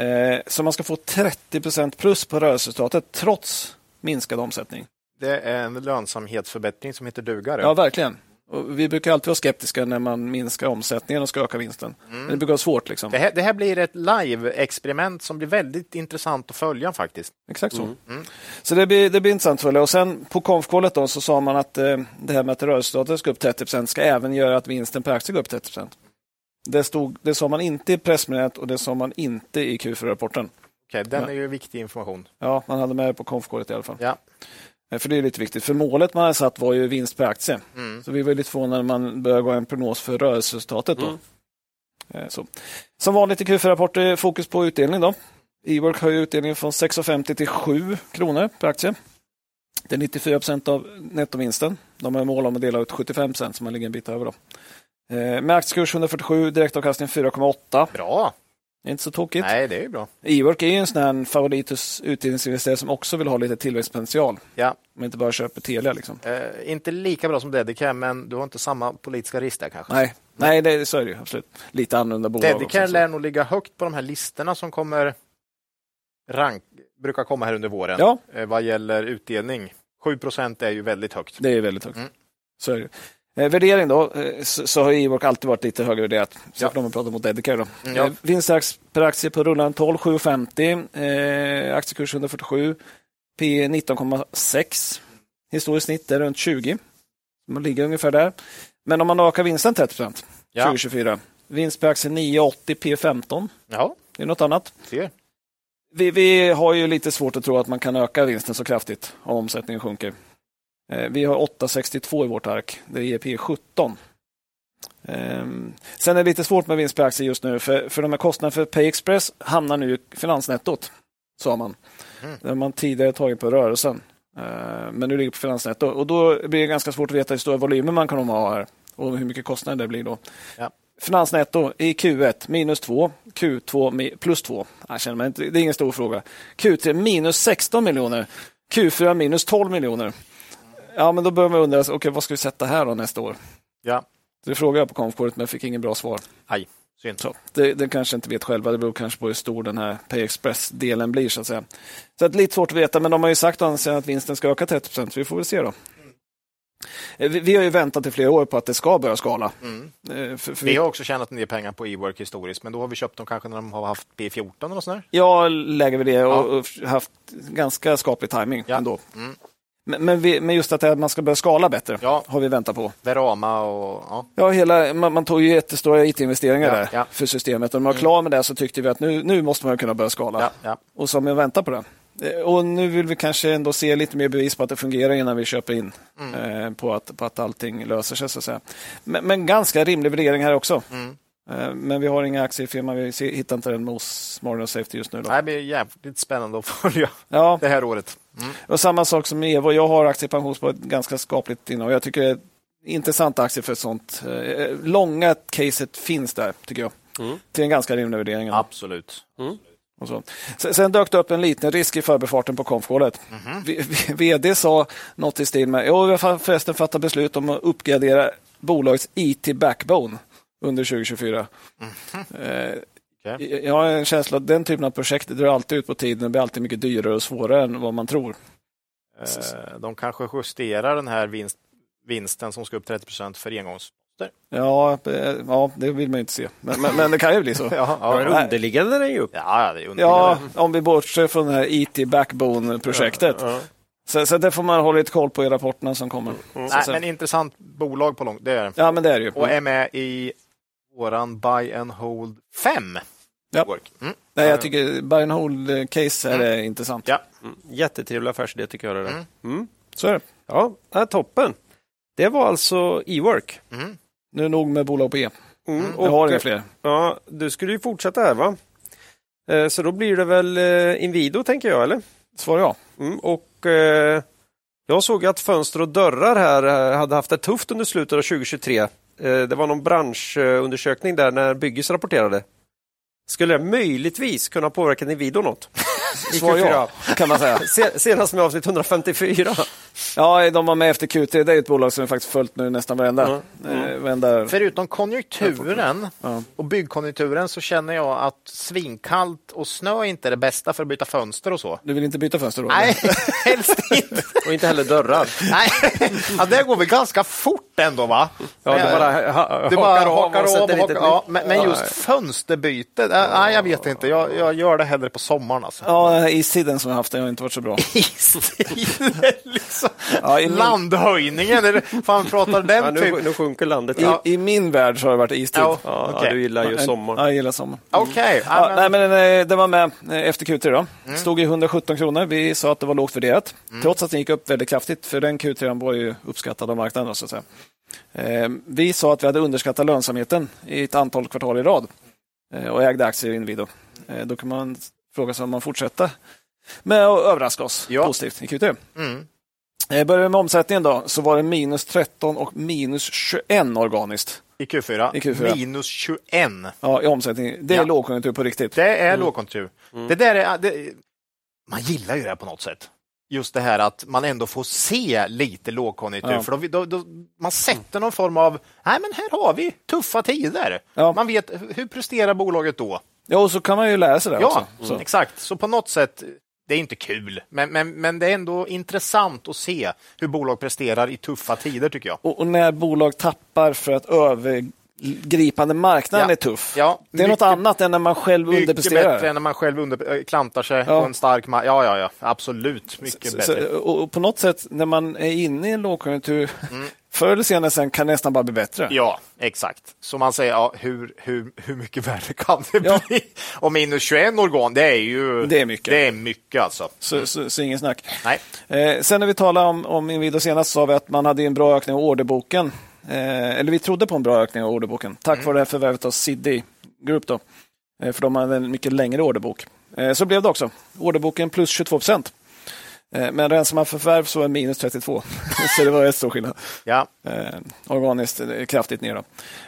Speaker 1: Eh, så man ska få 30 plus på rörelseresultatet trots minskad omsättning.
Speaker 3: Det är en lönsamhetsförbättring som heter duga. det.
Speaker 1: Ja, verkligen. Och vi brukar alltid vara skeptiska när man minskar omsättningen och ska öka vinsten.
Speaker 3: Mm.
Speaker 1: Men det brukar vara svårt. Liksom.
Speaker 3: Det, här, det här blir ett live-experiment som blir väldigt intressant att följa faktiskt.
Speaker 1: Exakt
Speaker 4: Mm.
Speaker 2: Mm.
Speaker 1: så. Så det blir, det blir intressant att följa. Och sen på konfkålet då så sa man att eh, det här med att rörelseresultatet ska upp 30 ska även göra att vinsten per aktie går upp 30 det, stod, det sa man inte i pressmeddelandet och det sa man inte i Q4-rapporten.
Speaker 3: Okej, den
Speaker 1: Ja.
Speaker 3: är ju viktig information.
Speaker 1: Ja, man hade med det på konfkålet i alla fall.
Speaker 3: Ja.
Speaker 1: Eh, För det är lite viktigt. För målet man hade satt var ju vinst per aktie.
Speaker 3: Mm.
Speaker 1: Så vi var lite förvånade när man började gå en prognos för rörelseresultatet. Då.
Speaker 3: Mm.
Speaker 1: Eh, Så. Som vanligt i Q4-rapporter fokus på utdelning. Då. E-work höjer utdelningen från 6,50 till 7 kronor per aktie. Det är 94 procent av nettovinsten. De har mål om att dela ut 75 procent, så man ligger en bit över. Då. Eh, Med aktiekurs 147, direktavkastning 4,8.
Speaker 3: Bra!
Speaker 1: Det är inte så tokigt.
Speaker 3: Nej, det är ju bra.
Speaker 1: E-work är ju en sån här favorit hos utdelningsinvesterare som också vill ha lite tillväxtpotential.
Speaker 3: Ja.
Speaker 1: Men inte bara köper Telia. Liksom.
Speaker 3: Eh, inte lika bra som Dedicare, men du har inte samma politiska risk där kanske.
Speaker 1: Nej, Nej det, så är det ju absolut. Lite annorlunda bolag.
Speaker 3: Dedicare
Speaker 1: också, så.
Speaker 3: lär nog ligga högt på de här listorna som kommer rank, brukar komma här under våren
Speaker 1: Ja,
Speaker 3: eh, vad gäller utdelning. 7 är ju väldigt högt.
Speaker 1: det är ju väldigt högt.
Speaker 3: Mm.
Speaker 1: Så är det. ju. Eh, värdering då, eh, så, så har ju e-work alltid varit lite högre värderat. Så
Speaker 3: Ja.
Speaker 1: får man prata mot Dedicare då.
Speaker 3: Mm, ja.
Speaker 1: Eh, vinst per aktie på rullande 12, 7,50. Eh, aktiekurs 147. P E 19,6. Historiskt snitt är runt 20. Man ligger ungefär där. Men om man ökar vinsten 30 procent
Speaker 3: Ja.
Speaker 1: 2024. Vinst per aktie 9,80 P 15.
Speaker 3: Ja,
Speaker 1: Det är något annat.
Speaker 3: ser.
Speaker 1: Vi, vi har ju lite svårt att tro att man kan öka vinsten så kraftigt om omsättningen sjunker. Eh, Vi har 8,62 i vårt ark. Det ger P 17. Ehm, Sen är det lite svårt med vinst per aktie just nu för, för de här kostnaderna för PayExpress hamnar nu i finansnettot, sa man. Där man tidigare tagit på rörelsen. Eh, Men nu ligger det på finansnetto och då blir det ganska svårt att veta hur stora volymer man kan ha här och hur mycket kostnader det blir då.
Speaker 3: Ja.
Speaker 1: Finansnetto i Q1 minus 2, Q2 mi- plus 2. Jag känner mig inte, det är ingen stor fråga. Q3 minus 16 miljoner, Q4 minus 12 miljoner. Ja, men då börjar man undra, okej, vad ska vi sätta här då nästa år?
Speaker 3: Ja,
Speaker 1: Det frågade jag på konfkåret men jag fick ingen bra svar.
Speaker 3: aj, synd.
Speaker 1: Så, det, det kanske inte vet själva, det beror kanske på hur stor den här PayExpress-delen blir. Så att säga. Så att lite svårt att veta, men de har ju sagt å andra sidan att vinsten ska öka 30 vi får väl se då. Eh, Vi, vi har ju väntat i flera år på att det ska börja skala.
Speaker 3: Mm.
Speaker 1: Eh, För, för
Speaker 3: Vi
Speaker 1: vi,
Speaker 3: har också tjänat en del pengar på e-work historiskt, men då har vi köpt dem kanske när de har haft P14 och sådär.
Speaker 1: jag lägger väl det och,
Speaker 3: Ja.
Speaker 1: och haft ganska skaplig timing
Speaker 3: Ja.
Speaker 1: ändå.
Speaker 3: Mm.
Speaker 1: Men, men, vi, men just att det här att man ska börja skala bättre
Speaker 3: Ja.
Speaker 1: har vi väntat på.
Speaker 3: Verama och... Ja.
Speaker 1: Ja, hela, man, man tog ju jättestora IT-investeringar
Speaker 3: Ja,
Speaker 1: där
Speaker 3: ja. Mm.
Speaker 1: för systemet och när man var klar med det så tyckte vi att nu, nu måste man kunna börja skala.
Speaker 3: Ja, ja.
Speaker 1: Och som jag väntar på det. Eh, Och nu vill vi kanske ändå se lite mer bevis på att det fungerar innan vi köper in
Speaker 3: Mm.
Speaker 1: eh, på, att, på att allting löser sig. Så att säga. Men, men ganska rimlig värdering här också.
Speaker 3: Mm.
Speaker 1: Eh, men vi har inga aktier i firman, vi ser, hittar inte den hos Morgan Safety just nu. Då.
Speaker 3: Det här blir jävligt spännande att följa
Speaker 1: Ja,
Speaker 3: det här året. Mm.
Speaker 1: och samma sak som med Evo, jag har aktier i pensions på ett ganska skapligt innehav. Jag tycker det är intressanta aktier för ett sånt. Eh, långa caset finns där, tycker jag. Till en ganska rimlig värdering.
Speaker 3: Absolut.
Speaker 1: Och så. Sen, sen dök det upp en liten risk i förbifarten på konfkålet.
Speaker 3: Mhm.
Speaker 1: V- v- VD sa något i stil med "Jo, vi har fa- förresten fattat beslut om att uppgradera bolagets IT backbone under 2024. Eh,
Speaker 3: Okej.
Speaker 1: Jag har en känsla att den typen av projekt drar alltid ut på tiden och blir alltid mycket dyrare och svårare än vad man tror.
Speaker 3: Eh, De kanske justerar den här vinst, vinsten som ska upp 30 procent för engångs...
Speaker 1: Ja, eh, ja, det vill man ju inte se, men, men, men det kan ju bli så.
Speaker 3: Ja,
Speaker 4: Ja,
Speaker 3: ja,
Speaker 4: men underliggande är den ju upp.
Speaker 3: ja, det är
Speaker 1: Ja,
Speaker 3: underliggande.
Speaker 1: om vi bortser från det här IT backbone-projektet. Så, så det får man hålla lite koll på i rapporterna som kommer. Så-
Speaker 3: Nej,
Speaker 1: så-
Speaker 3: men intressant bolag på långt... Det är det.
Speaker 1: Ja, men det är det ju.
Speaker 3: Och är med i våran Buy and Hold 5.
Speaker 1: Ja.
Speaker 3: Work. Mm.
Speaker 1: Nej, jag tycker buy and hold case här är intressant.
Speaker 3: Ja.
Speaker 4: Mm. Jättetrevlig affärsidé tycker jag det där.
Speaker 3: Mm.
Speaker 4: Mm.
Speaker 1: Så är det.
Speaker 4: Ja, det är toppen. Det var alltså E-work.
Speaker 3: Mm.
Speaker 1: Nu nog med bolag på E.
Speaker 4: Mm,
Speaker 3: Mm.
Speaker 1: Jag har
Speaker 4: och,
Speaker 1: inga fler.
Speaker 4: ja, du skulle ju fortsätta här va? Eh, Så då blir det väl eh, Invido tänker jag eller?
Speaker 1: Svar ja.
Speaker 4: Mm, och eh, jag såg att fönster och dörrar här eh, hade haft det tufft under slutet av 2023. Eh, det var någon branschundersökning där när Byggis rapporterade. Skulle det möjligtvis kunna påverka Invido något? I
Speaker 1: Svar ja,
Speaker 4: Q4.
Speaker 1: kan man säga.
Speaker 4: Se, senast med avsnitt 154.
Speaker 1: Ja, de var med efter QT. Det är ju ett bolag som vi faktiskt följt nu nästan
Speaker 3: Mm.
Speaker 1: varenda. Eh, varenda.
Speaker 3: Förutom konjunkturen
Speaker 1: Ja.
Speaker 3: och byggkonjunkturen så känner jag att svinkallt och snö inte är det bästa för att byta fönster och så.
Speaker 1: Du vill inte byta fönster då?
Speaker 3: Nej, helst inte.
Speaker 4: Och inte heller dörrar.
Speaker 3: Nej. Ja, det går väl ganska fort ändå va?
Speaker 4: Ja, det bara ha,
Speaker 3: Du
Speaker 4: hakar
Speaker 3: bara
Speaker 4: av
Speaker 3: hakar
Speaker 4: och
Speaker 3: av.
Speaker 4: sätter
Speaker 3: Och
Speaker 4: lite
Speaker 3: hakar,
Speaker 4: nytt.
Speaker 3: ja, men, men just
Speaker 4: Ja.
Speaker 3: fönsterbyte, äh, nej jag vet inte. Jag, jag gör det hellre på sommaren alltså.
Speaker 1: Ja, istiden som jag haft den har inte varit så bra.
Speaker 3: Istiden, liksom.
Speaker 1: Ja, i min-
Speaker 3: Landhöjningen, eller fan pratar den
Speaker 4: Ja,
Speaker 3: typ?
Speaker 4: nu, nu sjunker landet.
Speaker 1: I,
Speaker 4: Ja.
Speaker 1: I min värld så har det varit istid.
Speaker 3: Ja,
Speaker 4: Ja,
Speaker 3: okej.
Speaker 4: Du gillar ju sommar.
Speaker 1: Ja, jag gillar sommar.
Speaker 3: Okej, ja,
Speaker 1: Ja,
Speaker 3: men- Mm.
Speaker 1: nej, men eh, det var med eh, efter Q3. Då. Stod i 117 kronor. Vi sa att det var lågt värderat, trots att den gick upp väldigt kraftigt, för den Q3 var ju uppskattad av marknaden. Då, så att säga. Eh, Vi sa att vi hade underskattat lönsamheten i ett antal kvartal i rad eh, och ägde aktier i Inwido. Eh, Då kan man fråga sig om man fortsätter med att överraska oss
Speaker 3: Ja.
Speaker 1: positivt i Q3.
Speaker 3: Mm.
Speaker 1: Eh, Börjar vi med omsättningen då, så var det minus 13 och minus 21 organiskt
Speaker 3: I Q4,
Speaker 1: I Q4.
Speaker 3: minus 21.
Speaker 1: ja, i omsättning. Det är
Speaker 3: Ja.
Speaker 1: lågkonjunktur på riktigt.
Speaker 3: Det är lågkonjunktur.
Speaker 1: Mm.
Speaker 3: Det där är, det, man gillar ju det här på något sätt. Just det här att man ändå får se lite lågkonjunktur.
Speaker 1: Ja.
Speaker 3: För då, då, då, man sätter någon form av, nej men här har vi tuffa tider.
Speaker 1: Ja.
Speaker 3: Man vet, hur- hur presterar bolaget då?
Speaker 1: Ja, och så kan man ju lära sig det också.
Speaker 3: Ja,
Speaker 1: Så.
Speaker 3: exakt. Så på något sätt, det är inte kul, men, men, men det är ändå intressant att se hur bolag presterar i tuffa tider tycker jag.
Speaker 1: Och, och när bolag tappar för att övergripande marknaden
Speaker 3: Ja.
Speaker 1: är tuff.
Speaker 3: Ja,
Speaker 1: Det är
Speaker 3: mycket-
Speaker 1: något annat än när man själv
Speaker 3: Mycket bättre än
Speaker 1: underpresterar.
Speaker 3: när man själv under, äh, klantar sig
Speaker 1: Ja.
Speaker 3: på en stark mark. Ja, ja, ja, absolut. Mycket
Speaker 1: Så,
Speaker 3: bättre.
Speaker 1: så- och och på något sätt, när man är inne i en lågkonjunktur, förr eller senare sen kan det nästan bara bli bättre.
Speaker 3: Mm. Ja, exakt. Så man säger, ja, hur, hur, hur mycket värre kan det
Speaker 1: Ja.
Speaker 3: bli? Och minus 21 organ, det är ju...
Speaker 1: Det är mycket.
Speaker 3: Det är mycket alltså.
Speaker 1: Så, så, så ingen snack.
Speaker 3: Nej.
Speaker 1: Eh, sen när vi talade om, om Inwido senast sa vi att man hade en bra ökning av orderboken. Eh, eller vi trodde på en bra ökning av orderboken tack vare förvärvet av CD Group. Då, eh, för de hade en mycket längre orderbok. Eh, så blev det också. Orderboken plus 22 procent. Eh, men rensar man för förvärv så är minus 32. så det var rätt stor skillnad.
Speaker 3: Ja.
Speaker 1: Eh, organiskt eh, kraftigt ner. Då.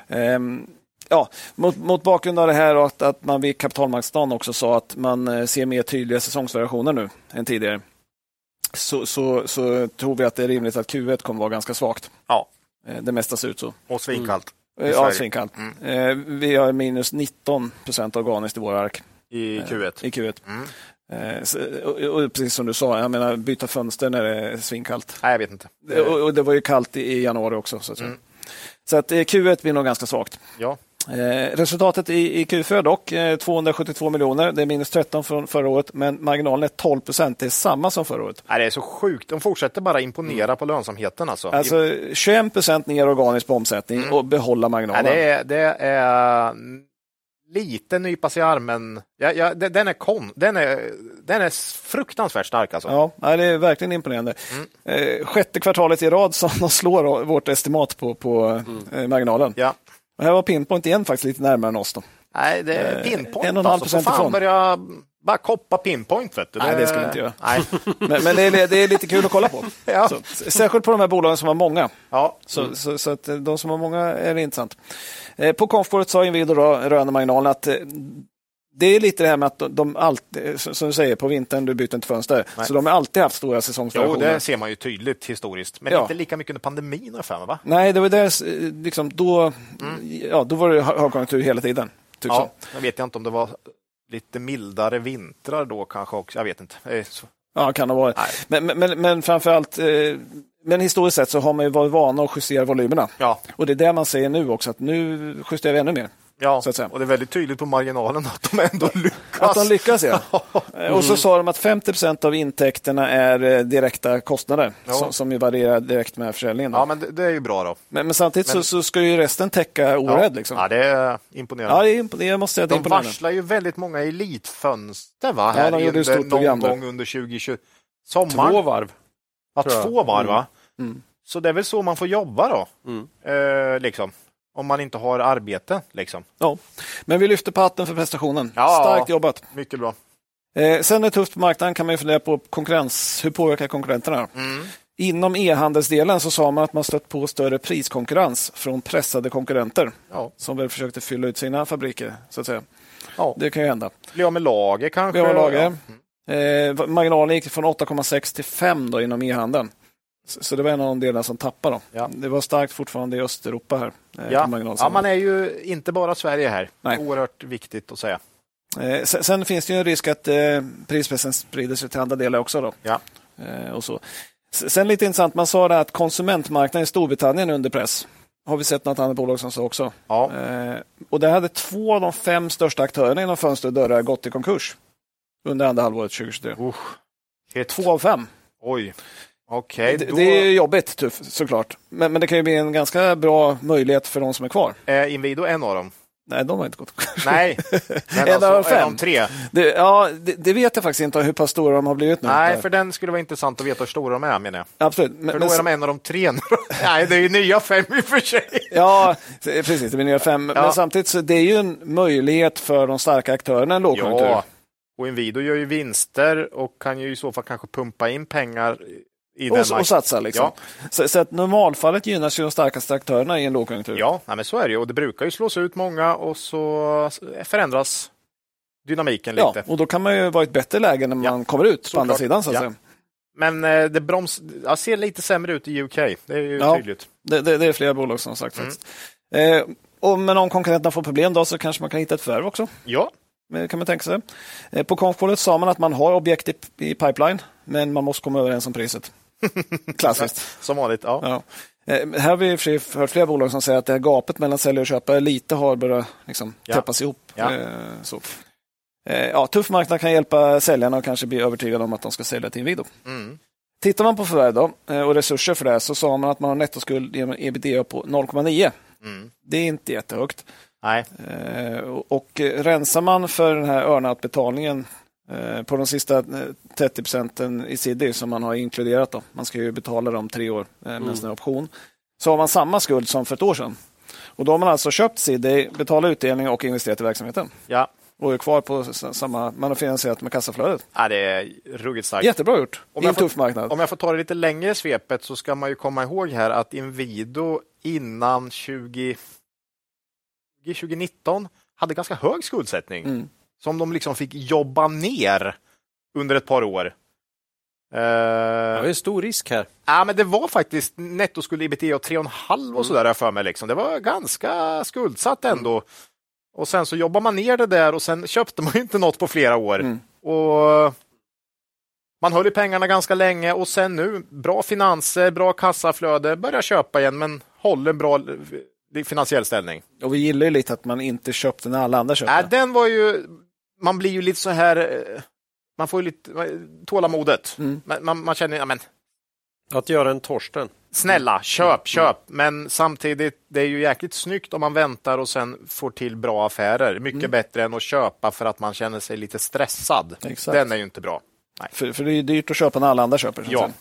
Speaker 1: Ehm, ja, mot, mot bakgrund av det här och att, att man vid kapitalmarknadsdagen också sa att man eh, ser mer tydliga säsongsvariationer nu än tidigare så, så, så tror vi att det är rimligt att Q1 kommer vara ganska svagt.
Speaker 3: ja,
Speaker 1: Eh, Det mesta ser ut så.
Speaker 3: och svinkallt
Speaker 1: Eh, Ja, svinkallt. Eh, Vi har minus 19 procent organiskt i vår ark
Speaker 3: i Q1.
Speaker 1: i Q1. Eh, så- och, och precis som du sa, jag menar byta fönster när det är svinkallt.
Speaker 3: Nej, jag vet inte.
Speaker 1: Det- Och, och det var ju kallt i, i januari också. Så att, säga.
Speaker 3: Mm.
Speaker 1: så att eh, Q1 blir nog ganska svagt.
Speaker 3: Ja.
Speaker 1: Eh, resultatet i, i Q4 dock, eh, 272 miljoner. Det är minus 13 från förra året, men marginalen är 12 procent. Det är samma som förra året.
Speaker 3: Nej, det är så sjukt. De fortsätter bara imponera på lönsamheten alltså.
Speaker 1: Alltså 21 procent ner organiskt på omsättning och behålla
Speaker 3: Mm. Nej,
Speaker 1: marginalen.
Speaker 3: det, är, det är lite nypas i armen. Ja, ja, de- den, är kon, den, är, den är fruktansvärt stark alltså.
Speaker 1: Ja, nej, det är verkligen imponerande.
Speaker 3: Mm.
Speaker 1: Eh, sjätte kvartalet i rad som de slår vårt estimat på, på eh, marginalen.
Speaker 3: Mm. Ja.
Speaker 1: Och här var Pinpoint igen faktiskt lite närmare än oss. Då.
Speaker 3: Nej, det är
Speaker 1: Eh,
Speaker 3: pinpoint
Speaker 1: en och en halv
Speaker 3: alltså. För
Speaker 1: procent ifrån.
Speaker 3: fan börja bara koppa pinpoint vet du.
Speaker 1: Nej, det skulle jag inte göra.
Speaker 3: Nej.
Speaker 1: Men, men det, är, det är lite kul att kolla på.
Speaker 3: Ja.
Speaker 1: Så, särskilt på de här bolagen som har många.
Speaker 3: Ja.
Speaker 1: Så, så, så att eh, de som har många är det intressant. Eh, på konfbordet sa Inwido då, rörande marginalen att eh, det är lite det här med att de, de alltid, eh, som som du säger, på vintern du byter inte fönster.
Speaker 3: Nej.
Speaker 1: Så de har alltid haft stora
Speaker 3: Jo,
Speaker 1: säsongsvariationer.
Speaker 3: det ser man ju tydligt historiskt. Men
Speaker 1: Ja.
Speaker 3: inte lika mycket under pandemin har jag för mig, va?
Speaker 1: Nej, det var där, eh, liksom, då, ja, då var det hö- högkonjunktur hela tiden. Typ så.
Speaker 3: Mm. Ja, jag vet inte om det var lite mildare vintrar då kanske också. Jag vet inte. Det är så-
Speaker 1: Ja, kan ha varit.
Speaker 3: Nej.
Speaker 1: Men, men- men, men framförallt, eh, men historiskt sett så har man ju varit vana att justera volymerna.
Speaker 3: Ja,
Speaker 1: Och det är det man säger nu också, att nu justerar vi ännu mer.
Speaker 3: ja.
Speaker 1: Så att säga.
Speaker 3: och det är väldigt tydligt på marginalen att de ändå lyckas.
Speaker 1: Att de lyckas, ja. Eh,
Speaker 3: Mm.
Speaker 1: Och så sa de att 50 av intäkterna är eh, direkta kostnader
Speaker 3: Ja.
Speaker 1: som, som ju varierar direkt med försäljningen. då.
Speaker 3: Ja, men det, det är ju bra då.
Speaker 1: men, men samtidigt Så,
Speaker 3: men-
Speaker 1: så ska ju resten täcka
Speaker 3: Ja,
Speaker 1: orädd. Liksom.
Speaker 3: ja det är imponerande.
Speaker 1: Ja, det är imp- det måste säga att det är
Speaker 3: de
Speaker 1: imponerande.
Speaker 3: varslar ju väldigt många elitfönster va?
Speaker 1: Ja,
Speaker 3: Här
Speaker 1: de gjorde ju
Speaker 3: under-
Speaker 1: stort
Speaker 3: någon
Speaker 1: program där.
Speaker 3: gång under 2020.
Speaker 4: Två
Speaker 3: Sommaren.
Speaker 4: varv.
Speaker 3: Ja,
Speaker 4: tror jag.
Speaker 3: två var va?
Speaker 1: Mm.
Speaker 3: Så det är väl så man får jobba då.
Speaker 4: Mm.
Speaker 3: Eh, liksom. Om man inte har arbete. Liksom.
Speaker 1: Ja. Men vi lyfter på hatten för prestationen.
Speaker 3: Ja.
Speaker 1: Starkt jobbat.
Speaker 3: Mycket bra.
Speaker 1: Eh, sen är det tufft på marknaden kan man ju fundera på konkurrens. Hur påverkar konkurrenterna?
Speaker 3: Mm.
Speaker 1: Inom e-handelsdelen så sa man att man stött på större priskonkurrens från pressade konkurrenter
Speaker 3: Ja.
Speaker 1: som väl försökte fylla ut sina fabriker. så att säga.
Speaker 3: Ja.
Speaker 1: Det kan ju hända.
Speaker 3: Bli av med lager kanske.
Speaker 1: Vi har lager. Eh, marginalen gick från 8,6 till 5 då inom e-handeln. Så, så det var en av de delarna som tappade. Då.
Speaker 3: Ja.
Speaker 1: Det var starkt fortfarande i Östeuropa här. eh,
Speaker 3: Ja.
Speaker 1: på
Speaker 3: Ja.
Speaker 1: marginalsidan.
Speaker 3: ja, man är ju inte bara Sverige här.
Speaker 1: Nej.
Speaker 3: Oerhört viktigt att säga.
Speaker 1: Eh, sen, sen finns det ju en risk att eh, prispressen sprider sig till andra delar också. Då.
Speaker 3: Ja.
Speaker 1: Eh, och så. S- Sen lite intressant, man sa det här att konsumentmarknaden i Storbritannien är under press. Har vi sett något annat bolag som sa också.
Speaker 3: Ja.
Speaker 1: Eh, och där hade två av de fem största aktörerna inom fönster och dörrar gått i konkurs under andra halvåret 2023.
Speaker 3: Usch. Shit.
Speaker 1: Två av fem.
Speaker 3: Oj. Okej,
Speaker 1: Det,
Speaker 3: då
Speaker 1: det är ju jobbigt tuff, såklart. Men, men det kan ju bli en ganska bra möjlighet för de som är kvar.
Speaker 3: är Inwido en av dem.
Speaker 1: Nej, de har inte gått i konkurs.
Speaker 3: Nej, men
Speaker 1: En
Speaker 3: alltså,
Speaker 1: av
Speaker 3: är
Speaker 1: fem.
Speaker 3: de tre?
Speaker 1: Det, ja, det, det vet jag faktiskt inte hur pass stora de har blivit nu.
Speaker 3: Nej, för den skulle vara intressant att veta hur stora de är menar jag.
Speaker 1: Absolut. Men,
Speaker 3: För
Speaker 1: men-
Speaker 3: då är de en av de tre nu. Nej, det är ju nya fem i och för sig.
Speaker 1: Ja, precis. Det blir nya fem.
Speaker 3: Ja.
Speaker 1: Men samtidigt så det är ju en möjlighet för de starka aktörerna i en lågkonjunktur.
Speaker 3: Ja, och Inwido gör ju vinster och kan ju i så fall kanske pumpa in pengar i- i den
Speaker 1: och, och satsa liksom.
Speaker 3: Ja.
Speaker 1: Så, så att normalfallet gynnas ju de starkaste aktörerna i en lågkonjunktur.
Speaker 3: Ja, nej, men så är det ju. Och det brukar ju slås ut många och så förändras dynamiken
Speaker 1: Ja,
Speaker 3: lite.
Speaker 1: och då kan man ju vara i ett bättre läge när
Speaker 3: Ja.
Speaker 1: man kommer ut på
Speaker 3: Såklart.
Speaker 1: andra sidan. Så att
Speaker 3: Ja.
Speaker 1: säga.
Speaker 3: Men eh, det broms... ja, ser lite sämre ut i UK. Det är ju
Speaker 1: Ja.
Speaker 3: tydligt.
Speaker 1: Det, det, det är flera bolag som har sagt faktiskt. Eh, och, men om konkurrenterna får problem då så kanske man kan hitta ett förvärv också.
Speaker 3: Ja,
Speaker 1: eh, kan man tänka sig. Eh, På konfbålet sa man att man har objekt i, i pipeline, men man måste komma överens om priset. Klassiskt.
Speaker 3: som vanligt. Ja.
Speaker 1: Ja. Eh, Här har vi i och för sig hört flera bolag som säger att det här gapet mellan säljare och köpare lite har börjat liksom,
Speaker 3: Ja.
Speaker 1: täppas ihop.
Speaker 3: Ja.
Speaker 1: Eh, Så. Eh, Ja, tuff marknad kan hjälpa säljarna och kanske bli övertygade om att de ska sälja till Inwido.
Speaker 3: Mm.
Speaker 1: Tittar man på förvärv då, eh, och resurser för det här så sa man att man har en nettoskuld genom ebitda på 0,9.
Speaker 3: Mm.
Speaker 1: Det är inte jättehögt.
Speaker 3: Nej.
Speaker 1: Eh, och- Och eh, rensar man för den här earnout-betalningen eh, på de sista eh, 30 procenten i CD som man har inkluderat, då. man ska ju betala dem tre år eh,
Speaker 3: Mm.
Speaker 1: med en sån här option, så har man samma skuld som för ett år sedan. Och då har man alltså köpt CD, betalat utdelning och investerat i verksamheten.
Speaker 3: Ja.
Speaker 1: Och är kvar på s- samma, man har finansierat med kassaflödet.
Speaker 3: ja, det är ruggigt starkt.
Speaker 1: Jättebra gjort,
Speaker 3: Om
Speaker 1: i en
Speaker 3: jag får-
Speaker 1: tuff marknad.
Speaker 3: Om jag får ta det lite längre i svepet så ska man ju komma ihåg här att Inwido innan 20... 2019 hade ganska hög skuldsättning
Speaker 1: Mm.
Speaker 3: som de liksom fick jobba ner under ett par år. Eh,
Speaker 4: Det är en stor risk här.
Speaker 3: ja, men det var faktiskt nettoskuld ebitda 3,5 och sådär har jag för mig. Liksom. Det var ganska skuldsatt ändå. Och sen så jobbar man ner det där och sen köpte man ju inte något på flera år.
Speaker 1: Mm.
Speaker 3: Och man höll i pengarna ganska länge och sen nu, bra finanser, bra kassaflöde, börjar köpa igen men håller en bra eh, finansiell ställning.
Speaker 1: Och vi gillar ju lite att man inte köpte när alla andra köpte.
Speaker 3: Äh, den var ju, man blir ju lite så här, eh, man får ju lite man- tålamodet.
Speaker 1: Mm.
Speaker 3: Man, man, man känner, ja men
Speaker 2: Att göra en Torsten.
Speaker 1: Mm.
Speaker 3: snälla, köp, köp. Men samtidigt, det är ju jäkligt snyggt om man väntar och sen får till bra affärer. Mycket
Speaker 1: Mm.
Speaker 3: bättre än att köpa för att man känner sig lite stressad.
Speaker 1: Exakt.
Speaker 3: Den är ju inte bra.
Speaker 1: För, för det är ju dyrt att köpa när alla andra köper. så att
Speaker 3: Ja.
Speaker 1: säga.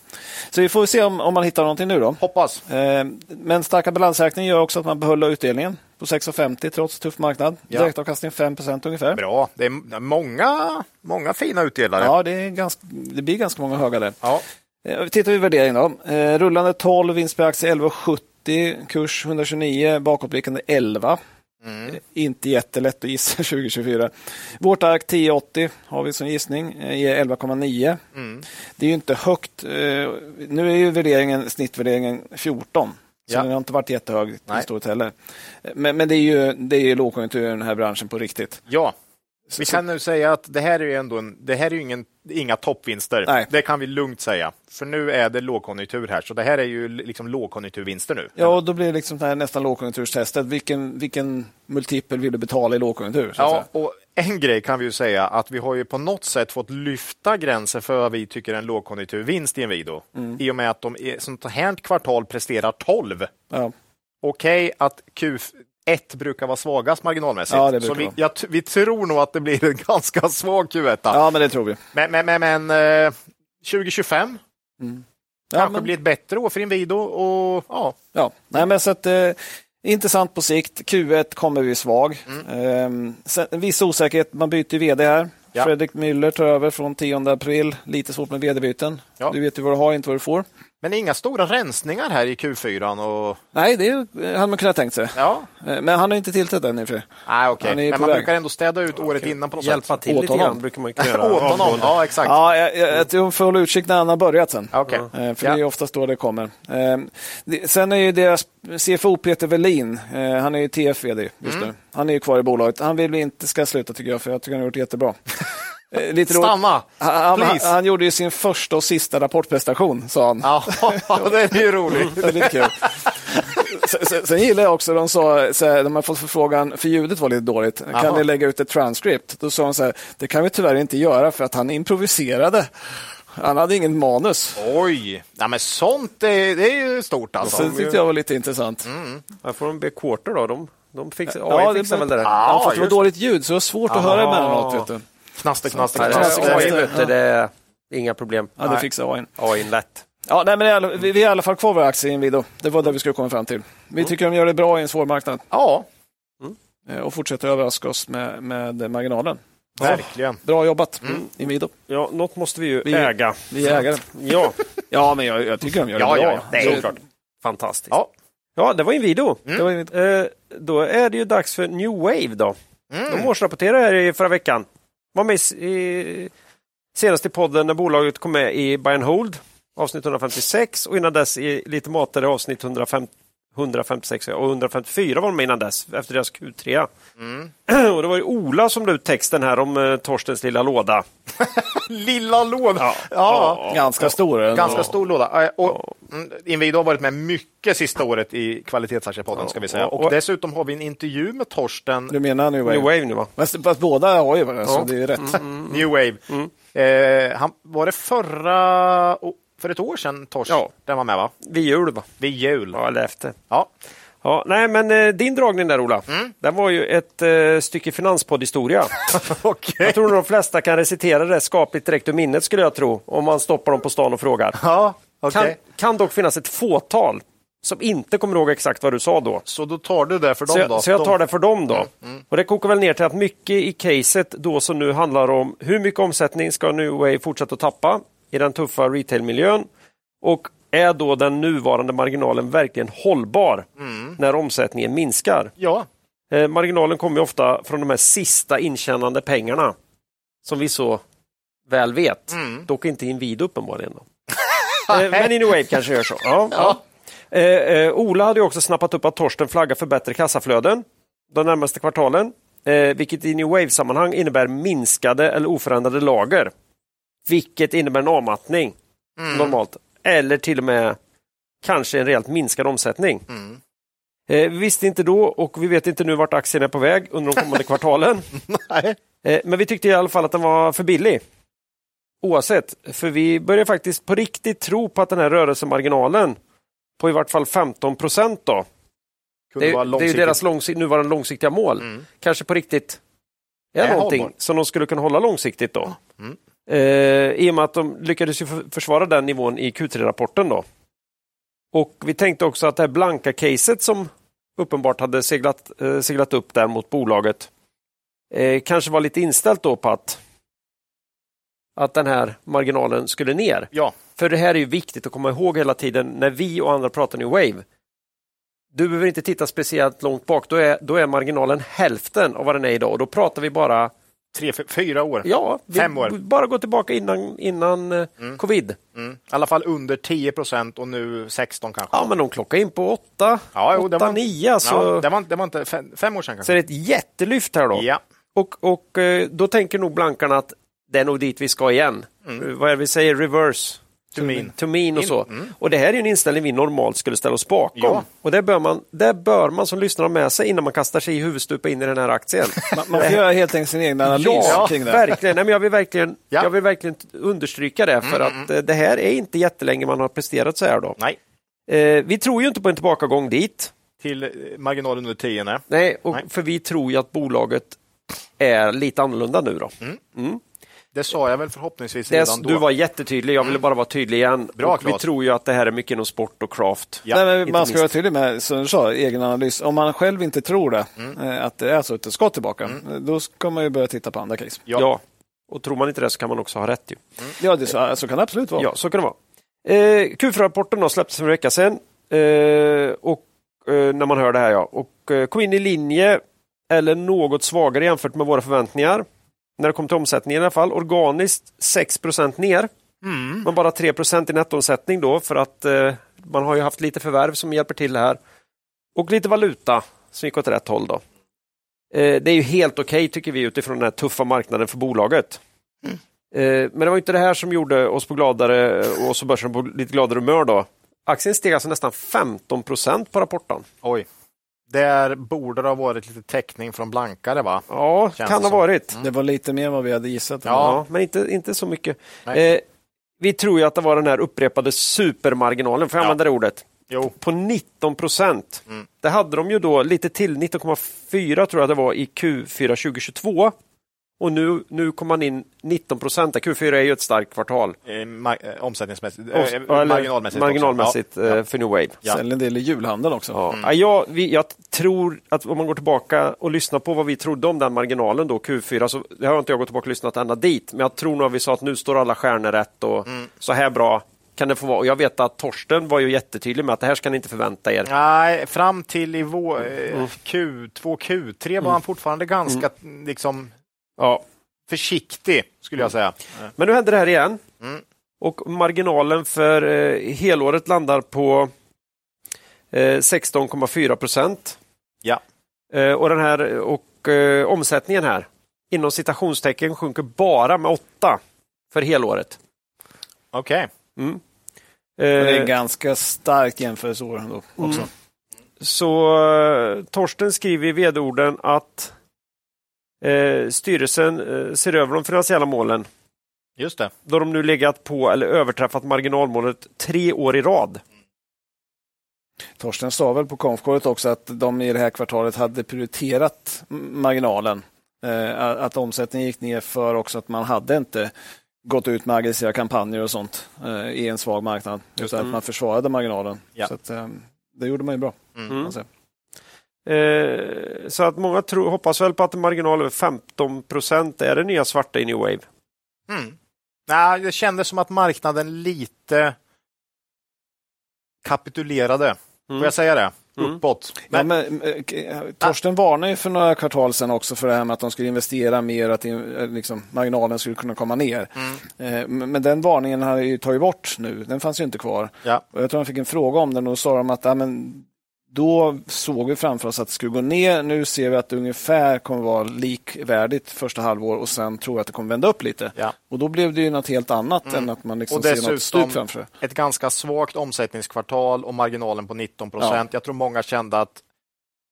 Speaker 1: Så vi får se om, om man hittar någonting nu då.
Speaker 3: Hoppas.
Speaker 1: Eh, Men starka balansräkningen gör också att man behöll utdelningen på 6,50 trots tuff marknad.
Speaker 3: Ja.
Speaker 1: Direktavkastning 5 ungefär.
Speaker 3: Bra. Det är många, många fina utdelare.
Speaker 1: Ja, det, är ganska, det blir ganska många höga där.
Speaker 3: Ja.
Speaker 1: Eh, Tittar vi på värderingen då. Eh, Rullande 12, vinst per aktie 11,70, kurs 129, bakåtblickande 11.
Speaker 3: Mm.
Speaker 1: Eh, Inte jättelätt att gissa 2024. Vårt ark 10,80 har vi som gissning, eh, ger 11,9.
Speaker 3: Mm.
Speaker 1: Det är ju inte högt. eh, Nu är ju värderingen, snittvärderingen 14. Så
Speaker 3: Ja.
Speaker 1: den har inte varit jättehög
Speaker 3: Nej.
Speaker 1: historiskt heller. Eh, Men, men det är ju, det är ju lågkonjunktur i den här branschen på riktigt.
Speaker 3: ja.
Speaker 1: Så-
Speaker 3: Vi kan nu säga att det här är ju ändå en, det här är ju ingen, inga toppvinster.
Speaker 1: Nej.
Speaker 3: Det kan vi lugnt säga. För nu är det lågkonjunktur här, så det här är ju liksom lågkonjunkturvinster nu.
Speaker 1: Ja, och då blir det liksom det här nästan lågkonjunkturstestet. Vilken, vilken multipel vill du betala i lågkonjunktur? Så
Speaker 3: Ja,
Speaker 1: att säga?
Speaker 3: och en grej kan vi ju säga att vi har ju på något sätt fått lyfta gränser för vad vi tycker är en lågkonjunkturvinst i en video.
Speaker 1: Mm.
Speaker 3: I och med att de i sånt här kvartal presterar 12.
Speaker 1: Ja.
Speaker 3: Okej att Q1 brukar vara svagast marginalmässigt.
Speaker 1: Ja, det brukar
Speaker 3: så vi,
Speaker 1: vara.
Speaker 3: jag, t- vi tror nog att det blir en ganska svag Q1.
Speaker 1: ja, men det tror vi.
Speaker 3: Men, men, men, men eh, 2025
Speaker 1: Ja,
Speaker 3: kanske
Speaker 1: men,
Speaker 3: blir ett bättre år för Inwido och ja,
Speaker 1: ja. Nej, men så att, eh, intressant på sikt. Q1 kommer vi svag. Eh, sen, viss osäkerhet, man byter ju vd här.
Speaker 3: Ja.
Speaker 1: Fredrik Müller tar över från 10 april. Lite svårt med vd-byten.
Speaker 3: Ja.
Speaker 1: Du vet ju vad du har, inte vad du får.
Speaker 3: men inga stora rensningar här i Q4 och
Speaker 1: Nej, det är- eh, hade man kunnat tänkt sig.
Speaker 3: ja,
Speaker 1: Eh, Men han har inte tillträtt än i och för sig.
Speaker 3: nej okej,
Speaker 1: Han är ju
Speaker 3: men
Speaker 1: på
Speaker 3: man
Speaker 1: väg.
Speaker 3: brukar ändå städa ut året innan på något
Speaker 2: Hjälpa
Speaker 3: sätt.
Speaker 2: till
Speaker 1: Åt
Speaker 2: lite
Speaker 1: honom.
Speaker 2: grann brukar man kunna göra.
Speaker 3: Åt honom,
Speaker 2: Avgående.
Speaker 3: ja exakt.
Speaker 1: Ja, jag, jag, jag tror vi får hålla utkik när han har börjat sen.
Speaker 3: Okej.
Speaker 1: Eh, För
Speaker 3: Ja.
Speaker 1: det är oftast då det kommer. Eh, det- Sen är ju deras CFO Peter Welin, eh, han är ju TF-VD just
Speaker 3: Mm.
Speaker 1: nu. Han är ju kvar i bolaget. Han vill vi inte ska sluta tycker jag, för jag tycker han har gjort jättebra. Eh, Lite roligt.
Speaker 3: Stanna!
Speaker 1: Han, han,
Speaker 3: Please.
Speaker 1: han gjorde ju sin första och sista rapportprestation, sa han.
Speaker 3: Ja, det är ju roligt.
Speaker 1: Det är lite kul. Sen- sen- Sen gillar jag också, de sa, så här, de har fått förfrågan, för ljudet var lite dåligt, kan
Speaker 3: Jaha.
Speaker 1: ni lägga ut ett transcript? Då sa de så här, det kan vi tyvärr inte göra för att han improviserade. Han hade inget manus.
Speaker 3: Oj, ja, men sånt är, det är ju stort
Speaker 1: Så
Speaker 3: alltså.
Speaker 1: det tyckte jag var lite intressant.
Speaker 3: Mm.
Speaker 2: Här får de be quarter då. De, de fixar, AI fixar väl det där.
Speaker 1: Ja, fast det var
Speaker 3: just-
Speaker 1: dåligt ljud, så det var svårt att höra
Speaker 2: Aha.
Speaker 1: emellanåt. Vet du.
Speaker 3: Knaster, knaster,
Speaker 2: Nej, det
Speaker 1: Klassisk
Speaker 2: är
Speaker 3: knaster.
Speaker 2: AI
Speaker 1: vänster.
Speaker 2: vet du, det är inga problem.
Speaker 1: Ja, det fixade AI.
Speaker 2: AI är lätt.
Speaker 1: Ja, nej, men i alla- vi vi är i alla fall kvar vår aktie i Inwido. Det var det vi skulle komma fram till. Vi
Speaker 3: Mm.
Speaker 1: tycker de gör det bra i en svår marknad
Speaker 3: Ja,
Speaker 1: eh, och fortsätter överraska oss med, med marginalen.
Speaker 3: verkligen.
Speaker 1: Bra jobbat,
Speaker 3: Mm.
Speaker 1: Inwido.
Speaker 2: Ja, något måste vi ju
Speaker 1: Vi-
Speaker 2: äga.
Speaker 1: Vi är ägare.
Speaker 2: Ja,
Speaker 1: Ja, men jag, jag tycker de gör det
Speaker 3: Ja,
Speaker 1: bra.
Speaker 3: ja, ja. Det är
Speaker 1: Så-
Speaker 3: klart.
Speaker 2: fantastiskt.
Speaker 3: Ja.
Speaker 2: Ja, det var en video.
Speaker 1: Det var inget...
Speaker 2: Eh, då är det ju dags för New Wave då.
Speaker 1: Mm.
Speaker 2: De årsrapporterade här i förra veckan. Var med i s- i, senast i podden när bolaget kom med i Buy and Hold, avsnitt 156 och innan dess i lite matare avsnitt 105, 156 och 154 var de med innan dess, efter deras Q3.
Speaker 1: Mm.
Speaker 2: Och det var ju Ola som la ut texten här om eh, Torstens lilla låda.
Speaker 3: Lilla låda. Ja,
Speaker 1: Ganska stor. ändå.
Speaker 3: Ganska stor låda. Eh, Och mm, Inwido har varit med mycket sista året i kvalitetsaktiepodden, ska vi säga.
Speaker 2: och- och-
Speaker 3: Och dessutom har vi en intervju med Torsten,
Speaker 1: Du menar New Wave?
Speaker 2: New Wave nu va?
Speaker 1: Fast, fast båda har ju alltså,
Speaker 2: Ja.
Speaker 1: det är ju rätt.
Speaker 3: New Wave. Eh, han, var det förra, o- för ett år sedan Torsten
Speaker 2: Ja.
Speaker 3: var med, va?
Speaker 2: Vid jul va?
Speaker 3: Vid jul.
Speaker 2: Ja, eller efter.
Speaker 3: Ja.
Speaker 2: Ja, nej, men eh, din dragning där Ola, den var ju ett eh, stycke finanspoddhistoria.
Speaker 3: Okej.
Speaker 2: Jag tror nog de flesta kan recitera det skapligt direkt ur minnet skulle jag tro, om man stoppar dem på stan och frågar.
Speaker 3: Ja, okej.
Speaker 2: Kan, kan dock finnas ett fåtal som inte kommer ihåg exakt vad du sa då.
Speaker 3: Så då tar du det för dem
Speaker 2: Så
Speaker 3: då?
Speaker 2: jag, så jag tar
Speaker 3: De- Mm.
Speaker 2: det för dem då. Och det kokar väl ner till att mycket i caset då som nu handlar om hur mycket omsättning ska New Way fortsätta tappa i den tuffa retailmiljön och är då den nuvarande marginalen verkligen hållbar
Speaker 3: Mm.
Speaker 2: när omsättningen minskar?
Speaker 3: Ja,
Speaker 2: Eh, marginalen kommer ju ofta från de här sista intjänande pengarna som vi så väl vet. Dock inte Inwido uppenbarligen. Då. eh, men Inwave kanske gör så. Ja, ja. Eh, eh, Ola hade ju också snappat upp att Torsten flaggar för bättre kassaflöden de närmaste kvartalen. eh, vilket i New Wave-sammanhang innebär minskade eller oförändrade lager. Vilket innebär en avmattning
Speaker 3: Mm.
Speaker 2: normalt. Eller till och med kanske en rejält minskad omsättning.
Speaker 3: Mm.
Speaker 2: Eh, vi visste inte då och vi vet inte nu vart aktien är på väg under de kommande kvartalen.
Speaker 3: Nej.
Speaker 2: Eh, Men vi tyckte i alla fall att den var för billig. Oavsett, för vi börjar faktiskt på riktigt tro på att den här rörelsemarginalen på i vart fall 15 procent då.
Speaker 3: Kunde
Speaker 2: Det är,
Speaker 3: vara
Speaker 2: det är ju
Speaker 3: långsiktigt.
Speaker 2: deras långsikt, nuvarande långsiktiga mål.
Speaker 3: Mm.
Speaker 2: Kanske på riktigt är
Speaker 3: Är
Speaker 2: någonting
Speaker 3: hållbar.
Speaker 2: som de skulle kunna hålla långsiktigt då.
Speaker 3: Mm.
Speaker 2: Eh, I och med att de lyckades ju för- försvara den nivån i Q3-rapporten då. Och vi tänkte också att det här blanka caset som uppenbart hade seglat, eh, seglat upp där mot bolaget eh, kanske var lite inställt då på att, att den här marginalen skulle ner.
Speaker 3: Ja.
Speaker 2: För det här är ju viktigt att komma ihåg hela tiden när vi och andra pratar New Wave. Du behöver inte titta speciellt långt bak, då är, då är marginalen hälften av vad den är idag. Och då pratar vi bara,
Speaker 3: Tre, fy- fyra år.
Speaker 2: ja, vi
Speaker 3: Fem år.
Speaker 2: b- bara gå tillbaka innan, innan eh, covid.
Speaker 3: Mm. I alla fall under 10 procent och nu 16 kanske.
Speaker 2: Ja, men de klockade in på åtta,
Speaker 3: Ja, jo, det
Speaker 2: åtta,
Speaker 3: var-
Speaker 2: nio. Alltså.
Speaker 3: Ja, det, var, inte- det var inte fem, fem år sedan
Speaker 2: Så
Speaker 3: kanske.
Speaker 2: är det ett jättelyft här då.
Speaker 3: Ja.
Speaker 2: Och, och eh, då tänker nog blankarna att det är nog dit vi ska igen. Eh, Vad är det vi säger? Reverse.
Speaker 3: Mm. To mean. Mm.
Speaker 2: To mean och så. Och det här är ju en inställning vi normalt skulle ställa oss bakom.
Speaker 3: Ja.
Speaker 2: Och det bör, man, det bör man som lyssnar ha med sig innan man kastar sig i huvudstupa in i den här aktien.
Speaker 1: Man, man får göra helt enkelt sin egen analys
Speaker 2: ja,
Speaker 1: kring det.
Speaker 2: verkligen. Nej, men jag, vill verkligen
Speaker 3: Ja. Mm,
Speaker 2: jag vill verkligen understryka det, för att eh, det här är inte jättelänge man har presterat så här. Då.
Speaker 3: Nej,
Speaker 2: Eh, vi tror ju inte på en tillbakagång dit.
Speaker 3: till eh, marginalen under 10. Nej.
Speaker 2: Nej, och
Speaker 3: Nej.
Speaker 2: för vi tror ju att bolaget är lite annorlunda nu. Då.
Speaker 3: Det sa jag väl förhoppningsvis
Speaker 2: Det,
Speaker 3: redan då. Mm.
Speaker 2: du var jättetydlig, jag ville bara vara tydlig igen.
Speaker 3: Bra,
Speaker 2: och vi
Speaker 3: Claes.
Speaker 2: tror ju att det här är mycket inom sport och craft.
Speaker 3: Ja,
Speaker 1: Nej, men
Speaker 2: inte
Speaker 1: man ska
Speaker 2: minst.
Speaker 1: vara tydlig med, som du sa, egen analys. Om man själv inte tror det, eh, att det är så att det ska tillbaka, eh, då ska man ju börja titta på andra case.
Speaker 3: Ja.
Speaker 2: Ja. och tror man inte det så kan man också ha rätt. Ju.
Speaker 1: Ja, det, så, så kan det absolut vara.
Speaker 2: Ja, så kan det vara. Eh, Q4-rapporten då släpptes för en vecka sedan. Eh, och, eh, när man hör det här, ja. Och eh, kom in i linje, eller något svagare jämfört med våra förväntningar. När det kom till omsättningen i alla fall. Organiskt 6 ner,
Speaker 3: Mm.
Speaker 2: men bara 3 i nettoomsättning då för att eh, man har ju haft lite förvärv som hjälper till här. Och lite valuta som gick åt rätt håll då. Eh, det är ju helt okej tycker vi utifrån den här tuffa marknaden för bolaget. Eh, men det var ju inte det här som gjorde oss på gladare och oss och börsen på lite gladare humör då. Aktien steg alltså nästan 15 på rapporten.
Speaker 3: Oj. Där borde det ha varit lite täckning från blankare, va?
Speaker 2: Ja,
Speaker 3: Känns
Speaker 2: kan
Speaker 3: det
Speaker 2: ha
Speaker 3: som.
Speaker 2: varit.
Speaker 1: Det var lite mer än vad vi hade gissat.
Speaker 2: Ja, men inte, inte så mycket.
Speaker 3: Nej.
Speaker 2: Eh, vi tror ju att det var den här upprepade supermarginalen, får jag
Speaker 3: Ja.
Speaker 2: använda det ordet?
Speaker 3: Jo.
Speaker 2: på 19 procent.
Speaker 3: Mm.
Speaker 2: Det hade de ju då lite till, 19,4 tror jag det var i Q4 2022. Och nu, nu kom man in 19 procent. Q4 är ju ett starkt kvartal.
Speaker 3: Eh, ma- eh, Omsättningsmässigt. eh,
Speaker 2: Och-
Speaker 3: eh,
Speaker 2: eller
Speaker 3: marginalmässigt.
Speaker 2: marginalmässit,
Speaker 3: också. Ja.
Speaker 2: eh,
Speaker 3: Ja.
Speaker 2: för New Wave.
Speaker 3: Ja.
Speaker 1: Säljer en del i julhandeln också.
Speaker 2: Ja. Ja, jag, vi, jag tror att om man går tillbaka och lyssnar på vad vi trodde om den marginalen då, Q4, så det har inte jag gått tillbaka och lyssnat ända dit, men jag tror nog att vi sa att nu står alla stjärnor rätt och så här bra kan det få vara. Och jag vet att Torsten var ju jättetydlig med att det här ska ni inte förvänta er.
Speaker 3: Nej, fram till i vår, eh, Q2, Q3 var han fortfarande ganska liksom,
Speaker 2: Ja,
Speaker 3: försiktig, skulle jag säga.
Speaker 2: Men nu händer det här igen.
Speaker 3: Mm.
Speaker 2: Och marginalen för eh, helåret landar på eh, 16,4 procent.
Speaker 3: Ja.
Speaker 2: Eh, och den här och eh, omsättningen här inom citationstecken sjunker bara med 8 för helåret.
Speaker 3: Okej.
Speaker 2: Mm.
Speaker 1: Och Det är en
Speaker 2: Eh,
Speaker 1: ganska starkt jämförelseår ändå. Också.
Speaker 2: så eh, Torsten skriver i vd-orden att eh, styrelsen eh, ser över de finansiella målen
Speaker 3: Just det.
Speaker 2: då de nu legat på eller överträffat marginalmålet tre år i rad.
Speaker 1: Torsten sa väl på konfkåret också att de i det här kvartalet hade prioriterat m- marginalen. Eh, att att omsättningen gick ner för också att man hade inte gått ut med aggressiva kampanjer och sånt eh, i en svag marknad. Utan att man försvarade marginalen.
Speaker 3: Ja.
Speaker 1: Så att, eh, det gjorde man ju bra.
Speaker 3: Mm.
Speaker 1: kan man säga.
Speaker 2: Eh, så att många tror, hoppas väl på att en marginal över 15 procent är det nya svarta i New Wave.
Speaker 3: Mm. Nej, det kändes som att marknaden lite kapitulerade. Får jag säga det?
Speaker 2: Mm.
Speaker 3: Uppåt.
Speaker 1: Ja,
Speaker 3: Men,
Speaker 1: men, eh, k- Torsten varnade ju för några kvartal sedan också för det här med att de skulle investera mer, att in- eh, liksom, marginalen skulle kunna komma ner.
Speaker 3: Mm.
Speaker 1: Eh, Men men den varningen har ju tagit bort nu, den fanns ju inte kvar.
Speaker 3: ja.
Speaker 1: Och jag tror han fick en fråga om den och då sa de att ja, men, Då såg vi framför oss att det skulle gå ner. Nu ser vi att det ungefär kommer vara likvärdigt första halvår och sen tror jag att det kommer vända upp lite.
Speaker 3: Ja. Mm.
Speaker 1: Och då blev det ju något helt annat än att man liksom
Speaker 3: Och
Speaker 1: ser något
Speaker 3: dessutom-
Speaker 1: stup framför sig.
Speaker 3: Ett ganska svagt omsättningskvartal och marginalen på 19 procent. Jag tror många kände att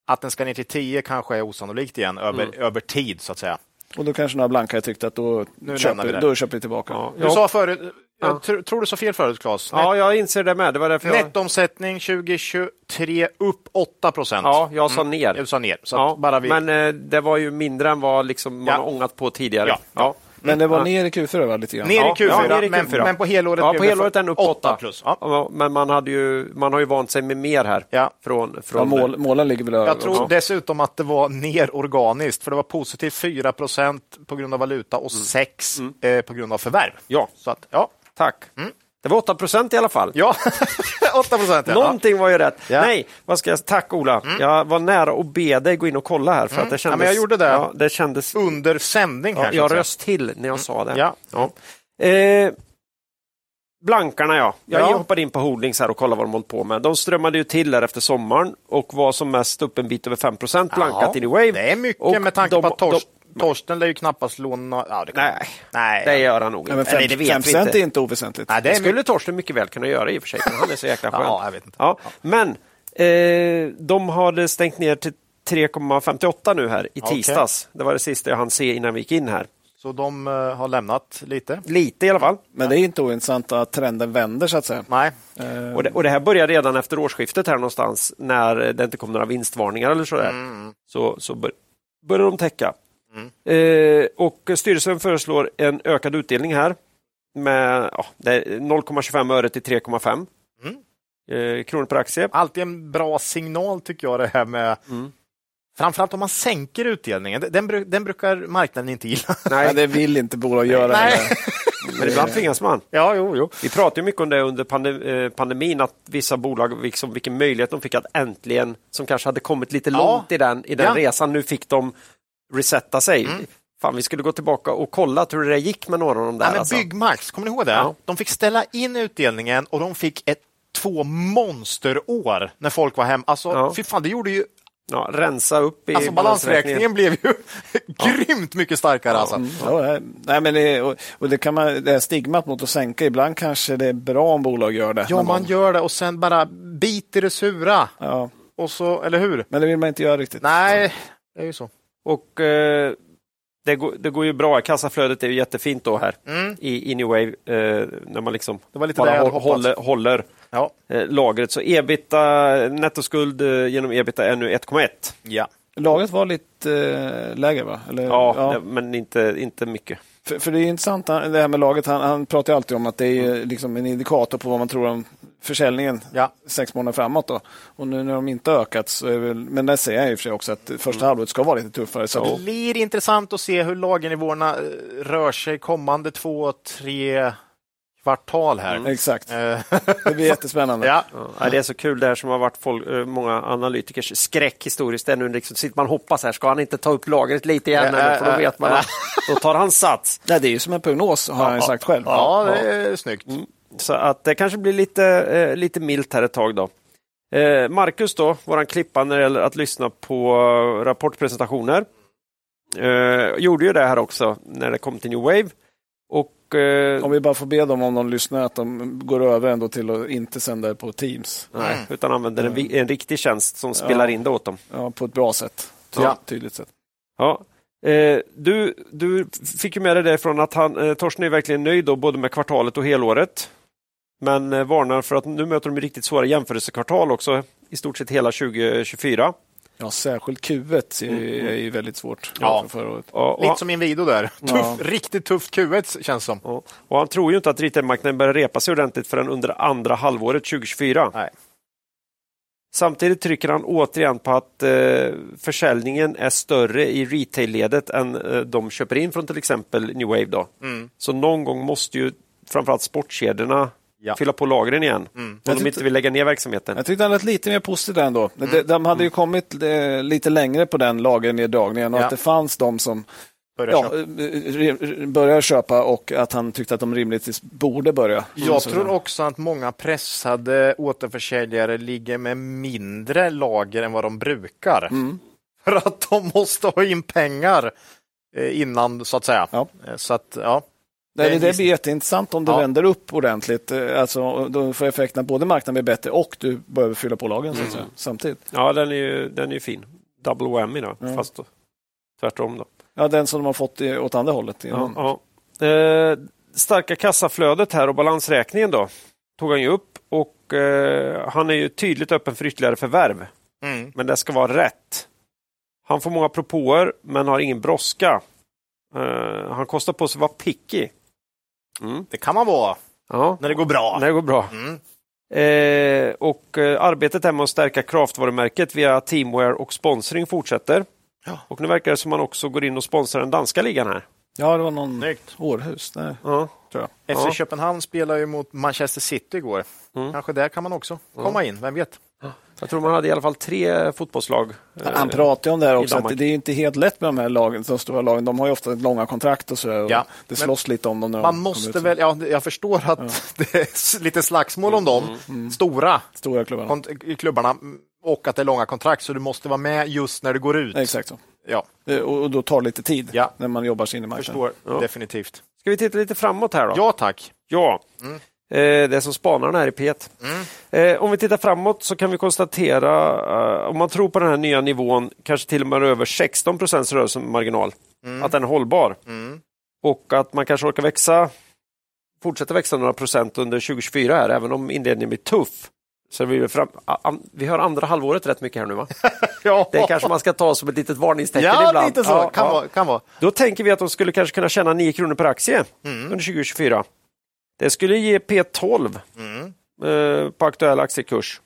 Speaker 3: att den ska ner till 10 kanske är osannolikt igen över, över tid så att säga.
Speaker 1: Och då kanske några blankare tyckte att då,
Speaker 3: Nu
Speaker 1: köper,
Speaker 3: lämnar vi det.
Speaker 1: då köper vi tillbaka.
Speaker 2: Ja,
Speaker 3: Du sa förut, jag
Speaker 2: Ja.
Speaker 3: tr- tror du sa fel förut Claes. Net-
Speaker 2: ja, jag inser det med. Det var därför jag...
Speaker 3: Nettoomsättning 2023 upp 8 procent.
Speaker 2: Ja, jag sa ner.
Speaker 3: Du Mm. sa ner. Så
Speaker 2: ja,
Speaker 3: att bara vi...
Speaker 2: Men eh, det var ju mindre än vad liksom man
Speaker 3: Ja.
Speaker 2: har ångat på tidigare.
Speaker 3: Ja.
Speaker 1: Men det var
Speaker 2: Ja.
Speaker 1: ner i Q4 va, lite grann?
Speaker 3: Ner i
Speaker 2: Ja,
Speaker 3: Q4,
Speaker 2: ja, ner i
Speaker 3: Men,
Speaker 2: Q4.
Speaker 3: men på helåret
Speaker 2: Ja,
Speaker 3: blev
Speaker 2: på
Speaker 3: det
Speaker 2: helåret är den upp
Speaker 3: åtta
Speaker 2: åtta.
Speaker 3: plus. Ja.
Speaker 2: Ja, Men man, hade ju, man har ju vant sig med mer här.
Speaker 3: Ja.
Speaker 2: Från, från
Speaker 1: Ja, mål, målen ligger väl över
Speaker 3: Jag tror
Speaker 1: också.
Speaker 3: dessutom att det var ner organiskt, för det var positivt 4 på grund av valuta
Speaker 2: Mm.
Speaker 3: och 6 eh, på grund av förvärv.
Speaker 2: Ja.
Speaker 3: Så att, ja, Mm.
Speaker 2: Tack. Det var 8 procent i alla fall.
Speaker 3: ja. 8 procent. Ja.
Speaker 2: Någonting var ju rätt.
Speaker 3: Ja. Mm.
Speaker 2: Nej, vad ska jag, tack Ola. Jag var nära att be dig gå in och kolla här. För att det
Speaker 3: Ja,
Speaker 2: kändes,
Speaker 3: men jag gjorde det.
Speaker 2: Ja, det kändes,
Speaker 3: Under sändning
Speaker 2: ja,
Speaker 3: kanske.
Speaker 2: jag
Speaker 3: så att
Speaker 2: röst till när jag sa det.
Speaker 3: säga. Ja.
Speaker 2: Eh, blankarna ja. Jag
Speaker 3: Ja.
Speaker 2: hoppade in på Holdings här och kollade vad de hållit på med. De strömmade ju till där efter sommaren och var som mest upp en bit över 5 procent blankat in i Wave.
Speaker 3: Det är mycket
Speaker 2: Och
Speaker 3: med tanke
Speaker 2: de-
Speaker 3: på att Tors,
Speaker 2: de-
Speaker 3: Torsten lär ju knappast låna... Ja, det kan...
Speaker 2: Nej,
Speaker 3: Nej.
Speaker 2: det gör han nog
Speaker 1: Ja, men
Speaker 2: inte. Eller det
Speaker 1: 5
Speaker 2: vet vi
Speaker 1: procent
Speaker 2: inte.
Speaker 1: är inte oväsentligt.
Speaker 3: Nej, det
Speaker 2: Det
Speaker 3: är mycket...
Speaker 2: skulle Torsten mycket väl kunna göra i och för sig, för han är så jäkla skön.
Speaker 3: Ja, jag vet inte.
Speaker 2: Ja, men eh, de hade stängt ner till 3,58 nu här i
Speaker 3: Okej.
Speaker 2: tisdags. Det var det sista jag hann se innan vi gick in här.
Speaker 3: Så de eh, har lämnat lite?
Speaker 2: Lite i alla fall.
Speaker 1: Men det är inte ointressant att trenden vänder så att säga.
Speaker 3: Nej.
Speaker 1: Eh,
Speaker 2: Och det, och det här började redan efter årsskiftet här någonstans när det inte kom några vinstvarningar eller sådär.
Speaker 3: Mm.
Speaker 2: Så, så bör, började de täcka. Eh, och styrelsen föreslår en ökad utdelning här med ja, det är 0,25 öre till 3,5 eh, kronor per aktie.
Speaker 3: Alltid en bra signal tycker jag det här med
Speaker 2: Mm.
Speaker 3: Framförallt om man sänker utdelningen. Den, bru- den brukar marknaden inte gilla.
Speaker 1: Nej, det vill inte bolag göra.
Speaker 3: Nej.
Speaker 1: heller.
Speaker 2: Men ibland tvingas man.
Speaker 3: Ja, jo, jo.
Speaker 2: Vi pratade ju mycket om det under pande- eh, pandemin, att vissa bolag, liksom, vilken möjlighet de fick att äntligen, som kanske hade kommit lite
Speaker 3: Ja.
Speaker 2: långt i den, i den
Speaker 3: Ja. Mm.
Speaker 2: resan, nu fick de resetta sig. Fan, vi skulle gå tillbaka och kolla hur det gick med några av de där.
Speaker 3: Nej, men
Speaker 2: alltså.
Speaker 3: Byggmax, kommer ni ihåg det?
Speaker 2: Ja.
Speaker 3: De fick ställa in utdelningen och de fick ett, två monsterår när folk var hem. Alltså,
Speaker 2: Ja.
Speaker 3: fy fan, det gjorde ju...
Speaker 2: ja, rensa upp i
Speaker 3: Alltså, balansräkningen blev ju grymt mycket starkare. Alltså.
Speaker 1: Mm. Ja, det är- nej, men det, och, och det, kan man, det här stigmat mot att sänka, ibland kanske det är bra om bolag gör det.
Speaker 3: Ja,
Speaker 1: någon
Speaker 3: man
Speaker 1: gång.
Speaker 3: gör det och sen bara bit i det sura.
Speaker 1: ja,
Speaker 3: Och så, eller hur?
Speaker 1: men det vill man inte göra riktigt.
Speaker 3: Nej, det är ju så.
Speaker 2: Och eh, det, går, det går ju bra, kassaflödet är ju jättefint då här i, i New Wave, eh, när man liksom
Speaker 3: Mm. Det var lite
Speaker 2: bara
Speaker 3: där jag hade
Speaker 2: hå-
Speaker 3: hoppats.
Speaker 2: håller, håller
Speaker 3: Ja.
Speaker 2: eh, lagret. Så ebita, nettoskuld eh, genom ebita är nu 1,1.
Speaker 3: ja.
Speaker 1: Laget var lite eh, lägre va? Eller,
Speaker 2: Ja,
Speaker 1: ja.
Speaker 2: det- men inte, inte mycket.
Speaker 1: För, för det är intressant han- det här med laget. Han, han pratar ju alltid om att det är ju liksom en indikator på vad man tror om försäljningen
Speaker 3: Mm. Ja.
Speaker 1: sex månader framåt. Då. Och nu när de inte har ökat, så är väl, men där säger jag i och för sig också att första
Speaker 3: Mm.
Speaker 1: halvåret ska vara lite tuffare. Så
Speaker 3: Det
Speaker 1: att,
Speaker 3: blir intressant att se hur lagernivåerna eh, rör sig kommande två, tre kvartal här.
Speaker 1: Exakt,
Speaker 3: Eh,
Speaker 1: det blir jättespännande.
Speaker 3: ja.
Speaker 2: Ja, det är så kul det här som har varit folk, eh, många analytikers skräck historiskt. Det är nu liksom, sitter man och hoppas här, ska han inte ta upp lagret lite igen?
Speaker 3: Ja,
Speaker 2: eller? För
Speaker 3: ja,
Speaker 2: då vet man
Speaker 3: ja.
Speaker 2: att då tar han sats.
Speaker 1: Nej, det är ju som en prognos har han ju sagt själv.
Speaker 3: ja, det är snyggt.
Speaker 2: Så att det kanske blir lite, eh, lite milt här ett tag då. Eh, Marcus då, våran klippa när det gäller att lyssna på eh, rapportpresentationer. Eh, gjorde ju det här också när det kom till New Wave. Och, eh,
Speaker 1: Om vi bara får be dem om de lyssnar att de går över ändå till att inte sända det på Teams
Speaker 2: nej, utan använder en, vi- en riktig tjänst som spelar in det åt dem.
Speaker 1: ja, på ett bra sätt.
Speaker 3: Ja.
Speaker 1: Tydligt sätt.
Speaker 2: Ja. Eh, du, du fick ju med dig det från att han, eh, Torsten är verkligen nöjd då, både med kvartalet och helåret. Men eh, varnar för att nu möter de ju riktigt svåra jämförelsekvartal också, i stort sett hela 2024.
Speaker 1: Ja, särskilt Q1 är ju, är ju väldigt svårt.
Speaker 3: Mm. Ja.
Speaker 1: från förra året.
Speaker 2: Ja, och,
Speaker 3: Lite som i en video där.
Speaker 1: Ja.
Speaker 3: Tuff, riktigt tufft Q1 känns som.
Speaker 2: och, och han tror ju inte att retailmarknaden börjar repa sig ordentligt förrän under andra halvåret 2024.
Speaker 3: Nej.
Speaker 2: Samtidigt trycker han återigen på att eh, försäljningen är större i retailledet än eh, de köper in från till exempel New Wave. Då.
Speaker 3: Mm,
Speaker 2: Så någon gång måste ju framförallt sportkedjorna
Speaker 3: Ja.
Speaker 2: fylla på lagren igen.
Speaker 3: mm.
Speaker 2: Om
Speaker 1: Jag
Speaker 2: de
Speaker 1: tyckte-
Speaker 2: inte vill lägga ner verksamheten.
Speaker 1: Jag tyckte han lät lite mer positiv där ändå.
Speaker 3: Mm.
Speaker 1: De, de hade ju kommit eh, lite längre på den lagerneddragningen och
Speaker 3: Ja.
Speaker 1: att det fanns de som
Speaker 3: Börja
Speaker 1: ja, eh,
Speaker 3: köpa.
Speaker 1: re- börjar köpa och att han tyckte att de rimligtvis borde börja.
Speaker 3: Jag tror också att många pressade återförsäljare ligger med mindre lager än vad de brukar.
Speaker 1: Mm.
Speaker 3: För att de måste ha in pengar eh, innan, så att säga.
Speaker 1: Ja.
Speaker 3: Eh, Så att, ja.
Speaker 1: Nej, det,
Speaker 3: Det är
Speaker 1: där blir jätteintressant om det
Speaker 3: Ja.
Speaker 1: vänder upp ordentligt. Eh, Alltså, då får effekten att både marknaden blir bättre och du behöver fylla på lagen
Speaker 3: Mm.
Speaker 1: så att säga, samtidigt.
Speaker 2: Ja, den är ju, den är ju fin. Double whammy då,
Speaker 1: Mm.
Speaker 2: fast då, tvärtom då.
Speaker 1: Ja, den som de har fått i- åt andra hållet. innan.
Speaker 2: Ja, ja. Eh, starka kassaflödet här och balansräkningen då, tog han ju upp och eh, han är ju tydligt öppen för ytterligare förvärv,
Speaker 3: Mm.
Speaker 2: men det ska vara rätt. Han får många propåer, men har ingen brådska. Eh, han kostar på sig att vara picky. Mm.
Speaker 3: Det kan man vara
Speaker 2: Ja,
Speaker 3: när det går bra.
Speaker 2: det går bra.
Speaker 3: Mm.
Speaker 2: Eh, och eh, arbetet här med att stärka kraftvarumärket via teamware och sponsring fortsätter.
Speaker 3: Ja.
Speaker 2: Och nu verkar det som man också går in och sponsrar den danska ligan här.
Speaker 1: ja, det var någon
Speaker 3: Snyggt.
Speaker 1: Århus. Nej.
Speaker 2: Ja.
Speaker 3: FC
Speaker 2: Ja.
Speaker 3: Köpenhamn spelade ju mot Manchester City igår.
Speaker 2: Mm.
Speaker 3: Kanske där kan man också komma in, vem vet?
Speaker 2: Jag tror man hade i alla fall tre fotbollslag. eh,
Speaker 1: Han pratar ju om det här också,
Speaker 2: Danmark.
Speaker 1: att det är inte helt lätt med de här lagen, de stora lagen. De har ju ofta långa kontrakt och så. Och
Speaker 3: Ja,
Speaker 1: det
Speaker 3: men
Speaker 1: slåss lite om dem. När de
Speaker 3: Man
Speaker 1: kommer
Speaker 3: måste
Speaker 1: ut.
Speaker 3: väl, ja, jag förstår att det är s- lite slagsmål om dem, stora
Speaker 1: Stora klubbarna.
Speaker 3: kont- klubbarna, mm, och att det är långa kontrakt, så du måste vara med just när du går ut.
Speaker 1: Exakt så.
Speaker 3: Ja,
Speaker 1: Eh, Och, och då tar det lite tid
Speaker 3: Ja.
Speaker 1: när man jobbar sig in i marknaden.
Speaker 3: förstår definitivt.
Speaker 2: Ska vi titta lite framåt här då?
Speaker 3: Ja tack.
Speaker 2: Ja.
Speaker 3: Mm.
Speaker 2: Eh, det är som spanarna här i P1. Eh, om vi tittar framåt så kan vi konstatera, eh, om man tror på den här nya nivån, kanske till och med över 16 procents rörelsemarginal,
Speaker 3: Mm.
Speaker 2: att den är hållbar. Och att man kanske orkar växa, fortsätta växa några procent under 2024 här, även om inledningen blir tuff. Så vi, är fram, a- an, vi har andra halvåret rätt mycket här nu va?
Speaker 3: Ja,
Speaker 2: Det kanske man ska ta som ett litet varningstecken
Speaker 3: ja
Speaker 2: ibland.
Speaker 3: lite så.
Speaker 2: Ja,
Speaker 3: kan,
Speaker 2: ja.
Speaker 3: Vara, kan vara.
Speaker 2: Då tänker vi att de skulle kanske kunna tjäna 9 kronor per aktie
Speaker 3: Mm.
Speaker 2: under 2024. Det skulle ge P12
Speaker 3: Mm.
Speaker 2: eh, på aktuell aktiekurs.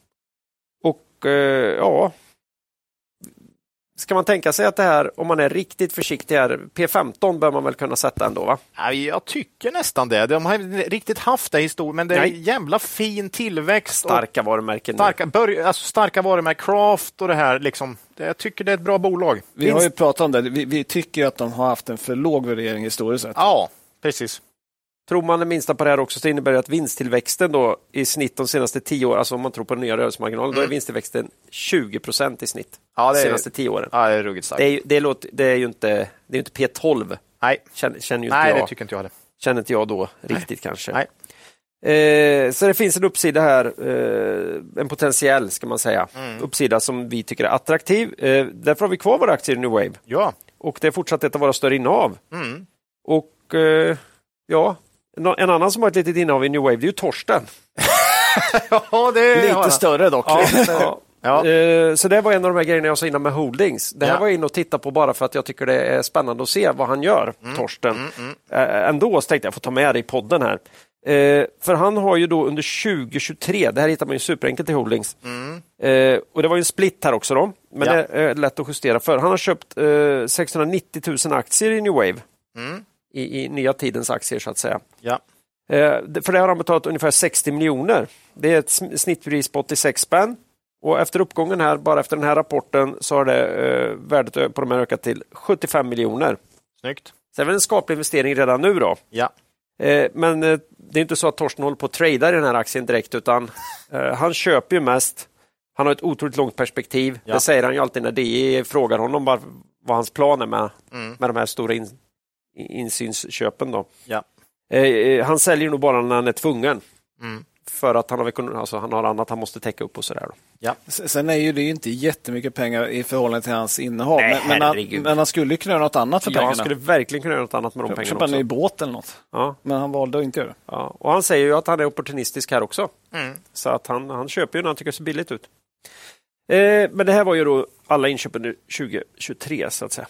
Speaker 2: Och eh, ja, ska man tänka sig att det här, om man är riktigt försiktig här, P15 bör man väl kunna sätta ändå va?
Speaker 3: Ja, Jag tycker nästan det. De har inte riktigt haft det historiskt, men det är
Speaker 2: Nej.
Speaker 3: en jävla fin tillväxt. och
Speaker 2: Starka varumärken. nu.
Speaker 3: Starka, börja, alltså starka varumärken, Craft och det här. Liksom. Det- Jag tycker det är ett bra bolag.
Speaker 1: Vi har ju pratat om det. Vi, vi tycker ju att de har haft en för låg värdering historiskt sett.
Speaker 3: Ja, precis.
Speaker 2: Tror man det minsta på det här också så innebär det att vinsttillväxten då i snitt de senaste 10 åren, alltså om man tror på den nya rörelsemarginalen, då är vinstillväxten 20 procent i snitt
Speaker 3: Mm. Ja,
Speaker 2: de
Speaker 3: det är-
Speaker 2: senaste 10 åren.
Speaker 3: Ja, det är ruggigt starkt.
Speaker 2: Det är, ju- det, låter, det är ju inte, det är ju inte P12,
Speaker 3: Nej,
Speaker 2: känner, känner, ju inte,
Speaker 3: Nej det
Speaker 2: jag,
Speaker 3: tycker inte jag heller.
Speaker 2: känner inte jag då riktigt kanske.
Speaker 3: Nej.
Speaker 2: Eh, så det finns en uppsida här, eh, en potentiell ska man säga,
Speaker 3: Mm.
Speaker 2: uppsida som vi tycker är attraktiv. Eh, därför har vi kvar våra aktier i New Wave
Speaker 3: Ja,
Speaker 2: och det är fortsatt ett av våra större innehav.
Speaker 3: mm.
Speaker 2: Och eh, ja, nå- en annan som har ett litet innehav i New Wave, det är ju Torsten.
Speaker 3: ja det har
Speaker 1: lite
Speaker 3: jag.
Speaker 1: större dock.
Speaker 2: Ja.
Speaker 3: Ja.
Speaker 2: Eh, Så det var en av de här grejerna jag sa innan med holdings. Det här
Speaker 3: Ja.
Speaker 2: var jag inne och tittade på bara för att jag tycker det är spännande att se vad han gör,
Speaker 3: Mm.
Speaker 2: Torsten. Eh, Ändå så tänkte jag, jag får ta med det i podden här. Eh, För han har ju då under 2023, det här hittar man ju superenkelt i holdings,
Speaker 3: mm,
Speaker 2: Eh, och det var ju en split här också då, men
Speaker 3: Ja.
Speaker 2: det är eh, lätt att justera för. Han har köpt eh, 690 000 aktier i New Wave,
Speaker 3: Mm.
Speaker 2: i, i nya tidens aktier så att säga.
Speaker 3: Ja.
Speaker 2: Eh, det- För det har han betalat ungefär 60 miljoner. Det är ett sm- snittpris på 86 spänn. Och efter uppgången här, bara efter den här rapporten, så har det, eh, värdet ö- på de här ökat till 75 miljoner.
Speaker 3: Snyggt.
Speaker 2: Så det är väl en skaplig investering redan nu då.
Speaker 3: Ja.
Speaker 2: Eh, Men eh, det är inte så att Torsten håller på att trada i den här aktien direkt, utan eh, han köper ju mest. Han har ett otroligt långt perspektiv.
Speaker 3: Ja.
Speaker 2: Det säger han ju alltid när DI frågar honom vad, vad hans plan är med,
Speaker 3: Mm.
Speaker 2: med de här stora in, insynsköpen. Då.
Speaker 3: Ja.
Speaker 2: Eh, eh, Han säljer nog bara när han är tvungen.
Speaker 3: Mm.
Speaker 2: För att han har, ekonom- alltså, han har annat han måste täcka upp och sådär. då.
Speaker 1: S- Sen är ju det ju inte jättemycket pengar i förhållande till hans innehav.
Speaker 2: Nej,
Speaker 1: men, men, han,
Speaker 2: herregud.
Speaker 1: men han skulle ju kunna göra något annat för
Speaker 2: Ja, han
Speaker 1: pengarna.
Speaker 2: skulle verkligen kunna göra något annat med de pengarna
Speaker 1: Köpa en
Speaker 2: också.
Speaker 1: ny båt eller något.
Speaker 2: Ja,
Speaker 1: Men han valde att inte göra det.
Speaker 2: ja. Och han säger ju att han är opportunistisk här också.
Speaker 3: Mm.
Speaker 2: Så att han, han köper ju när han tycker det ser billigt ut. Eh, men det här var ju då alla inköp under 2023 så att säga.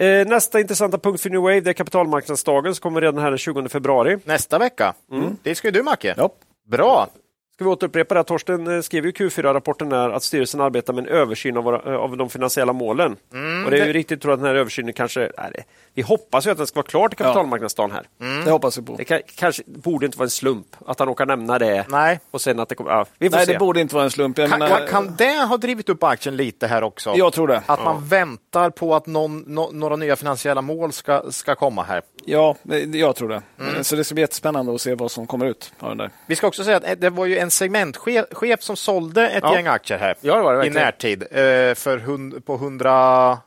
Speaker 2: Eh, nästa intressanta punkt för New Wave det är kapitalmarknadsdagen som kommer redan här den 20 februari.
Speaker 3: Nästa vecka, det ska ju du Macke.
Speaker 1: Ja.
Speaker 3: Bra.
Speaker 2: Ska vi återupprepa det här? Torsten eh, skrev ju i Q4-rapporten där att styrelsen arbetar med en översyn av, våra, eh, av de finansiella målen. Och Och det är ju riktigt tror att den här översynen kanske... Nej, det- vi hoppas ju att den ska vara klar till kapitalmarknadsdagen här.
Speaker 1: Det hoppas vi på.
Speaker 2: Mm. Det kan, kanske borde inte vara en slump att han råkar nämna det.
Speaker 3: Nej.
Speaker 2: Och sen att det kommer... Ja, vi får
Speaker 1: Nej,
Speaker 2: se.
Speaker 1: det borde inte vara en slump. Jag,
Speaker 3: Kan,
Speaker 1: menar,
Speaker 2: eh,
Speaker 3: kan, kan det ha drivit upp aktien lite här också?
Speaker 1: jag tror det.
Speaker 3: Att man väntar på att någon, nå- några nya finansiella mål ska, ska komma här.
Speaker 1: Ja, jag tror det.
Speaker 2: Mm.
Speaker 1: Så det ska bli jättespännande att se vad som kommer ut av den där.
Speaker 3: Vi ska också säga att eh, det var ju en segmentchef chef som sålde ett
Speaker 2: Ja.
Speaker 3: gäng aktier här
Speaker 2: Ja, det var det
Speaker 3: i
Speaker 2: verkligen.
Speaker 3: närtid eh, för hund, på 108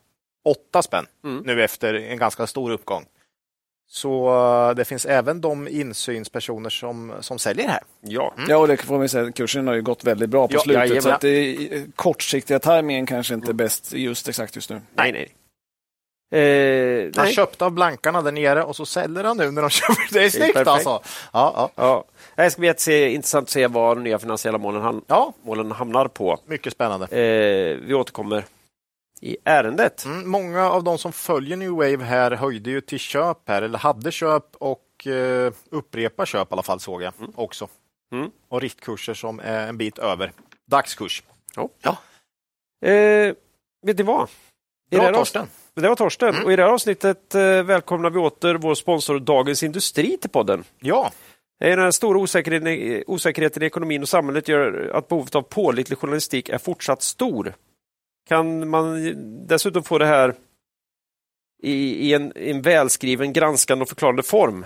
Speaker 3: spänn
Speaker 2: Mm.
Speaker 3: nu efter en ganska stor uppgång. Så eh, det finns även de insynspersoner som, som säljer här.
Speaker 2: Ja.
Speaker 1: Ja, och det får man ju säga, kursen har ju gått väldigt bra på
Speaker 2: Ja,
Speaker 1: slutet.
Speaker 2: jajamän. Mm.
Speaker 1: så att det, kortsiktiga tajmingen kanske inte är bäst just exakt just nu.
Speaker 2: Nej, nej. Eh,
Speaker 3: Han
Speaker 2: nej.
Speaker 3: köpte av blankarna där nere och så säljer han nu när de köper. Det är snyggt
Speaker 2: perfekt.
Speaker 3: alltså! Ja, ja.
Speaker 2: Ja. Det ska bli jättese- intressant att se vad de nya finansiella målen, ham-
Speaker 3: ja,
Speaker 2: målen hamnar på.
Speaker 3: mycket spännande.
Speaker 2: Eh, vi återkommer i ärendet.
Speaker 3: Mm, många av de som följer New Wave här höjde ju till köp här, eller hade köp och eh, upprepar köp i alla fall såg jag också.
Speaker 2: Mm.
Speaker 3: Och riktkurser som är en bit över dagskurs.
Speaker 2: Ja.
Speaker 3: ja.
Speaker 2: Eh, vet ni vad? I det
Speaker 3: Bra
Speaker 2: här
Speaker 3: Torsten!
Speaker 2: avsnitt- Det var Torsten.
Speaker 3: Mm.
Speaker 2: Och I det här avsnittet eh, välkomnar vi åter vår sponsor Dagens Industri till podden.
Speaker 3: Ja,
Speaker 2: Eh, Den här stora osäkerheten, i- osäkerheten i ekonomin och samhället gör att behovet av pålitlig journalistik är fortsatt stor. Kan man ju dessutom få det här i, i, en, i en välskriven, granskande och förklarande form,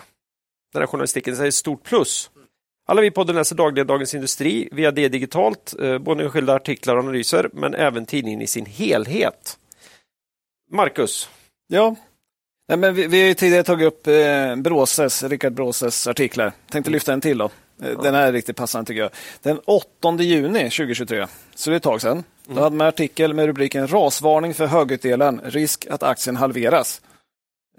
Speaker 2: den här journalistiken, så är ett stort plus. Alla vi i podden läser dagligen Dagens Industri via det digitalt, eh, både enskilda artiklar och analyser, men även tidningen i sin helhet. Marcus,
Speaker 1: Ja. Nej, men vi, vi har ju tidigare tagit upp eh, Bråses, Rickard Bråses artiklar. Tänkte lyfta en till då. Eh, Den här är riktigt passande tycker jag. Den 8 juni 2023, så det är ett tag sedan.
Speaker 3: Mm.
Speaker 1: Då hade man en artikel med rubriken Rasvarning för högutdelaren, risk att aktien halveras.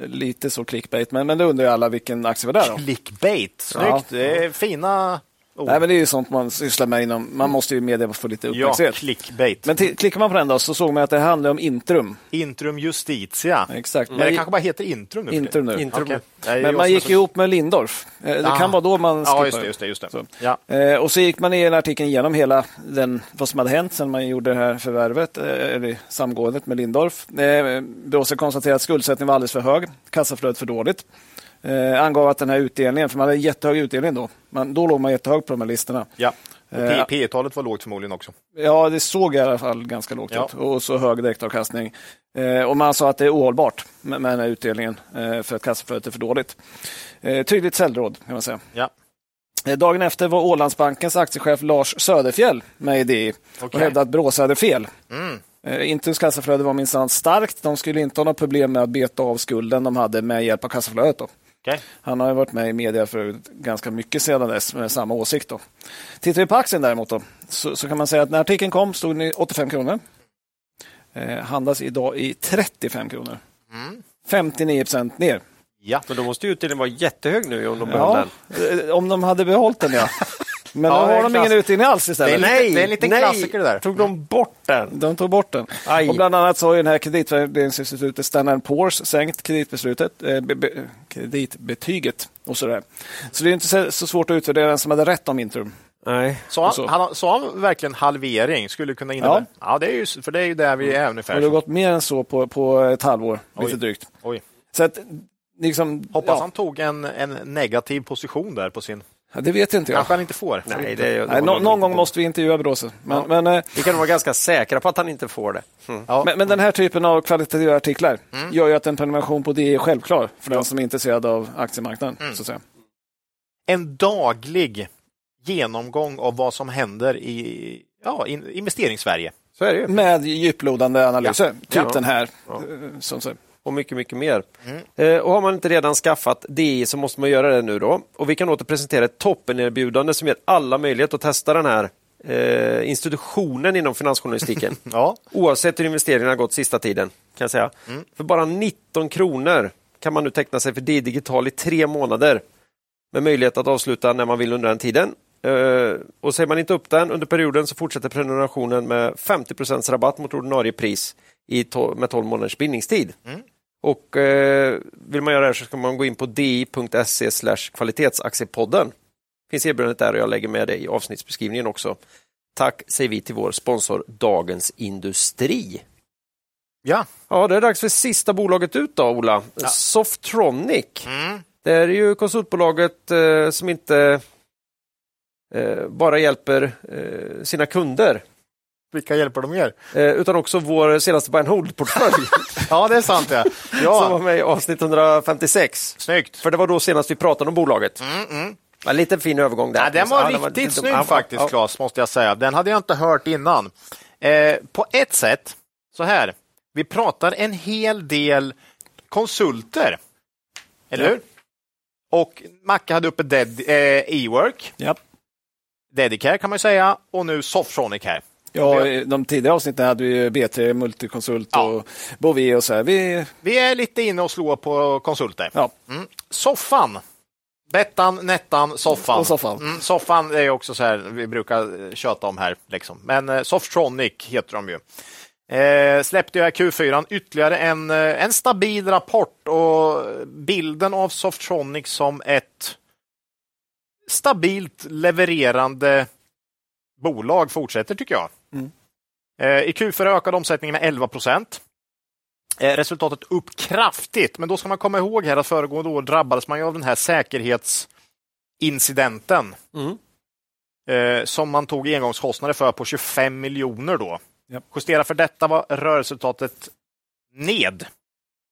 Speaker 1: Eh, Lite så clickbait, men, men det undrar ju alla vilken aktie var där då.
Speaker 3: clickbait, snyggt!
Speaker 1: Ja.
Speaker 3: Det är fina ord.
Speaker 1: Nej, men det är ju sånt man sysslar med inom, man måste ju i media få lite
Speaker 3: Mm. ja,
Speaker 1: uppmärksamhet.
Speaker 3: clickbait.
Speaker 1: Men ti- klickar man på den då så såg man att det handlar om Intrum.
Speaker 3: Intrum Justitia.
Speaker 1: Exakt.
Speaker 3: Mm, Men det kanske bara heter Intrum nu. för
Speaker 1: Intrum nu.
Speaker 3: tiden.
Speaker 2: Intrum.
Speaker 3: Okej. Nej, jag
Speaker 1: Men man
Speaker 3: som
Speaker 1: gick
Speaker 3: är så-
Speaker 1: ihop med Lindorf. Eh, Det
Speaker 3: Ah.
Speaker 1: kan vara då man
Speaker 3: Ja,
Speaker 1: skippar.
Speaker 3: just det. Just det, just det.
Speaker 1: Så.
Speaker 3: Ja.
Speaker 1: Eh, och så gick man i den artikeln igenom hela den, vad som hade hänt sedan man gjorde det här förvärvet, eh, eller samgåendet med Lindorf. Eh, Bråse konstaterade att skuldsättningen var alldeles för hög, kassaflödet för dåligt. Eh, angav att den här utdelningen, för man hade jättehög utdelning då, man, då låg man jättehög på de här listorna.
Speaker 3: ja.
Speaker 1: Eh,
Speaker 3: Och P talet var lågt förmodligen också.
Speaker 1: Ja, det såg i alla fall ganska lågt
Speaker 3: Ja.
Speaker 1: ut och så hög direktavkastning. Eh, och man sa att det är ohållbart med, med den här utdelningen eh, för att kassaflödet är för dåligt. Eh, tydligt säljråd kan man säga.
Speaker 3: Ja.
Speaker 1: Eh, dagen efter var Ålandsbankens aktiechef Lars Söderfjell med i DI och
Speaker 3: Okej.
Speaker 1: hävdade att Bråse hade fel.
Speaker 3: Mm.
Speaker 1: Eh, Intus kassaflöde var minsann starkt. De skulle inte ha några problem med att beta av skulden de hade med hjälp av kassaflödet. Då.
Speaker 3: Okej.
Speaker 1: Han har ju varit med i media för ganska mycket sedan dess med samma åsikt. Då. Tittar vi på aktien däremot då, så, så kan man säga att när artikeln kom stod den i 85 kronor. Eh, handlas idag i 35 kronor.
Speaker 3: Mm.
Speaker 1: 59 procent ner.
Speaker 3: Ja.
Speaker 2: men då måste ju utdelningen vara jättehög nu om de behöll
Speaker 1: Ja,
Speaker 2: den.
Speaker 1: eh, om de hade behållit den ja. Men
Speaker 3: Ja,
Speaker 1: nu
Speaker 3: det är
Speaker 1: har de
Speaker 3: klass-
Speaker 1: ingen utdelning alls istället.
Speaker 3: Det är en liten- det är en liten klassiker det där.
Speaker 2: Tog de bort den?
Speaker 1: De tog bort den.
Speaker 2: Aj.
Speaker 1: Och bland annat så har ju den här kreditvärderingsinstitutet Standard Poor's sänkt kreditbeslutet, eh, be, be, kreditbetyget och sådär. Så det är inte så, så svårt att utvärdera den som hade rätt om Intrum.
Speaker 2: Nej.
Speaker 3: Sa han,
Speaker 1: Och så.
Speaker 3: han, sa han verkligen halvering skulle kunna innebära? Ja, det är ju, för det är ju där vi är
Speaker 1: Och
Speaker 3: ungefär.
Speaker 1: det har gått mer än så på, på ett halvår, lite
Speaker 3: Oj.
Speaker 1: drygt.
Speaker 3: Oj.
Speaker 1: Så att, liksom,
Speaker 3: Hoppas
Speaker 1: ja,
Speaker 3: han tog en, en negativ position där på sin...
Speaker 1: ja, Det vet inte jag.
Speaker 3: Kanske han inte får.
Speaker 2: Nej, det, det var
Speaker 1: Nej, nå-
Speaker 2: nog
Speaker 1: någon
Speaker 2: inte
Speaker 1: gång
Speaker 2: bort.
Speaker 1: måste vi intervjua Bråse. Men, men, eh,
Speaker 2: Vi kan vara ganska säkra på att han inte får det.
Speaker 3: Mm. Ja.
Speaker 1: men, men den här typen av kvalitativa artiklar gör ju att en prenumeration på det är självklar för den som är intresserad av aktiemarknaden. Så att säga.
Speaker 3: En daglig genomgång av vad som händer i ja, in, investeringssverige.
Speaker 2: Så är det ju.
Speaker 1: Med djuplodande analyser, typ
Speaker 2: Ja.
Speaker 1: den här. eh, Som sagt.
Speaker 2: Och mycket, mycket mer. Eh, och har man inte redan skaffat DI så måste man göra det nu då. Och vi kan åter presentera ett toppenerbjudande som ger alla möjlighet att testa den här eh, institutionen inom finansjournalistiken.
Speaker 3: Ja.
Speaker 2: Oavsett hur investeringarna har gått sista tiden, kan jag säga. För bara 19 kronor kan man nu teckna sig för DI Digital i tre månader med möjlighet att avsluta när man vill under den tiden. Eh, Och säger man inte upp den under perioden så fortsätter prenumerationen med 50 rabatt mot ordinarie pris i to- med 12 månaders bindningstid. Och eh, vill man göra det här så ska man gå in på di.se kvalitetsaktiepodden. Finns erbjudandet där och jag lägger med det i avsnittsbeskrivningen också. Tack säger vi till vår sponsor Dagens Industri.
Speaker 3: Ja,
Speaker 4: Ja, det är dags för sista bolaget ut då, Ola. Softronic.
Speaker 3: Mm.
Speaker 4: Det är ju konsultbolaget eh, som inte eh, bara hjälper eh, sina kunder,
Speaker 3: vilka hjälper de er?
Speaker 4: eh, utan också vår senaste buy and hold-portfölj
Speaker 3: Ja, det är sant. Ja,
Speaker 4: som var
Speaker 3: ja
Speaker 4: med i avsnitt 156.
Speaker 3: snyggt.
Speaker 4: För det var då senast vi pratade om bolaget.
Speaker 3: Mm, mm.
Speaker 4: Ja, en liten fin övergång där.
Speaker 3: Ja, den var
Speaker 4: Ja,
Speaker 3: riktigt
Speaker 4: lite-
Speaker 3: snygg
Speaker 4: ja,
Speaker 3: faktiskt,
Speaker 4: ja.
Speaker 3: Claes, måste jag säga. Den hade jag inte hört innan. Eh, på ett sätt, så här, vi pratar en hel del konsulter, eller hur? Och Macke hade uppe Dead, eh, E-Work,
Speaker 1: Ja.
Speaker 3: Dedicare kan man ju säga, och nu Softronic här.
Speaker 1: Ja, i de tidigare avsnitten hade vi ju B3 Multikonsult
Speaker 3: Ja.
Speaker 1: och Bovie och så här. Vi,
Speaker 3: Vi är lite inne och slår på konsulter.
Speaker 1: ja,
Speaker 3: Mm. Soffan. Bettan, Nettan, soffan.
Speaker 1: Och soffan.
Speaker 3: Mm, soffan är ju också så här, vi brukar eh, köta om här. Liksom. Men eh, Softronic heter de ju. Eh, släppte jag Q4 ytterligare en, eh, en stabil rapport och bilden av Softronic som ett stabilt levererande bolag fortsätter tycker jag.
Speaker 1: Mm.
Speaker 3: Eh, I Q4 ökade omsättningen med 11 procent. Eh, resultatet upp kraftigt, men då ska man komma ihåg här att föregående år drabbades man ju av den här säkerhetsincidenten
Speaker 4: Mm.
Speaker 3: eh, som man tog engångskostnader för på 25 miljoner då.
Speaker 1: Japp.
Speaker 3: Justera för detta var rörelseresultatet ned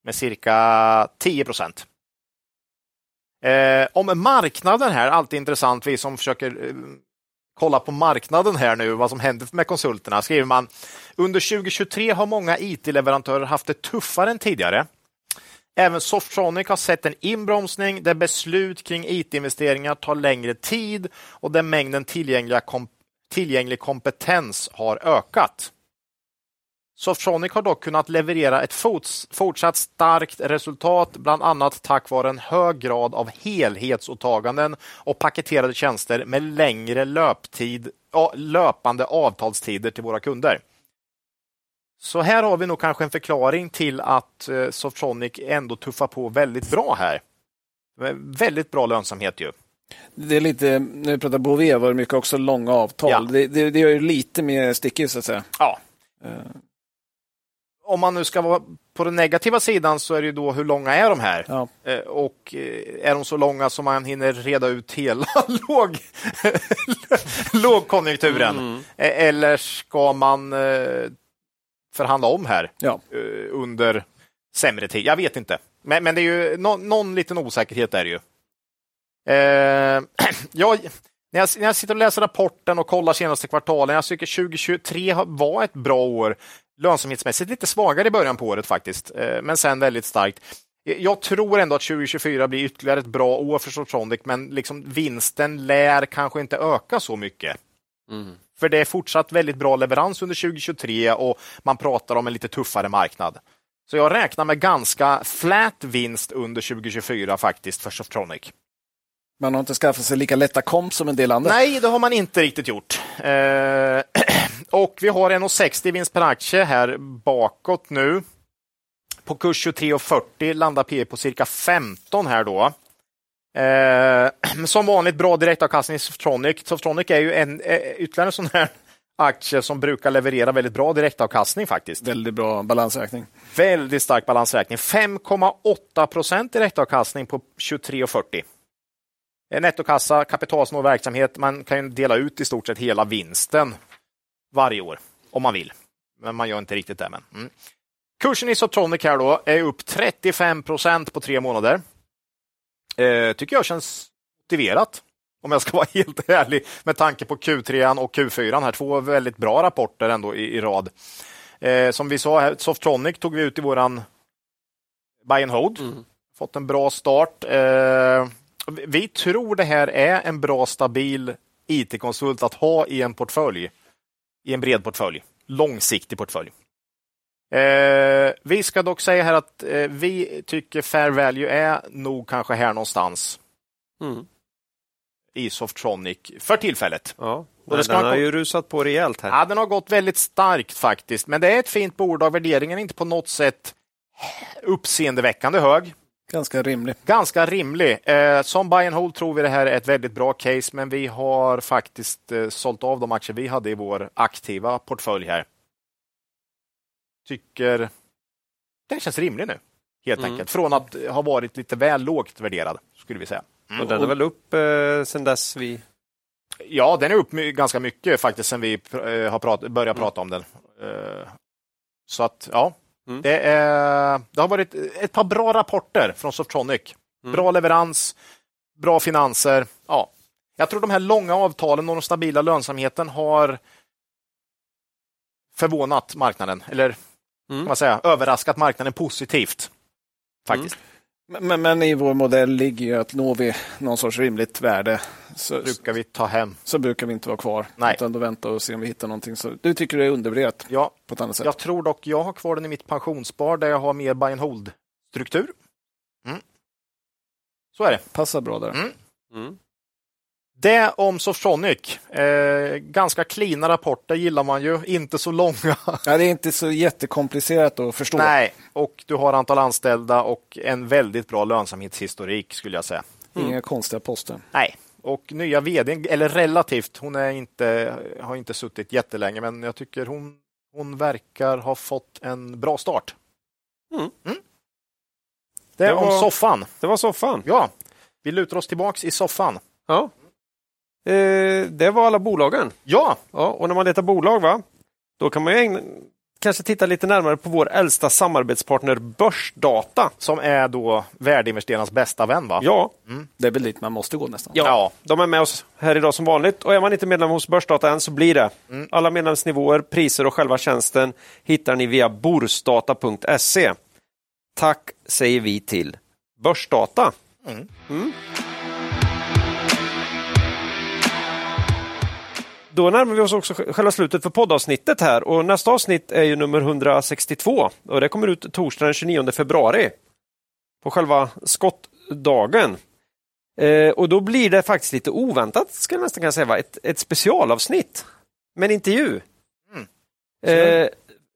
Speaker 3: med cirka 10 procent. Eh, om marknaden här, alltid intressant, vi som försöker eh, kolla på marknaden här nu, vad som händer med konsulterna, skriver man under 2023 har många IT-leverantörer haft det tuffare än tidigare. Även Softronic har sett en inbromsning där beslut kring IT-investeringar tar längre tid och där mängden tillgängliga kom- tillgänglig kompetens har ökat. Softronic har dock kunnat leverera ett fots- fortsatt starkt resultat, bland annat tack vare en hög grad av helhetsåtaganden och paketerade tjänster med längre löptid, ja, löpande avtalstider till våra kunder. Så här har vi nog kanske en förklaring till att eh, Softronic ändå tuffar på väldigt bra här. Eh, Väldigt bra lönsamhet ju.
Speaker 1: det är lite, när vi pratar Bovie var det mycket också långa avtal.
Speaker 3: Ja.
Speaker 1: Det, det, det gör ju lite mer stickigt så att säga.
Speaker 3: Ja.
Speaker 1: Eh,
Speaker 3: Om man nu ska vara på den negativa sidan så är det ju då hur långa är de här?
Speaker 1: Ja.
Speaker 3: Eh, Och eh, är de så långa som man hinner reda ut hela låg... lågkonjunkturen? Eh, Eller ska man eh, förhandla om här
Speaker 1: Ja.
Speaker 3: eh, under sämre tid? Jag vet inte. Men, men det är ju nå- någon liten osäkerhet är det ju. Eh, jag, när, jag, när jag sitter och läser rapporten och kollar senaste kvartalen, jag tycker 2023 har- var ett bra år. Lönsamhetsmässigt lite svagare i början på året faktiskt, eh, men sen väldigt starkt. Jag- Jag tror ändå att 2024 blir ytterligare ett bra år för Soptronic, men liksom vinsten lär kanske inte öka så mycket. För det är fortsatt väldigt bra leverans under 2023 och man pratar om en lite tuffare marknad. Så jag räknar med ganska flat vinst under 2024 faktiskt för Softronic.
Speaker 1: Man har inte skaffat sig lika lätta komp som en del andra.
Speaker 3: Nej, det har man inte riktigt gjort. Eh, och vi har 1,60 vinst per aktie här bakåt nu. På kurs 23,40 landar P E på cirka 15 här då. Eh, som vanligt bra direktavkastning i Softronic. Softronic är ju en, eh, ytterligare en sån här aktie som brukar leverera väldigt bra direktavkastning faktiskt.
Speaker 1: Väldigt bra balansräkning.
Speaker 3: Väldigt stark balansräkning. 5,8 procent direktavkastning på 23,40. Eh, Nettokassa, kapitalsnål verksamhet. Man kan ju dela ut i stort sett hela vinsten varje år om man vill. Men man gör inte riktigt det. Men. Mm. Kursen i Sotronic här då är upp 35 procent på tre månader. Eh, tycker jag känns motiverat om jag ska vara helt ärlig med tanke på Q3 och Q4 här. Två väldigt bra rapporter ändå i, i rad. Eh, som vi sa, här, Softronic tog vi ut i våran buy and hold.
Speaker 4: Mm,
Speaker 3: Fått en bra start. Eh, vi- vi tror det här är en bra, stabil IT-konsult att ha i en portfölj. I en bred portfölj. Långsiktig portfölj. Eh, vi ska dock säga här att eh, vi tycker fair value är nog kanske här någonstans
Speaker 4: Mm.
Speaker 3: i Softronic för tillfället.
Speaker 4: Ja.
Speaker 3: då
Speaker 4: Den,
Speaker 3: ska man
Speaker 4: den har
Speaker 3: kom-
Speaker 4: ju rusat på rejält här.
Speaker 3: Ja, den har gått väldigt starkt faktiskt, men det är ett fint bolag. Värderingen är inte på något sätt uppseendeväckande hög.
Speaker 1: Ganska rimlig.
Speaker 3: Ganska rimlig. Eh, som buy and hold tror vi det här är ett väldigt bra case, men vi har faktiskt eh, sålt av de aktier vi hade i vår aktiva portfölj här. Tycker Den känns rimlig nu, helt
Speaker 2: Mm.
Speaker 3: enkelt. Från att ha varit lite väl lågt värderad, skulle vi säga.
Speaker 2: Och den är väl upp eh, sen dess vi...
Speaker 3: Ja, den är upp my- ganska mycket faktiskt sen vi pr- eh, har prat- börjat prata om den. Eh, Så att, ja.
Speaker 2: Mm.
Speaker 3: Det, är, det har varit ett par bra rapporter från Softronic. Bra leverans, bra finanser. Ja. Jag tror de här långa avtalen och den stabila lönsamheten har förvånat marknaden, eller kan man säga, överraskat marknaden positivt. Faktiskt.
Speaker 1: Men, men i vår modell ligger ju att når vi någon sorts rimligt värde så,
Speaker 3: brukar vi ta hem.
Speaker 1: så brukar vi inte vara kvar.
Speaker 3: Nej.
Speaker 1: Utan då vänta och se om vi hittar någonting. Så, du tycker det är undervärderat
Speaker 3: Ja,
Speaker 1: på ett annat sätt?
Speaker 3: Jag tror dock jag har kvar den i mitt pensionsspar där jag har mer buy and hold-struktur. Mm. Så är det.
Speaker 1: Passar bra där.
Speaker 3: Mm. Det om Softronic. Eh, ganska cleana rapporter gillar man ju, inte så långa.
Speaker 1: Ja, det är inte så jättekomplicerat att förstå.
Speaker 3: Nej, och du har antal anställda och en väldigt bra lönsamhetshistorik skulle jag säga.
Speaker 1: Inga konstiga poster.
Speaker 3: Nej, och nya vd, eller relativt, hon är inte, har inte suttit jättelänge, men jag tycker hon, hon verkar ha fått en bra start.
Speaker 2: Mm.
Speaker 3: Det,
Speaker 2: Det
Speaker 3: om
Speaker 2: var-
Speaker 3: soffan.
Speaker 2: Det var soffan.
Speaker 3: Ja, vi lutar oss tillbaks i soffan.
Speaker 2: Ja. Eh, det var alla bolagen.
Speaker 3: Ja,
Speaker 2: Ja, och när man letar bolag, va? då kan man ju ägna, kanske titta lite närmare på vår äldsta samarbetspartner Börsdata.
Speaker 3: som är då värdeinvesterarnas bästa vän va?
Speaker 2: Ja,
Speaker 1: Det är väl dit man måste gå nästan.
Speaker 2: ja,
Speaker 3: Ja.
Speaker 2: de är med oss här idag som vanligt. Och är man inte medlem hos Börsdata än så blir det. Alla medlemsnivåer, priser och själva tjänsten hittar ni via borsdata.se. Tack säger vi till Börsdata. Mm. Då närmar vi oss också sj- själva slutet för poddavsnittet här och nästa avsnitt är ju nummer 162 och det kommer ut torsdagen den 29 februari på själva skottdagen. Eh, och då blir det faktiskt lite oväntat, ska jag nästan kunna säga, va? ett, ett specialavsnitt med en intervju. Eh,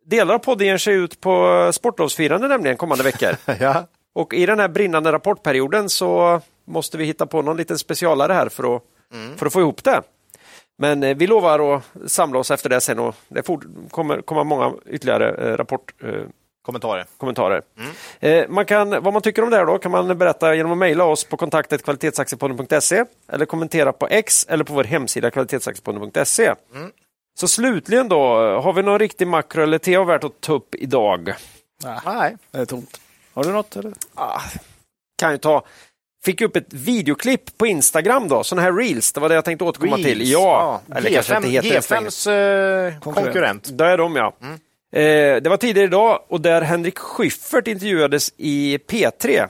Speaker 2: delar av podden ger sig ut på sportlovsfirande nämligen kommande veckor.
Speaker 3: ja.
Speaker 2: och i den här brinnande rapportperioden så måste vi hitta på någon liten specialare här för att, för att få ihop det. Men eh, vi lovar att samla oss efter det sen och det fort- kommer komma många ytterligare eh, rapport, eh,
Speaker 3: Kommentarer.
Speaker 2: kommentarer. Eh, man kan, vad man tycker om det här då kan man berätta genom att mejla oss på kontaktet kvalitetsaktiepodden.se eller kommentera på X eller på vår hemsida kvalitetsaktiepodden.se. Så slutligen då, har vi någon riktig makro eller TA värt att ta upp idag?
Speaker 3: Nej.
Speaker 1: Det är tomt. Har du något? Eller?
Speaker 2: Ah, kan ju ta. Fick upp ett videoklipp på Instagram då, sådana här reels, det var det jag tänkte återkomma till. Ja, eller kanske
Speaker 3: G5,
Speaker 2: inte heter det så länge.
Speaker 3: G5s eh,
Speaker 1: Konkurrent.
Speaker 3: konkurrent.
Speaker 2: Där är de ja. Eh, det var tidigare idag och där Henrik Schyffert intervjuades i P3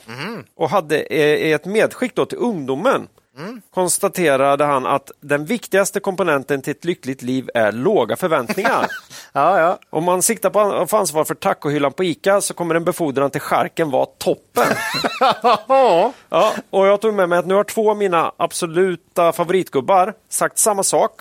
Speaker 2: och hade eh, ett medskick då till ungdomen. Mm. Konstaterade han att den viktigaste komponenten till ett lyckligt liv är låga förväntningar.
Speaker 3: Ja, ja.
Speaker 2: Om man siktar på an- på ansvar för tacohyllan på ICA så kommer en befordran till charken vara toppen. ja, och jag tog med mig att nu har två av mina absoluta favoritgubbar sagt samma sak.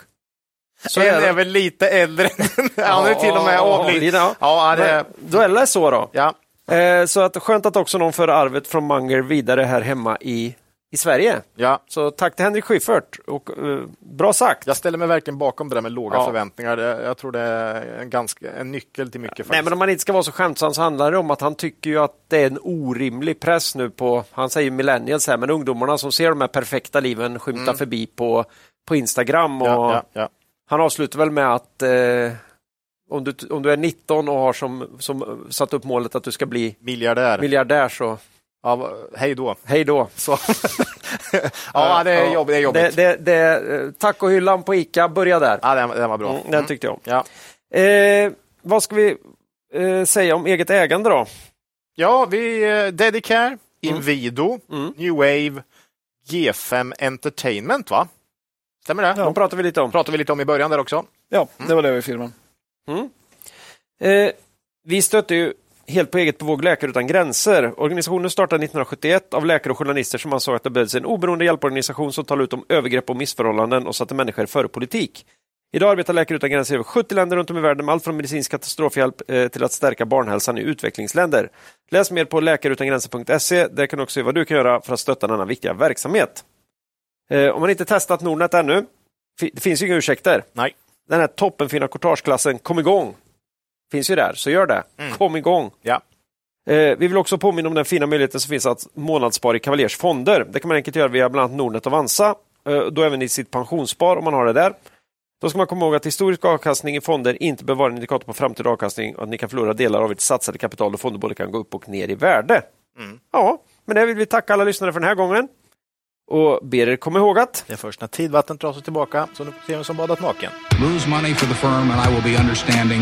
Speaker 2: Så
Speaker 3: en
Speaker 2: är det.
Speaker 3: är väl lite äldre. Han är till och med
Speaker 2: Ja,
Speaker 3: avliden.
Speaker 2: ja.
Speaker 3: Ja, det,
Speaker 2: Men Då är det så då.
Speaker 3: ja.
Speaker 2: Eh, så att skönt att också någon för arvet från Munger vidare här hemma i, i Sverige.
Speaker 3: ja.
Speaker 2: Så tack till Henrik Schyffert och eh, bra sagt.
Speaker 3: Jag ställer mig verkligen bakom det där med låga
Speaker 2: Ja.
Speaker 3: förväntningar. Det- Jag tror det är en, ganska, en nyckel till mycket.
Speaker 2: Nej,
Speaker 3: faktiskt.
Speaker 2: men om man inte ska vara så skämtsam så handlar det om att han tycker ju att det är en orimlig press nu på, han säger millennials här, men ungdomarna som ser de här perfekta liven skymta förbi på, på Instagram. Och
Speaker 3: Mm. ja, ja, ja.
Speaker 2: Han avslutar väl med att eh, om, du, om du är 19 och har som, som satt upp målet att du ska bli
Speaker 3: Miljardär.
Speaker 2: miljardär så
Speaker 3: ja, va- hej då.
Speaker 2: hej då.
Speaker 3: Så. ja, det är jobb- det är jobbigt.
Speaker 2: Eh, Det, det, det, eh, tack och hyllan på Ica, börja där.
Speaker 3: Ja, den, den var bra.
Speaker 2: Mm, den tyckte jag om.
Speaker 3: Ja.
Speaker 2: Eh, vad ska vi eh, säga om eget ägande då?
Speaker 3: Ja, vi eh, Dedicare, Invido, New Wave, G5 Entertainment, va? Stämmer det?
Speaker 2: De
Speaker 3: De
Speaker 2: pratar vi lite om.
Speaker 3: pratade vi lite om i början där också.
Speaker 1: Ja, det var det vi filmade.
Speaker 2: Eh, vi stötte ju helt på eget bevåg Läkare utan gränser. Organisationen startade 1971 av läkare och journalister som ansåg att det behövdes en oberoende hjälporganisation som talade ut om övergrepp och missförhållanden och satte människor före politik. Idag arbetar Läkare utan gränser i över 70 länder runt om i världen med allt från medicinsk katastrofhjälp eh, till att stärka barnhälsan i utvecklingsländer. Läs mer på läkarutangränser.se. Där kan du också se vad du kan göra för att stötta denna viktiga verksamhet. Eh, Om man inte testat Nordnet ännu, fi- det finns ju inga ursäkter.
Speaker 3: Nej.
Speaker 2: Den här toppenfina courtageklassen, kom igång! Finns ju där, så gör det. Kom igång!
Speaker 3: Mm. Ja.
Speaker 2: Eh, vi vill också påminna om den fina möjligheten som finns att månadsspara i Cavaliers fonder. Det kan man enkelt göra via bland annat Nordnet och Avanza, eh, då även i sitt pensionsspar om man har det där. Då ska man komma ihåg att historisk avkastning i fonder inte behöver vara en indikator på framtida avkastning och att ni kan förlora delar av ert satsade kapital och fonder både kan gå upp och ner i värde.
Speaker 3: Mm.
Speaker 2: Ja, men det vill vi tacka alla lyssnare för den här gången. Och ber er komma ihåg att
Speaker 3: Det är först när tidvattnet drar sig tillbaka så nu ser vi vem som badat naken.
Speaker 5: Lose money for the firm, and I will be understanding.